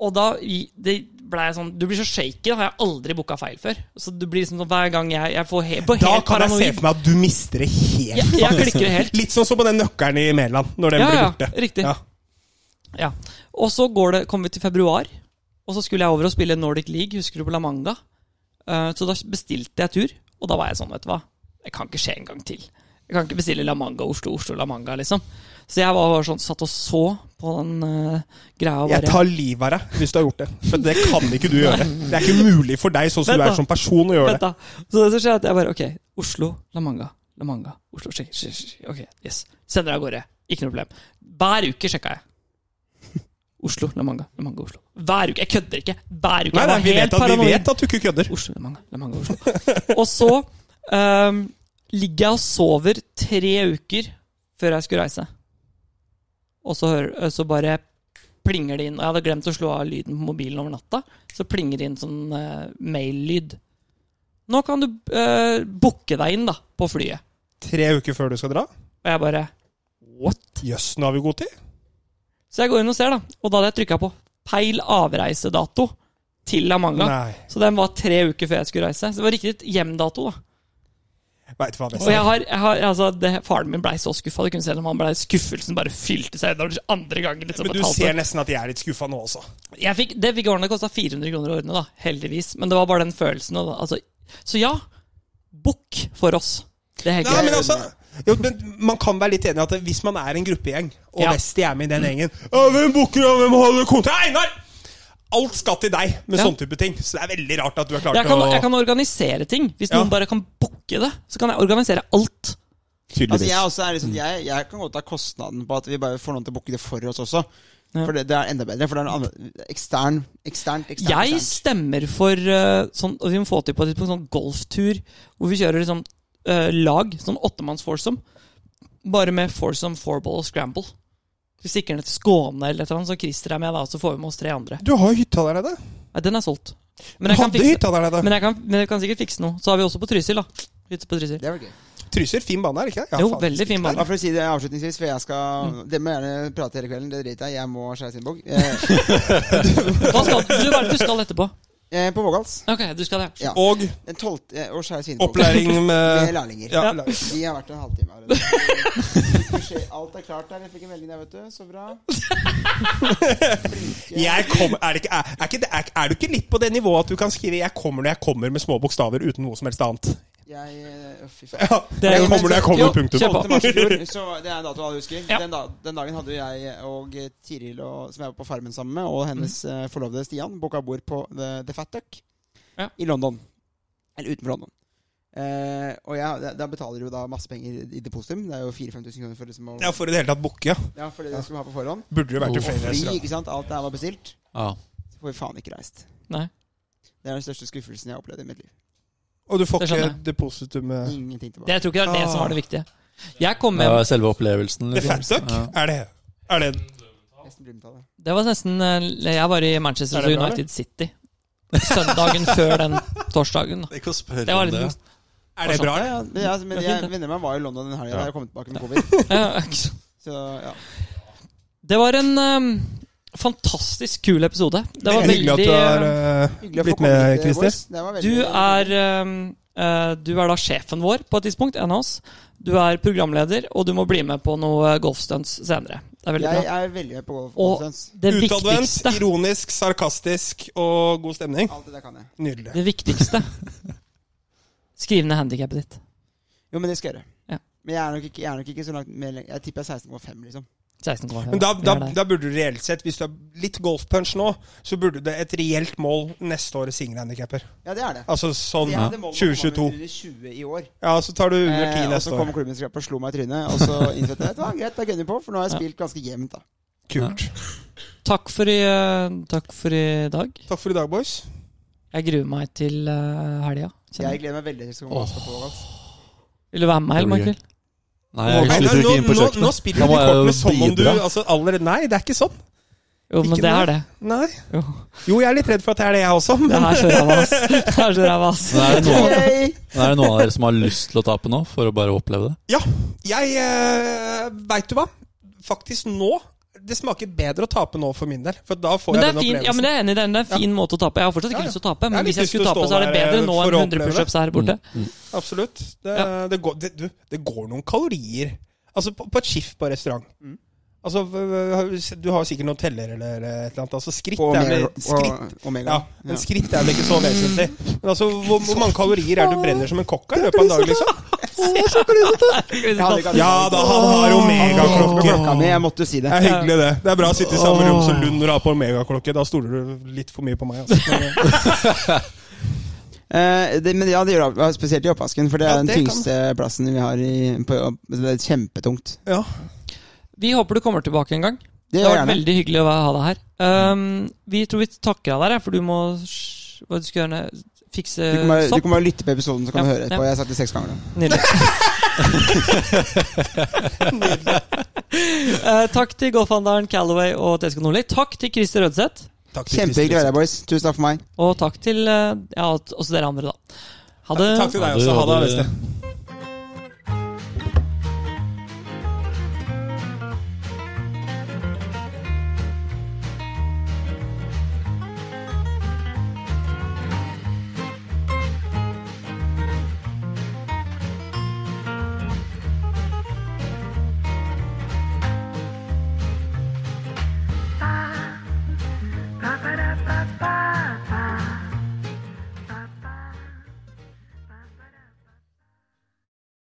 Speaker 3: Og da i- det ble jeg sånn Du blir så shaky. Da har jeg aldri booka feil før. Så du blir liksom sånn hver gang jeg, jeg får he, på
Speaker 6: Da
Speaker 3: helt
Speaker 6: kan jeg se
Speaker 3: paranoid.
Speaker 6: for meg at du mister det helt.
Speaker 3: Jeg, jeg klikker helt.
Speaker 6: Litt sånn som på den nøkkelen i Mæland, når den
Speaker 3: Ja,
Speaker 6: blir
Speaker 3: ja,
Speaker 6: borte.
Speaker 3: riktig.
Speaker 6: Ja.
Speaker 3: Ja. Og så går det, kom vi til februar, og så skulle jeg over og spille Nordic League, husker du, på La Manga. Eh, så da bestilte jeg tur, og da var jeg sånn, vet du hva, det kan ikke skje en gang til. Jeg kan ikke bestille La Manga Oslo, Oslo La Manga, liksom. Så jeg var bare sånn, satt og så på den eh, greia. og
Speaker 6: Jeg
Speaker 3: bare-
Speaker 6: tar livet av deg hvis du har gjort det. For det kan ikke du gjøre. Det er ikke mulig for deg sånn som
Speaker 3: Vent
Speaker 6: du
Speaker 3: da.
Speaker 6: er som person å gjøre det.
Speaker 3: Vent da. Så det som skjer, er at jeg bare Ok, Oslo, La Manga, La Manga, Oslo sjekk, sjekk, sjekk, Ok, yes. Sender deg av gårde. Ikke noe problem. Hver uke sjekka jeg. Oslo, La Manga, La Manga, Oslo. Hver uke. Jeg kødder ikke. Hver uke.
Speaker 6: Nei,
Speaker 3: Jeg
Speaker 6: nei,
Speaker 3: var
Speaker 6: vi
Speaker 3: helt
Speaker 6: vet, at, vi
Speaker 3: paranoid.
Speaker 6: vet at du ikke kødder.
Speaker 3: Oslo, La Manga, La Manga, Oslo. Og så ehm, ligger jeg og sover tre uker før jeg skulle reise. Og så, hører, eh, så bare plinger det inn. Og jeg hadde glemt å slå av lyden på mobilen over natta. Så plinger det inn sånn eh, mail-lyd. Nå kan du uh, booke deg inn da, på flyet.
Speaker 6: Tre uker før du skal dra?
Speaker 3: Og jeg bare What?
Speaker 6: Jøss, nå har vi god tid.
Speaker 3: Så jeg går inn og ser, da. Og da hadde jeg trykka på feil avreisedato til La Manga.
Speaker 6: Nei.
Speaker 3: Så den var tre uker før jeg skulle reise. Så det var riktig hjemdato, da.
Speaker 6: Veit du hva,
Speaker 3: Og jeg
Speaker 6: Vesa.
Speaker 3: har, jeg har altså, det, Faren min blei så skuffa. Du kunne se når han ble, skuffelsen bare fylte seg. Det var andre gangen liksom,
Speaker 6: Men
Speaker 3: på
Speaker 6: du
Speaker 3: et halvt år.
Speaker 6: ser nesten at jeg er litt skuffa nå også.
Speaker 3: jeg fikk, Det fikk jeg ordnet, det kosta 400 kroner å ordne, da, heldigvis. Men det var bare den følelsen. Og, altså, så ja, bukk for oss. Det er helt
Speaker 6: Nei,
Speaker 3: greit.
Speaker 6: men altså jo, men Man kan være litt enig i at hvis man er en gruppegjeng, og
Speaker 3: Ja.
Speaker 6: Vesti er med i den gjengen «Å, Hvem booker, og hvem holder kontakt? Einar! Alt skal til deg med
Speaker 3: Ja.
Speaker 6: sånne type ting. Så det er veldig rart at du har klart
Speaker 3: jeg, kan,
Speaker 6: å
Speaker 3: jeg kan organisere ting. Hvis
Speaker 6: Ja.
Speaker 3: noen bare kan booke det, så kan jeg organisere alt.
Speaker 2: Altså, jeg, også er liksom, jeg, jeg kan godt ta kostnaden på at vi bare får noen til å booke det for oss også. For det, det er enda bedre. For det er noe annet. Ekstern, eksternt, eksternt.
Speaker 3: Jeg
Speaker 2: eksternt.
Speaker 3: stemmer for eh, sånn, og vi må få til på et tidspunkt sånn golftur hvor vi kjører liksom eh, lag, sånn åttemanns foursome, bare med foursome, fourball og scramble. Vi stikker ned til Skåne eller et eller annet, så Christer er med, da, så får vi med oss tre andre.
Speaker 6: Du har hytta der nede.
Speaker 3: Nei, den er solgt.
Speaker 6: Du
Speaker 3: Men jeg kan,
Speaker 6: hadde
Speaker 3: fikse,
Speaker 6: hytta der nede.
Speaker 3: men, jeg kan, men jeg kan sikkert fikse noe. Så har vi også på Trysil, da. Hytte på Trysil.
Speaker 2: Det var gøy.
Speaker 6: Trysil, fin bane er det ikke det?
Speaker 3: Jo, veldig fin
Speaker 2: Bare
Speaker 3: bane.
Speaker 2: for å si det avslutningsvis, for jeg skal Dere må gjerne prate hele kvelden, det driter jeg i. Jeg må skjære sin bok. Eh,
Speaker 3: Hva skal du, hva er det du skal etterpå?
Speaker 2: eh, på Vågals.
Speaker 3: Ok, du skal det.
Speaker 2: Ja.
Speaker 6: Og
Speaker 2: Den 12. eh, og skjære sin bok.
Speaker 6: opplæring
Speaker 2: Med
Speaker 6: med
Speaker 2: lærlinger.
Speaker 6: ja,
Speaker 2: Vi har vært en halvtime allerede. Vi får se. Alt er klart der. Jeg fikk en melding der, vet du. Så bra.
Speaker 6: jeg kommer, er, det ikke, er, er, ikke, det- er, er du ikke litt på det nivået at du kan skrive 'jeg kommer når jeg kommer' med små bokstaver uten noe som helst annet?
Speaker 2: Jeg eh, Fy faen.
Speaker 6: Ja,
Speaker 3: Det er-
Speaker 6: jeg kommer når jeg kommer,
Speaker 3: Jo,
Speaker 6: punktum.
Speaker 3: kjør på.
Speaker 2: 12. mars i fjor, så det er en dato alle husker.
Speaker 3: Ja.
Speaker 2: Den, da, den dagen hadde jeg og eh, Tiril, og, som jeg var på Farmen sammen med, og hennes eh, forlovede Stian booka bord på The, The Fat Duck
Speaker 3: Ja.
Speaker 2: i London. Eller utenfor London. Eh, og jeg, da- da betaler du da masse penger i depositum. Det er jo 4000-5000 kroner for, liksom, å,
Speaker 6: Ja, for i det hele tatt booke, ja.
Speaker 2: ja, for det du skulle ha på forhånd.
Speaker 6: Burde jo vært til
Speaker 5: Og
Speaker 6: flere
Speaker 2: Fly,
Speaker 6: restauranter.
Speaker 2: ikke sant. Alt det her var bestilt.
Speaker 5: Ja.
Speaker 2: Så får vi faen ikke reist.
Speaker 3: Nei.
Speaker 2: Det er den største skuffelsen jeg har opplevd i mitt liv.
Speaker 6: Og du får
Speaker 3: Det skjønner
Speaker 6: ikke
Speaker 3: jeg.
Speaker 6: depositumet
Speaker 2: Ingenting tilbake.
Speaker 3: Det, jeg tror ikke det er det som var det viktige. Jeg kom
Speaker 5: Det
Speaker 3: hjem
Speaker 5: var selve opplevelsen. liksom.
Speaker 6: The Fat Duck?
Speaker 5: Ja.
Speaker 6: Er det er det
Speaker 2: Nesten blindtall, det.
Speaker 3: Det var nesten eh, Jeg var i Manchester
Speaker 6: Er det bra,
Speaker 3: United City. Søndagen før den torsdagen. da.
Speaker 5: Ikke å spørre
Speaker 3: Det var
Speaker 5: om det.
Speaker 3: litt
Speaker 6: Er det bra?
Speaker 2: Ja, ja, men jeg, men
Speaker 3: Det er fint,
Speaker 2: jeg,
Speaker 3: det.
Speaker 2: venner meg var i London den helga da jeg kom tilbake med covid.
Speaker 3: Ja, ikke sant.
Speaker 2: Så ja.
Speaker 3: Det var en eh, fantastisk kul episode. Det var
Speaker 6: Hyggelig at
Speaker 3: veldig
Speaker 6: du har
Speaker 2: Hyggelig
Speaker 6: eh,
Speaker 2: å få
Speaker 6: blitt
Speaker 2: komme
Speaker 6: med,
Speaker 2: hit, eh,
Speaker 6: Christer.
Speaker 2: boys. Det var veldig-
Speaker 3: Du er eh, eh, Du er da sjefen vår på et tidspunkt, en av oss. Du er programleder, og du må bli med på noe golfstunts senere. Det er veldig
Speaker 2: Jeg
Speaker 3: bra.
Speaker 2: er veldig med på golf.
Speaker 3: Og-
Speaker 2: nonsens.
Speaker 3: Det
Speaker 6: Utadvendt,
Speaker 3: viktigste,
Speaker 6: ironisk, sarkastisk og god stemning.
Speaker 2: Alt det der kan jeg.
Speaker 6: Nydelig.
Speaker 3: det viktigste Skriv ned handikappet ditt.
Speaker 2: Jo, men det skal jeg gjøre.
Speaker 3: Ja.
Speaker 2: Men jeg er nok ikke, jeg er nok ikke så langt mer lenger. Jeg tipper jeg er 16,5, liksom.
Speaker 3: 16,5.
Speaker 6: Men da,
Speaker 3: Vi
Speaker 6: da,
Speaker 3: er der.
Speaker 6: da burde du reelt sett, hvis du har litt golfpunch nå, så burde det et reelt mål neste år singelhandikapper.
Speaker 2: Ja, det er det.
Speaker 6: Altså sånn
Speaker 2: Jeg hadde målet å komme
Speaker 6: 2022.
Speaker 2: under 20 i år.
Speaker 6: Ja, så tar du under 10
Speaker 2: Eh, og så
Speaker 6: neste
Speaker 2: kom
Speaker 6: år.
Speaker 2: klubben skrap og slo meg i trynet. Og så innså jeg at det var greit, da gønner vi på, for nå har jeg spilt ganske jevnt, da.
Speaker 6: Kult.
Speaker 3: Takk for i, eh, takk for i dag.
Speaker 6: Takk for i dag, boys.
Speaker 3: Jeg gruer meg til uh, helga. kjenner
Speaker 2: Jeg
Speaker 3: jeg.
Speaker 2: gleder meg veldig til å komme på altså. golf.
Speaker 3: Vil du være med meg, eller,
Speaker 5: Det blir
Speaker 3: Michael?
Speaker 5: Nei, Eh, jeg
Speaker 6: Nei,
Speaker 5: slutter
Speaker 6: nå,
Speaker 5: ikke inn på
Speaker 6: nå, nå
Speaker 5: kjøkkenet.
Speaker 6: spiller
Speaker 5: Da
Speaker 6: du
Speaker 5: må
Speaker 6: de
Speaker 5: jeg jo
Speaker 6: kortene som om du
Speaker 5: bidra.
Speaker 6: altså, allerede, Nei, det er ikke sånn.
Speaker 3: Jo, men
Speaker 6: Ikke
Speaker 3: det
Speaker 6: noe.
Speaker 3: er det.
Speaker 6: Nei.
Speaker 3: Jo.
Speaker 6: Jo, jeg er litt redd for at det er det, jeg også.
Speaker 3: Det
Speaker 6: Men
Speaker 3: er så ræva, ass. Det er så ræva, ass.
Speaker 5: Men er det, noen,
Speaker 2: Yay!
Speaker 5: men er det noen av dere som har lyst til å tape nå, for å bare oppleve det?
Speaker 6: ja, jeg eh, Veit du hva? Faktisk nå Det smaker bedre å tape nå for min del. For da får
Speaker 3: Men det
Speaker 6: jeg
Speaker 3: er
Speaker 6: den
Speaker 3: fin, ja,
Speaker 6: opplevelsen.
Speaker 3: men det er enig, det er en det er en fin måte å tape. Jeg har fortsatt ikke
Speaker 6: Ja, ja.
Speaker 3: lyst til å tape,
Speaker 6: Jeg har
Speaker 3: men
Speaker 6: litt
Speaker 3: hvis jeg
Speaker 6: lyst til
Speaker 3: skulle
Speaker 6: å
Speaker 3: tape,
Speaker 6: stå
Speaker 3: så er det
Speaker 6: der, eh,
Speaker 3: bedre nå
Speaker 6: for
Speaker 3: enn
Speaker 6: å
Speaker 3: 100
Speaker 6: oppleve Mm.
Speaker 3: pushups her borte.
Speaker 6: Absolutt. Det, det, går, det, du, det går noen kalorier Altså på, på et skift på restaurant.
Speaker 2: Mm.
Speaker 6: Altså, v- v- Du har sikkert noen teller eller et eller annet. Altså Skritt
Speaker 2: På
Speaker 6: er vel
Speaker 2: Omega.
Speaker 6: skritt.
Speaker 2: og- Omega.
Speaker 6: Ja, men skritt er vel ikke så vesentlig. Men altså, hvor, hvor mange kalorier er det du brenner som en kokk av i løpet av en dag, liksom?
Speaker 2: Jeg hadde ikke hatt-
Speaker 6: Ja da, han har
Speaker 2: Klokka
Speaker 6: omegaklokke.
Speaker 2: klokka mi, jeg måtte jo si
Speaker 6: Det
Speaker 2: det.
Speaker 6: er hyggelig, det. Det er bra å sitte i samme rom som Lund når du har på omegaklokke. Da stoler du litt for mye på meg. Altså. Men,
Speaker 2: Eh, det, men ja, det gjør det, spesielt i oppvasken, for det er
Speaker 6: Ja,
Speaker 2: den
Speaker 6: det kan-
Speaker 2: tyngste plassen vi har i på, jobb. Det er kjempetungt.
Speaker 6: ja.
Speaker 3: Vi håper du kommer tilbake en gang.
Speaker 2: Det
Speaker 3: Det
Speaker 2: gjør
Speaker 3: har
Speaker 2: jeg
Speaker 3: vært
Speaker 2: gjerne.
Speaker 3: veldig hyggelig å ha deg her.
Speaker 6: Mm.
Speaker 3: Um, vi tror vi takker av deg, her, for du må sj- Hva du skal gjøre? nå? Fikse
Speaker 2: Du kan, bare, du
Speaker 3: sopp?
Speaker 2: kan bare lytte på episoden, så kan
Speaker 3: Ja,
Speaker 2: du høre etterpå.
Speaker 3: ja.
Speaker 2: Jeg har sagt det seks ganger nå.
Speaker 3: Nydelig. Eh, takk til golfhandleren Callaway og TSK Nordli. Takk til Christer Rødseth.
Speaker 6: Takk til
Speaker 2: Kjempehyggelig å
Speaker 6: Christer.
Speaker 2: være her, boys. Tusen takk for meg.
Speaker 3: Og takk til eh, ja, også dere andre, da. Ha det.
Speaker 6: Takk til deg også. Ha det. Veste.